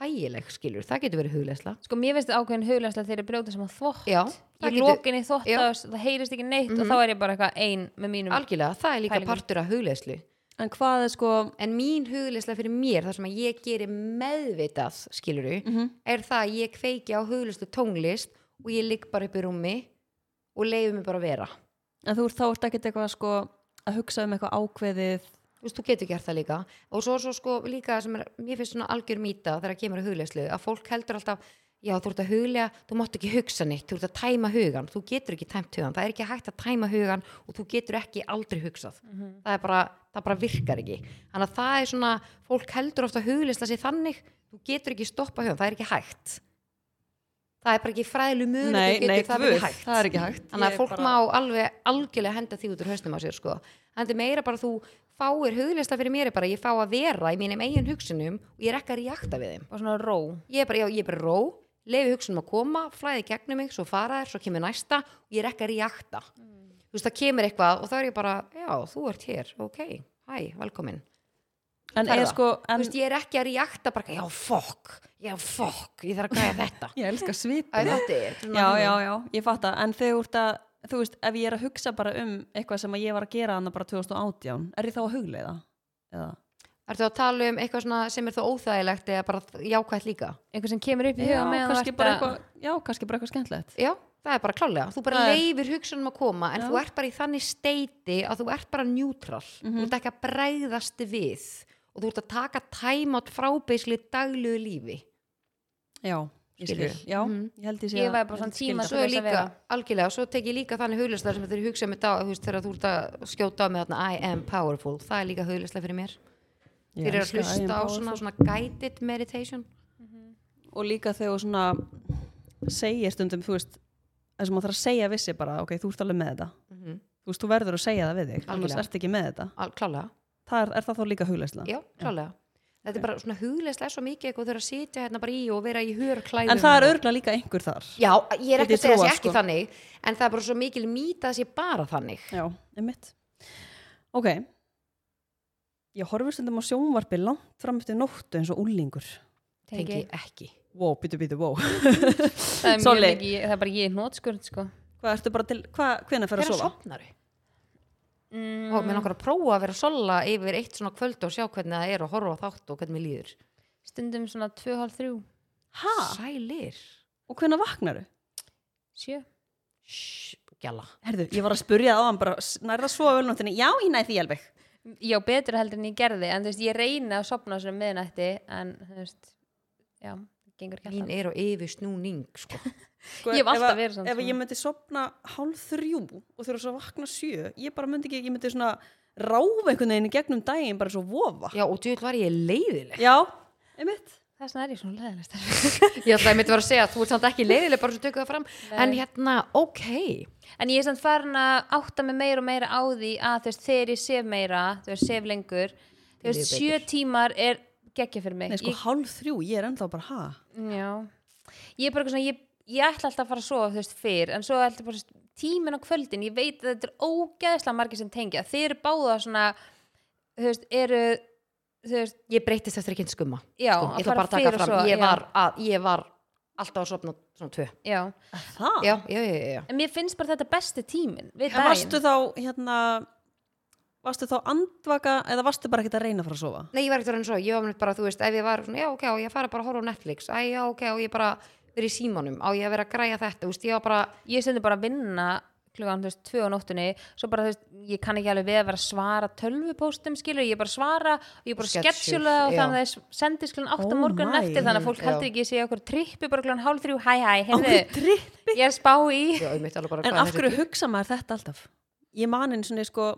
þægileg skilur, það getur verið huglegsla Sko, mér finnst þetta ákveðin huglega þegar ég brjóta saman þvott já, það Ég getur loka inn í þvott Já. og það heyrist ekki neitt og þá er ég bara eitthvað ein með mínum algjörlega, það er líka Mm. Pælingum. partur af huglegslu en hvað er sko en mín huglegsla fyrir mér þar sem að ég geri meðvitað skiluru, Mm. Mhm. er það að ég kveiki á huglegslu tónlist og ég ligg bara upp í rúmi og leiði mig bara að vera en þú ert þá ert ekkert eitthvað sko að hugsa um eitthvað ákveðið þú veist, þú getur gert það líka og svo, svo sko líka sem er, mér finnst svona algjör mýta þegar kemur að huglegslu, að fólk heldur alltaf já, þú ert að huglega, þú mátt ekki hugsa neitt þú ert að tæma hugan, þú getur ekki tæmt hugan það er ekki hægt að tæma hugan og þú getur ekki aldrei hugsað, Mhm. það er bara það bara virkar ekki, þannig að það er svona fólk heldur ofta að huglegsla sig þannig þú getur ekki stoppa hugan, það er ekki hægt það er bara ekki fræðilu mjög það er guð, ekki hægt það er ekki hægt þannig Ég að fólk bara- má alveg algjörlega henda því út úr hausnum á sér sko. en þetta er meira bara þú fáir hugleista fyrir mér er bara að ég fá að vera í mínum eigin hugsunum og ég er ekki að reakta við þeim og svona ró ég er bara, já, ég er bara ró, lefi hugsunum að koma flæði í gegnum mig, svo fara þér, svo kemur næsta og ég er ekki að reakta þú veist, það kemur eitthvað og þá er ég bara já, þú ert hér, ok, hæ, velkomin en Það er er það. sko þú en, veist, ég er ekki að reakta bara, já, fokk, já, fokk ég þarf að græja þetta ég elska svip Æ, þetta er, já, já, já, ég fatt að en þegar þú ert að, þú veist, ef ég er að hugsa bara um eitthvað sem að ég var að gera annað bara 2018 er ég þá að hugleiða? Eða? Ertu að tala um eitthvað svona sem er þó óþægilegt eða bara jákvætt líka? einhver sem kemur upp í Já, huga með kannski bara eitthvað já, kannski bara eitthvað skemmtilegt Já, það er bara klálega. Þú bara Það er- leifir hugsunum að koma en Já. þú ert bara í þannig steiti að þú ert bara neutral. Mhm. Þú ert ekki að bregðast við og þú ert að taka time out frá beisli dagluðu lífi. já, ég skil, Skilur. já, Mhm. ég held ég sé Ég að- væri bara ég svona skil tíma- það. Svo er þess að líka, vera. algjörlega, svo tek ég líka þannig huglislega sem þeir hugsa með dag, þú veist, þegar þú ert að skjóta á mig þarna I am powerful, það er líka huglislega fyrir mér. Ég Þeir eru að elska I am hlusta á powerful. svona, svona guided meditation. og líka þegar þú svona segir stundum, þú veist eins og maður þarf að segja vissi bara, ok, þú ert alveg með þetta þú veist, þú verður að segja það við þig annars Mhm. Algjörlega. ert ekki með þetta, Al, klálega. það er, er það þá líka hugleisla Já, klálega. Þetta er bara svona huglegslega svo mikið eitthvað þurfa að sitja hérna bara í og vera í hörklæðum. en það er örgla líka einhver þar Já, ég er ekki að Get ég segja trúað, þessi ekki sko. þannig en það er bara svo mikil mýta þessi bara þannig. Já, einmitt. Ok. Ég horfur stundum á sjónvarpi langt fram eftir nóttu eins og úlingur. Tengi tengi ekki. Wow, býtu, býtu, wow. það er mjög Solli. mikið, það er bara ég nótskurð sko Hvað ertu bara til, hvað, hvenær fer að Hvernig sofa? sopnar þau? mm, Og mér langar að prófa að vera að solla yfir eitt svona kvöld og sjá hvernig það er og horfa á þátt og hvernig mér líður. Mm, stundum svona 2,5-3 Ha? Sælir. Og hvenær vaknaru? sjö Shhh, gjalla. Herðu, ég var að spurja það á hann bara, s- nærðu að sofa vel nóttinni? Já, ég næði því alveg. já betur heldur en ég gerði en þú veist ég reyna að sopna svona miðnætti en þú veist já, það gengur ekki Mín alltaf er á yfir snúning, sko. Sko, Ég hef ef alltaf að- verið svona, Ef sko. ég myndi sopna hálf þrjú og þurfa svo að vakna sjö, ég bara myndi ekki, ég myndi svona ráfa einhvern veginn í gegnum daginn bara svo vofa. Já, og djúvel var ég leiðileg. Já, einmitt. þess vegna er ég svona <laughs> leðilegst Ég ætlaði að mitt var að segja að þú ert samt ekki leiðileg bara svo tökum það fram. En hérna, ok. en ég er samt farin að átta mig meira og meira á því að þú veist þegar ég sef meira þú veist sef lengur Þú veist, sjö tímar er geggja fyrir mig Nei, sko, hálf þrjú, ég er ennþá bara, ha? ég, já. ég er bara eitthvað svona ég, ég ætla alltaf að fara að sofa þú veist fyrr en svo ætla bara þú veist, tíminn á kvöldin ég veit að þetta er ógeðslega margir sem tengja þeir eru báða svona þú veist, eru þú veist, ég breytist eftir ekki einn skumma Já, sko, að ég ætla fara bara að taka fyrr og fram svo, ég, já. var að, ég var alltaf að sopna svona tvö já Það? já, já, já, já, já. en mér finnst bara þetta besti tíminn við En varstu daginn þá, hérna, varstu þá andvaka eða varstu bara ekkert að reyna að fara að sofa? nei, ég var ekkert orðin svo, ég var mér bara, þú veist ef ég var svona, já, ok, og ég fara bara að horfa á Netflix æ, já, ok, og ég bara verið í símanum á ég að vera að græja þetta, þú veist, ég var bara ég stundi bara að vinna klugan þú veist tvö á nóttunni svo bara þú veist ég kann ekki alveg við að vera að svara tölvupóstum skilur ég bara svara og ég bara Schedule, sketsjula og já. þannig að þess sendis klugan átt Oh á morgun my. eftir þannig að fólk Mhm, heldur já. ekki að sé okkur trippi bara klugan hálf þrjú hæ hæ Á heyrðu hverju trippi? ég er að spá í <laughs> já, ég mitt alveg bara hvað En er af þessi- <laughs> hverju hugsa maður þetta alltaf? Ég man einu svona, sko,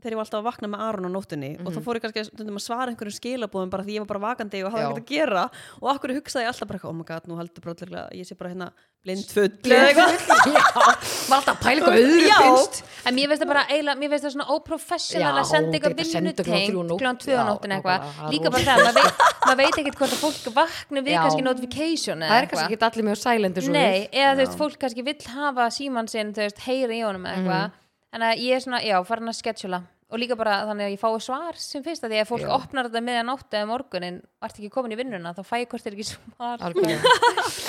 þegar ég var alltaf að vakna með Aron á nóttunni og þá fór ég kannski stundum að svara einhverjum skilabúðum bara því ég var bara vakandi og hafði Já. ekkert að gera og af hverju hugsaði ég alltaf bara, eitthvað, oh my god, nú heldur brotleglega að ég sé bara hérna blindfull eða eitthvað. var alltaf að pæla eitthvað öðru Já. finnst en mér finnst það bara eiginlega, mér finnst það svona Já, óprofessional að senda eitthvað þetta senda klukkan vinnutengt þrjú nótt. klukkan tvö á Já, nóttin nákvæmlega, það eitthvað er líka bara það, maður veit, mað veit ekkert hvort að fólk vakna við Já. kannski það notification eða er kannski ekki allir mjög sælendur svo Nei, eða þú veist, fólk kannski vill hafa síman sinn, þú veist, heyra í honum eða eitthvað Mhm. en að ég er svona, já, farin að sketsjula og líka bara þannig að ég fái svar sem fyrst að því að ef fólk Já. opnar þetta meðan áttu eða morgunin og ert ekki komin í vinnuna, þá fæ ég hvort er ekki svar Algjörlega.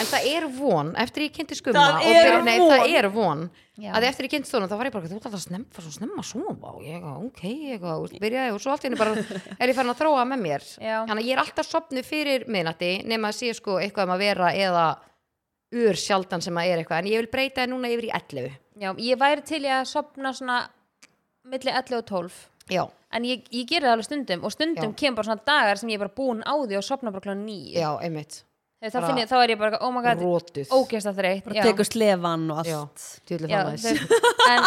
en það er von eftir ég kynnti skumma Það og er fyrir- nei, von. það er von Já. að eftir ég kynnti stónum þá var ég bara þú ert alltaf snemm, fara svo snemma að sofa og ég eitthvað, ok, ég eitthvað, úst, byrjaði og svo allt í henni <laughs> bara er ég farin að þróa með mér Já. þannig að ég er alltaf sopnu fyrir miðnatti nema að sé sko eitthvað um að vera eða ur sjaldan sem að er eitthvað en ég vil breyta það núna yfir í 11 <laughs> Já, ég væri til ég að sopna svona milli 11 og 12 já, en ég, ég geri það alveg stundum og stundum Já. kemur bara svona dagar sem ég er bara búin á því og sopna bara klán 9 já, einmitt þá, bara- finn ég, þá er ég bara, oh my god, rótuð ógæsta þreytt Bara já. tekur slefan og allt. já, tjóðlega Já, það þú næst veist, en,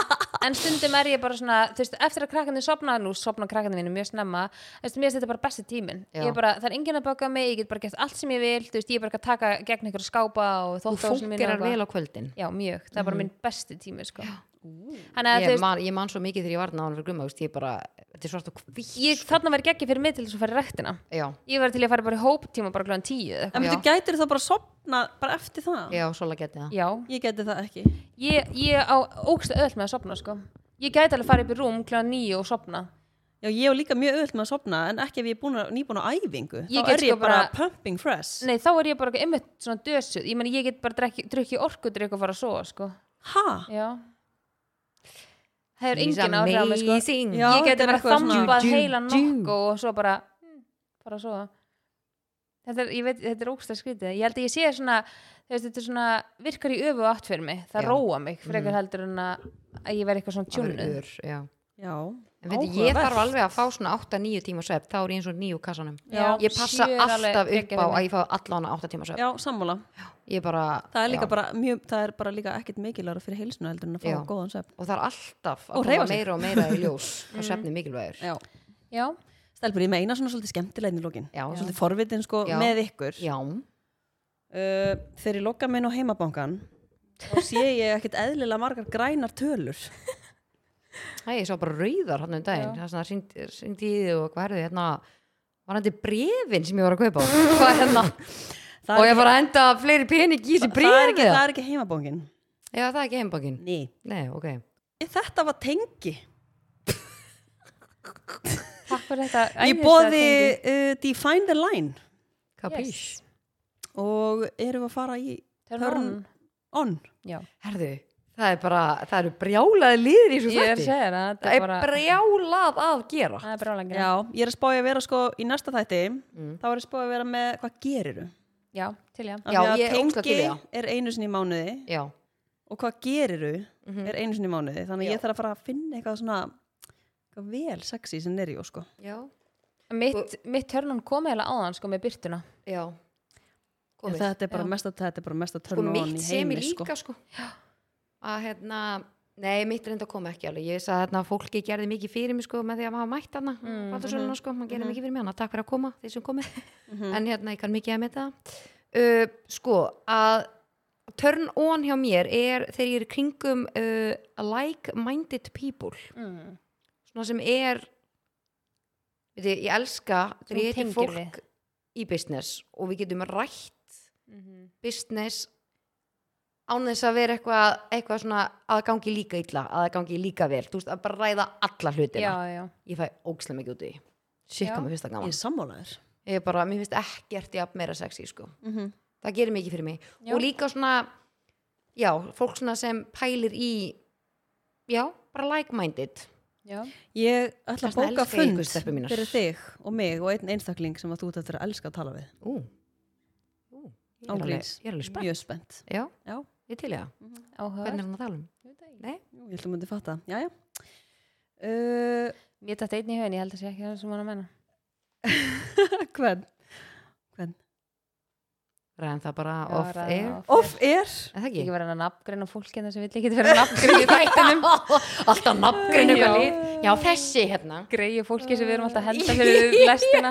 en stundum er ég bara svona þú veist, eftir að krakkandi sopna, nú sopna krakkandi mínu mjög snemma, þú veist, mér finnst þetta bara besti tímin Já. ég er bara, það er enginn að baka mig, ég get bara gett allt sem ég vil, þú veist, ég er bara að taka gegn ykkur skápa og þú þóttavásinu mínu fungerar og eitthvað. vel á kvöldin Já, mjög, það er bara minn besti tími sko. þannig að Mhm. þú ég veist, man, ég man svo mikið þegar ég var náðan fyrir grumma ég bara, þetta er svart og hvítt ég, þarna var geggi fyrir mig til þess að fara í rektina já, ég var til í að fara bara í hóptíma bara kljóðan tíu eða eitthvað. En Já. þú gætir þá bara að sopna bara eftir það? já, svolega getið það Já, Ég gæti það ekki. ég, ég á ógstu öll með að sopna sko. Ég gæti alveg að fara upp í rúm kljóðan níu og sopna Já, ég er líka mjög öll með að sopna en ekki ef ég er búin að, nýbúin á æfingu. Ég þá get er ég sko bara bara- pumping fresh. Nei, þá er ég bara eitthvað einmitt svona dösuð Ég meni, ég get bara drekki, drukki orkudrykk og fara að sofa, sko Ha? Já Það er She's engin áhrif á mig, sko amazing. Já, Ég þetta geti er bara eitthvað svona- Djú, þambað djú, heila djú. nokku og svo bara mm, fara að sofa Þetta er, ég veit, þetta er ógsta skrítið Ég held að ég sé svona, þú veist, þetta er svona virkar í öfu átt fyrir mig Það Já. Mm. róa mig, frekar heldur en að að ég veri eitthvað svona Það verður tjúnuð ör, já. Já. En veit, ég Áhugavert. þarf alveg að fá svona 8-9 tíma svefn þá er ég eins og nýju kassanum Já, ég passa sjö er alveg alltaf upp á geggjað fyrir að mig. ég fá allan 8 tíma svefn Já, sammála. ég bara, Það er líka já. bara mjög, það er bara líka ekkert mikilvægur fyrir heilsuna heldur en að fá Já. góðan svefn. og það er alltaf að Og hreyfa koma sig. Mm. meira og meira í <laughs> ljós hvað svefn er mikilvægur já, Já. Já, Stelbur, ég meina svona svolítið skemmtilegni lókin. Já. Svolítið forvitin sko Já. með ykkur. já, Uh, þegar ég lokka minn á heimabankan þá sé ég ekkert eðlilega margar grænar tölur. Æ, ég sá bara rauðar hann um daginn það er svona syngdi í því og hvað er því hérna var hann til brefin sem ég var að kaupa hvað er <laughs> hérna og Það er, ég var að henda fleiri pening í þessi ekki, það, er brefi ekki, það er ekki heimabankin. já, það er ekki heimbakinn Nei. nei, ok Þetta var tengi. takk fyrir þetta Ég bóði uh, Define the Line kapís Yes. og erum við að fara í Turn Turn on on. Já herðu, það er bara það eru brjálaði liðir í þessu Ég er að þætti segja þér að þetta það er er bara brjálað að gera Það er bara langar Já, ég er að spája að vera sko í næsta þætti, Mm. þá er ég að spája að vera með hvað geriru. Já, til já Já, ég er ógeðslega til í það. er einu sinni í mánuði já, og hvað geriru Mhm. er einu sinni í mánuði, þannig að ég þarf að fara að finna eitthvað svona eitthvað vel sexy sem er í og sko. já, Mitt, mitt törnum kom eiginlega áðan sko með byrtuna já Ég, komið, þetta er bara mesta, þetta er bara mesta sko törn mitt í sem heimi ég sko. líka sko að hérna nei, mitt reynda kom ekki alveg ég sagði hérna að fólki gerði mikið fyrir mig sko með því að maður mætt hana mm, sko, maður gerði mikið fyrir mig hana, takk fyrir að koma, þeir sem komið Mm. en hérna, ég kann mikið að með það uh, sko, að turn on hjá mér er þegar ég er í kringum uh, like-minded people mm. svona sem er Veitu, ég elska þegar Þú ég heiti tengir fólk við. í business og við getum rætt Mhm. business án þess að vera eitthvað, eitthvað svona að það gangi líka illa, að það gangi líka vel þú veist, að bara ræða alla hlutina já, já, ég fæ ógslega mikið út í því. shit, Já. hvað mér finnst það Ég gaman er sammálaður. ég er bara, mér finnst ekkert jafn meira sexy sko. það gerir mikið fyrir mig Já. og líka svona, já, fólk svona sem pælir í já, bara like-minded já. Ég ætla að Þess vegna bóka elska ég fund ykkur, stelpur mínar. fyrir þig og mig og einn einstakling sem að þú ert eftir að elska að tala við. ú, ú ég er alveg, Ángríns. ég er alveg spennt Mjög spennt. já, Já, ég er til í það, áhuga hvernig er hann að tala um nei, Jú, ég held að myndi fatta. Já, já. Uh, Mér dætti einn í höfn, ég held að sé ekki það sem hann að menna <laughs> hvern? ræðan það bara Já, off ræðum air það off. Off air? er það Ekki ekki? verið að nafngreina fólk hérna sem vill ekki vera <laughs> nafngreina í þættinum <laughs> alltaf nafngrinn eitthvað Já. lít já, þessi hérna Greiði fólki sem við erum alltaf að henda <laughs> fyrir lestina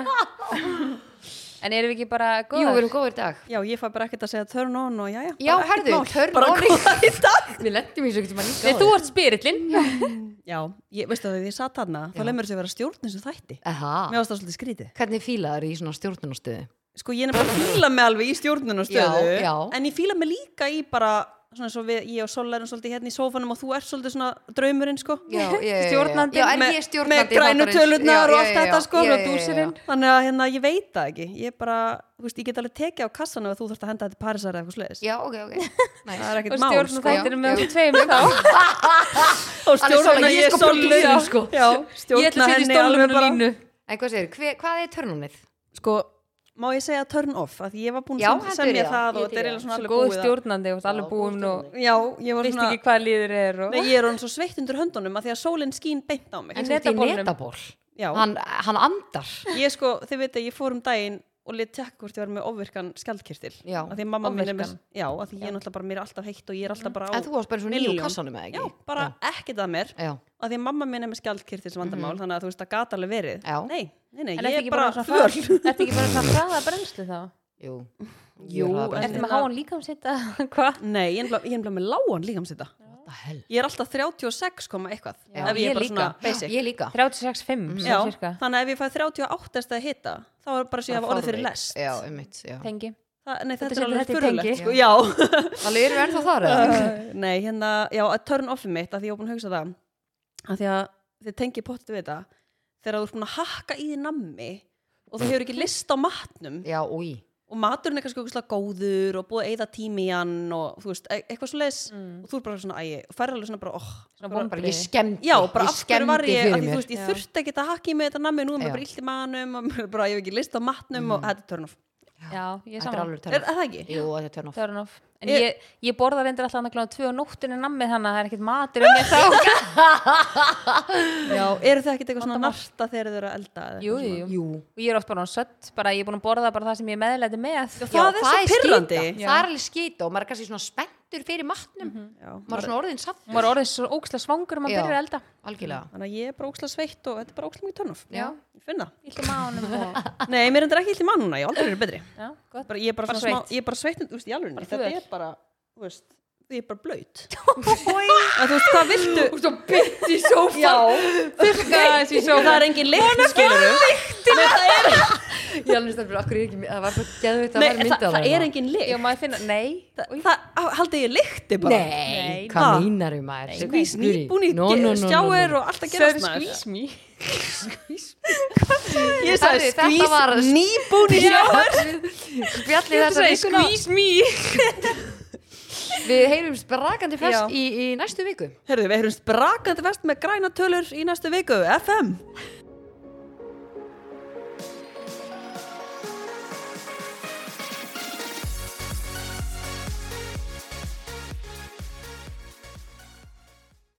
En erum við ekki bara jú, við góð? erum góður í dag Já, ég fæ bara ekkert að segja turn on og já, já. já, bara ekkert herðu, mál. törn Bara orðið. góða í dag. við lendum í svo getum að líka Nei, þú ert spyrillin Já, ég, veistu það, þegar ég satt hana, þá Já. Ah. leið mér þess að vera stjórn eins og þætti. Mér Aha, varst það svolítið skrítið. hvernig fílaður í svona stjórnunarstöðu? Sko, ég er nefnilega að fíla mig alveg í stjórnunarstöðu, Já, já. en ég fíla mig líka í bara, svona eins og við, ég og Sol erum svolítið hérna í sófanum og þú ert svolítið svona draumurinn, sko. <laughs> Já, já, já, já. Stjórnandi. Já, en með- ég er stjórnandi Með grænu þáttarins. Já, tölurnar já, og allt já, þetta, já. sko, Já, og já, já, dúsirinn. Þannig að hérna, ég veit það ekki. Ég bara, þú veist, ég get alveg tekið á kassan ef þú þurft að henda þetta parisar eða eitthvað sleiðis. Já, <laughs> ok, ok Það er og ekkert mál, stjórna sko. þættinum Já, með okkur tveim þá Hann Og er stjórna Solla, ég ég sko Sollu. bílstjórinn, sko. Já, Ég ætla stjórna að setja í henni stólum alveg með bara. línu En hvað segir, hver, hvað er törnunið? Sko, má ég segja turn off? Af Því ég var búin Já, að heldur semja ég. það Ég og þetta til er í eiginlega það. svona alveg Góð búið að- stjórnandi og allt alveg Já, góð búin og Já, ég var veist svona ekki hvað liður er og Nei, ég er hann svo sveitt undir höndunum að því að sólinn skín beint á mig. En þú ert í netabólnum. netaból Já, hann, hann andar ég sko, þið veit að ég fór um daginn og lit tjekk hvort ég var með ofvirkan skjaldkirtil. Já, Af því að mamma minn er með, ofvirkan. já, af því ég er náttúrulega bara, mér er alltaf heitt og ég er alltaf bara á. En þú varst bara svona nýjum milljón. kassanum eða Já, ekki? bara ekkert að mér. Já, Af því að mamma minn er með skjaldkirtils vandamál, þannig að þú veist, það gata alveg verið. Já. Nei, nei, nei, En ertu ég ekki er bara bara svona föl. fara- ertu ekki bara svona hraða brennslu þá? jú Jú, Ég er hraðabrennslu. en- Ertu með háan líkamsita? <laughs> Hvað? Nei, ég er nefnilega- ég er nefnilega með lágan líkamsita. What the hell? Ég er alltaf 36, komma eitthvað. Já, Ef ég er bara líka, svona basic. ég líka Mm. 36,5 Já, svona cirka. þannig að ef ég fæ 38 stað hitta, þá er bara sem ég hafa orðið fyrir Fárveik. lest. Já, um mitt, já tengi Þa, nei, þetta, Þetta er alveg setur þetta í spurulegt, sko, já. Þannig erum við ennþá þar eða? nei, hérna, já, að turn offið mitt, að því ég er búin að hugsa það, að því að þið tengi pottu við þetta, þegar þú ert búin að hakka í því nammi og þú hefur ekki list á <laughs> matnum Já, úi og maturinn er kannski okkur góður og búið að eyða tími í hann og þú veist, e- eitthvað svo leis og þú er bara svona, æ, og ferð alveg svona bara, oh, svona Bara Mm. vonbrigði. ég skemmti Já, bara Ég af hverju var skemmdi ég, fyrir að því þú mér. veist, ég Já. þurfti ekki að hakka í mig þetta nammi, nú er Já. Mm. maður bara illt í manum og <laughs> maður bara, ég hef ekki list á matnum og þetta er turn off. já, Þetta ég er saman alveg Er, er törnum það ekki? Jú, þetta er törnum Turn off. En Ég- ég, ég, borða reyndar alltaf annað gláðum tvö á nóttinu nammið þannig að það er ekkert matur um ég <laughs> þá. Já, eru þið ekkert eitthvað svona narta þegar þið eru að elda? eða? jú, jú, jú. Jú Og ég er oft bara án sött, bara ég er búin að borða bara það sem ég er meðleiti með. Já, það er svo pirrandi. skýta. Já. Það er alveg skýta og maður er kannski svona spenntur fyrir matnum Já, Mhm. Maður er svona orðin samt Maður er orðið svo óksla svangur og maður Já. byrjar að elda. Algjörlega Þannig að ég er bara ókslega sveitt og þetta er bara ókslega mikið törnuf. Já. Ég finn það. Íldi mánum og... <laughs> Nei, mér endur ekki illt í mannuna, ég hef aldrei verið betri. Já, gott. Bara, ég er bara, bara Bara sveitt. sveitt. Smá, ég er bara sveitt, um, þú veist, í alveg, þetta föl. er bara, þú veist, ég er bara blöyt. <laughs> En þú veist, hvað viltu? Þú bytt í sófa Já, Fyrkaðis í það sjóðar. er engin lykt, skilur <laughs> Ég alveg stafur, okkur er ekki, það var bara geðvitt að Nei, vera það, myndað það er engin Já, lykt. maður finna... Nei. Það, það, haldið ég lykti bara? Nei, Nei, hvað ha? mínar um maður? Skvís, nýbúni, No, no, no, no, stjáir no. og allt að Sir, gerast maður. squeeze me. Ég Herri, sagði þetta var- skvís, nýbúni stjáir. Spjallið Þú þessa segir vikuna sko- squeeze me. Við heyrum sprakandi Já. fest í, í næstu viku Herðu, við erum sprakandi vest með græna tölur í næstu viku, FM.